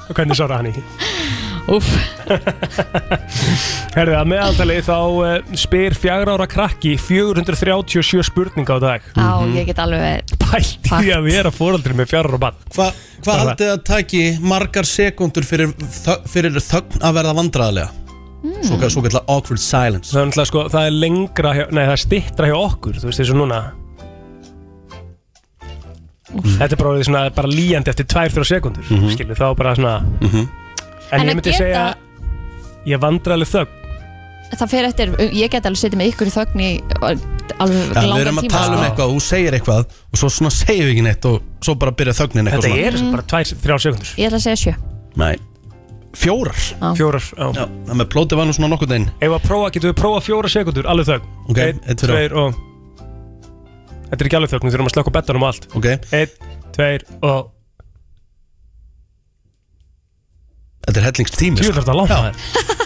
[SPEAKER 1] Og hvernig svarar hann í?
[SPEAKER 5] Úff
[SPEAKER 1] Herðu, að meðaltali þá uh, spyr fjagra ára krakki 437 spurninga á dag
[SPEAKER 5] Á, ég get alveg
[SPEAKER 1] Pælt Því að við erum fóraldri með fjagra ára bann
[SPEAKER 4] Hva, Hvað haldið þið að taki margar sekundur fyrir, þö- fyrir þögn að verða vandræðalega?
[SPEAKER 5] Hmm.
[SPEAKER 4] Svo, kall- svo kallar awkward silence
[SPEAKER 1] Það er náttúrulega sko, það er lengra hjá, Nei, það er stittra hjá okkur, þú veist þessu núna Þetta er bara, orðið svona, bara líjandi eftir 2-3 sekundur mm
[SPEAKER 4] Mhm.
[SPEAKER 1] Skilur, þá bara svona
[SPEAKER 4] mm -hmm.
[SPEAKER 1] En,
[SPEAKER 5] En
[SPEAKER 1] ég
[SPEAKER 5] að
[SPEAKER 1] myndi
[SPEAKER 5] geta-
[SPEAKER 1] segja Ég vandra alveg þögn
[SPEAKER 5] Það fer eftir, ég get alveg setið með ykkur í þögn í alveg
[SPEAKER 4] Já, við
[SPEAKER 5] langan
[SPEAKER 4] erum að
[SPEAKER 5] tíma
[SPEAKER 4] tala um
[SPEAKER 5] sko.
[SPEAKER 4] eitthvað og þú segir eitthvað og svo svona segir við ekki neitt og svo bara byrja þögnin eitthvað
[SPEAKER 1] Þetta
[SPEAKER 4] svona.
[SPEAKER 1] er bara tvær, þrjár sekundur
[SPEAKER 5] Ég ætla að segja sjö
[SPEAKER 4] Nei, fjórar
[SPEAKER 1] Fjórar, já,
[SPEAKER 4] já Það með plóti var nú svona nokkur deginn
[SPEAKER 1] Ef að prófa, getum við prófa fjóra sekundur, alveg þögn
[SPEAKER 4] Ok, einn,
[SPEAKER 1] Einn,
[SPEAKER 4] tveir og-
[SPEAKER 1] tveir og Þetta er ekki alveg þögn, við þurfum að slökka betanum og allt
[SPEAKER 4] Ok
[SPEAKER 1] Einn, tveir og
[SPEAKER 4] Þetta er hellingstími sko.
[SPEAKER 1] Jú, þetta er langt maður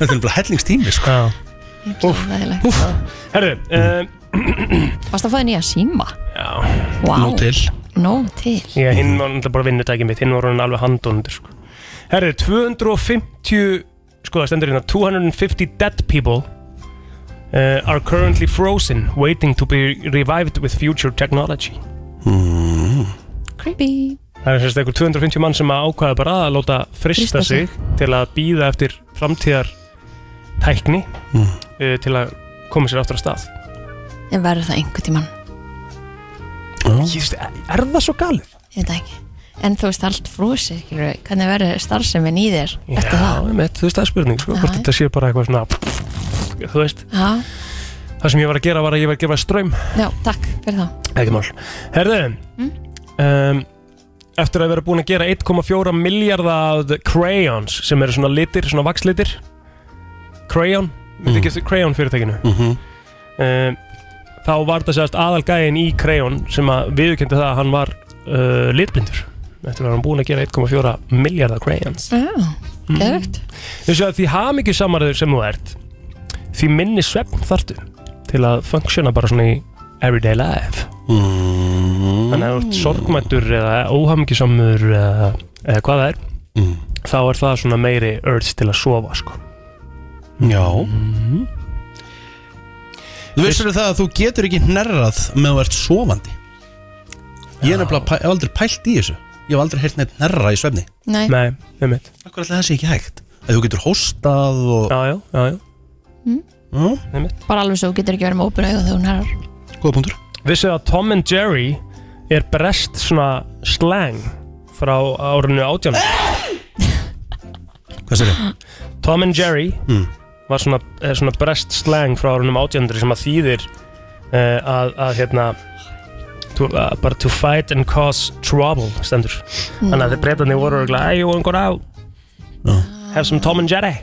[SPEAKER 4] Þetta er bara hellingstími sko.
[SPEAKER 5] Úf,
[SPEAKER 1] Herðu, um,
[SPEAKER 5] Varst að fá þér nýja síma?
[SPEAKER 1] já
[SPEAKER 5] Vá. Nóg til. Nó til
[SPEAKER 1] Já, hinn var náttúrulega bara vinnutækið mitt, hinn var hann alveg handónundur sko. Herri, 250 sko það stendur hérna 250 dead people uh, are currently frozen waiting to be revived with future technology
[SPEAKER 4] mm.
[SPEAKER 5] Creepy
[SPEAKER 1] Það er sérst einhver 250 mann sem að ákvaða bara að láta frista
[SPEAKER 5] Frysta sig.
[SPEAKER 1] sig til að býða eftir framtíðar tækni
[SPEAKER 4] Mm.
[SPEAKER 1] uh, til að koma sér aftur að stað
[SPEAKER 5] En verður það einhvern tímann
[SPEAKER 1] Just, Er það svo galið?
[SPEAKER 5] Ég veit það ekki En þú veist allt frósið, skilur Hvernig verður starfsemin í þér eftir það?
[SPEAKER 1] Með, þú veist það er spurning sko, hvort þetta sé bara eitthvað svona þú veist
[SPEAKER 5] Já,
[SPEAKER 1] það sem ég var að gera var að ég var að gefa ströym
[SPEAKER 5] já, takk fyrir það
[SPEAKER 1] Ekki mál Herðu um, Eftir að vera búin að gera 1,4 miljardar crayons sem eru svona litir, svona vaxlitir Crayon Myndi ekki eftir crayon fyrirtækinu
[SPEAKER 4] Mhm.
[SPEAKER 1] um, Þá var þetta sérst aðalgæðin í crayon sem að viðurkendi það að hann var uh, litblindur Eftir að vera búin að gera 1,4 miljardar crayons
[SPEAKER 5] Já,
[SPEAKER 4] Mm.
[SPEAKER 5] geðvögt
[SPEAKER 1] Þú séu að því hamingju samarður sem þú ert Því minni svefn þartu Til að funksjona bara svona í Everyday life
[SPEAKER 4] mm.
[SPEAKER 1] Þannig að þú ert sorgmættur Eða óhamingjusamur eða, eða hvað það er
[SPEAKER 4] Mm.
[SPEAKER 1] Þá er það svona meiri urge til að sofa sko.
[SPEAKER 4] Já
[SPEAKER 1] Mhm.
[SPEAKER 4] Þú vissur það að þú getur ekki hnerrað með þú ert sofandi Ég er nefnilega pæ- hef aldrei pælt í þessu Ég hef aldrei heyrt neitt hnerra í svefni
[SPEAKER 5] Nei.
[SPEAKER 1] Nei, með mitt
[SPEAKER 4] Akkur alltaf það sé ekki hægt Að þú getur hóstað og
[SPEAKER 1] Já, já, já, já.
[SPEAKER 4] Mm.
[SPEAKER 5] Bara alveg svo þú getur ekki verið með ópun auðvitað þegar hún herrar
[SPEAKER 4] Góða punktur
[SPEAKER 1] Vissu að Tom and Jerry Er brest svona slang Frá árinu átján
[SPEAKER 4] Hvað sér ég?
[SPEAKER 1] Tom and Jerry
[SPEAKER 4] Mm.
[SPEAKER 1] var svona, er svona brest slang frá árunum 1800 sem að þýðir uh, að, að hérna to, uh, bara to fight and cause trouble stendur
[SPEAKER 5] Mm.
[SPEAKER 1] þannig að þeir breytandi voru örugglega, hey you wanna go out have some Tom and Jerry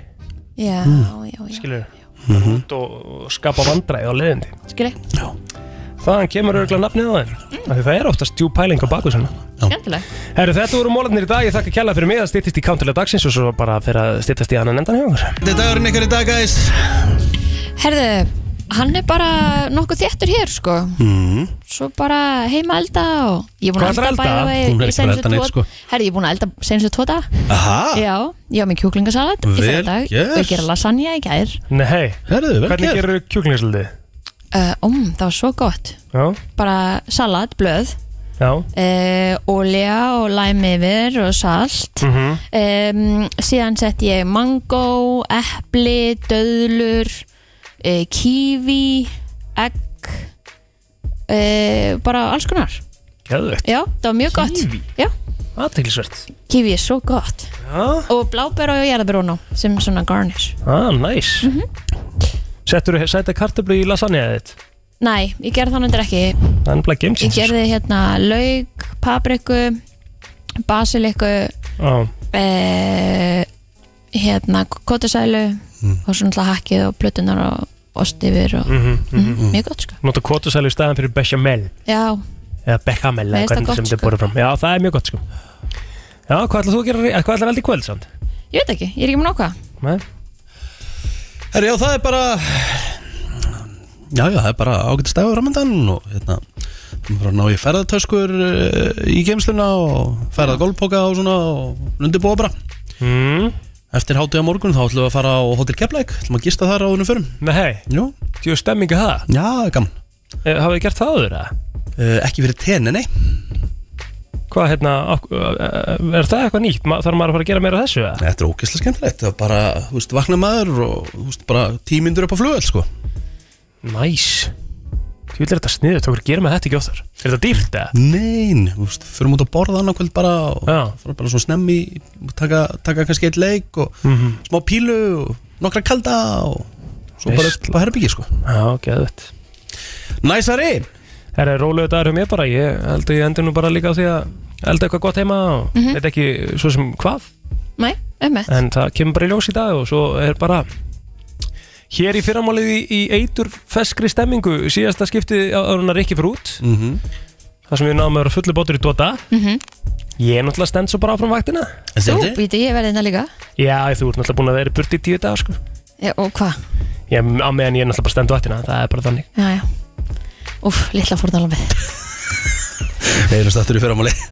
[SPEAKER 5] Já, já, já
[SPEAKER 1] skilur
[SPEAKER 4] Mhm.
[SPEAKER 1] út og, og skapa vandræði á leiðindi
[SPEAKER 5] Skilur,
[SPEAKER 1] þaðan kemur örgulega nafnið á þeim
[SPEAKER 5] Mm.
[SPEAKER 1] af því það er oftast djú pæling á baku svona
[SPEAKER 5] skemmtileg
[SPEAKER 1] Herru, þetta voru mólarnir í dag, ég þakka kjalla fyrir mig að styttist í kántilega dagsins og svo bara fyrir að styttast í annan endan hjá okkur
[SPEAKER 4] Þetta er dagurinn ykkur í dag, guys
[SPEAKER 5] Herðu, hann er bara nokkuð þéttur hér, sko
[SPEAKER 4] mm.
[SPEAKER 5] Svo bara heima elda og Ég er búin
[SPEAKER 4] Hvað
[SPEAKER 5] að
[SPEAKER 4] ætlarðu
[SPEAKER 5] elda
[SPEAKER 4] að elda?
[SPEAKER 5] bæða
[SPEAKER 4] Hún er ekki bara að elda neitt, sko.
[SPEAKER 5] Herðu, ég er búin að elda senstu tvo dag
[SPEAKER 4] Aha,
[SPEAKER 5] Já, ég á mig kjúklingasalat í
[SPEAKER 1] Vel
[SPEAKER 5] fyrradag
[SPEAKER 1] gert.
[SPEAKER 5] Ég gera lasagna í gær
[SPEAKER 1] Nei,
[SPEAKER 4] Herðu, vel
[SPEAKER 1] hvernig
[SPEAKER 4] gert.
[SPEAKER 1] gerur kjúklingarsöldi?
[SPEAKER 5] uh, Om, það var svo gott
[SPEAKER 1] Já,
[SPEAKER 5] Bara salat, blöð
[SPEAKER 1] já
[SPEAKER 5] uh, Olja og læmi yfir og salt
[SPEAKER 1] mm
[SPEAKER 5] um, Síðan sett ég mango, epli, döðlur uh, Kiwi, egg uh, Bara alls konar
[SPEAKER 1] Gæðvegt
[SPEAKER 5] Já, það var mjög gott
[SPEAKER 1] Kiwi?
[SPEAKER 5] Já,
[SPEAKER 1] Aðteglisvert
[SPEAKER 5] kiwi er svo gott
[SPEAKER 1] Já
[SPEAKER 5] Og bláber og jarðabrónu sem svona garnish
[SPEAKER 1] Ah, nice mm
[SPEAKER 5] Mhm.
[SPEAKER 1] -hmm. Settur þú sæta kartablu í lasagna þitt?
[SPEAKER 5] Nei, ég gerði þannig ekki
[SPEAKER 1] Það er nefnilega
[SPEAKER 5] Ég
[SPEAKER 1] gamesins
[SPEAKER 5] gerði hérna lauk, papriku, basiliku,
[SPEAKER 1] Já,
[SPEAKER 5] eh, hérna kótasælu og svona alltaf hakkið og plötunar og ost yfir og
[SPEAKER 1] Mhm, mhm.
[SPEAKER 5] Mhm, mjög gott sko.
[SPEAKER 1] nota kvotusælu í staðan fyrir bechamel
[SPEAKER 5] Já,
[SPEAKER 1] Eða bechamel,
[SPEAKER 5] Mér
[SPEAKER 1] eða
[SPEAKER 5] finnst það
[SPEAKER 1] hvernig sem
[SPEAKER 5] gott,
[SPEAKER 1] þetta er
[SPEAKER 5] sko.
[SPEAKER 1] borðið fram Já, það er mjög gott sko Já, hvað ætlar þú að gera, eh, hvað ætlar veldi í kvöld samt?
[SPEAKER 5] ég veit ekki, ég er ekki með nokka
[SPEAKER 1] Nei
[SPEAKER 4] Herri, já, það er bara Já, já, það er bara ágætt stæðu ramandan og hérna við erum bara að ná í ferðartöskur uh, í geimsluna og ferðar golfpoka og svona og undirbúa bara
[SPEAKER 1] mm.
[SPEAKER 4] Eftir hátíða morgun þá ætlum við að fara á Hotel Keflæk ætlum að gista þar á húnum förum
[SPEAKER 1] Nei,
[SPEAKER 4] Jú,
[SPEAKER 1] djú stemmingi það
[SPEAKER 4] já, það er gaman
[SPEAKER 1] e, Hafið þið gert það áður það?
[SPEAKER 4] uh, Ekki fyrir tenni, nei
[SPEAKER 1] Hvað hérna, af- eh, er það eitthvað nýtt? Ma- Þarf maður að fara að gera meira af þessu? eða?
[SPEAKER 4] Þetta er ógeðslega skemmtilegt það er bara, þú veist, vakna maður og þú veist, bara tímindur upp á flugöld, sko
[SPEAKER 1] Næs Þú vil er þetta sniðið, tókur gera með þetta ekki oftar Er þetta dýrt eða?
[SPEAKER 4] Nein, þú veist, förum út að borða annarkvöld bara og
[SPEAKER 1] Já.
[SPEAKER 4] fara bara svona snemmi taka, taka kannski eitt leik og
[SPEAKER 1] Mhm.
[SPEAKER 4] smá pílu og nokkra kalda og svo bara upp á herbyggi sko
[SPEAKER 1] Já, geðvett
[SPEAKER 4] Næsari
[SPEAKER 1] Herra, rólegur dagur hjá mér bara Ég held að ég endur nú bara líka á því að elda eitthvað gott heima og
[SPEAKER 5] Mhm.
[SPEAKER 1] veit ekki svo sem hvað
[SPEAKER 5] Nei, um
[SPEAKER 1] en það kemur bara í ljós í dag og svo er bara hér í fyrramálið í, í eitur feskri stemmingu síðasta skiptið á árunar ekki fyrir út
[SPEAKER 4] mm -hmm.
[SPEAKER 1] þar sem við náum að vera fullu bótur í tóta
[SPEAKER 5] Mhm.
[SPEAKER 1] ég er náttúrulega stend svo bara áfram vaktina
[SPEAKER 5] Þú býti, ég verði hérna líka
[SPEAKER 1] Já, þú ert náttúrulega búin að vera í burti í tíu dag sko.
[SPEAKER 5] Já, Og hvað?
[SPEAKER 1] ég, á meðan ég er náttúrulega bara stend vaktina það er bara þannig
[SPEAKER 5] Já, já Úf, litla fórnalambið
[SPEAKER 4] Við erum stættur í fyrramáli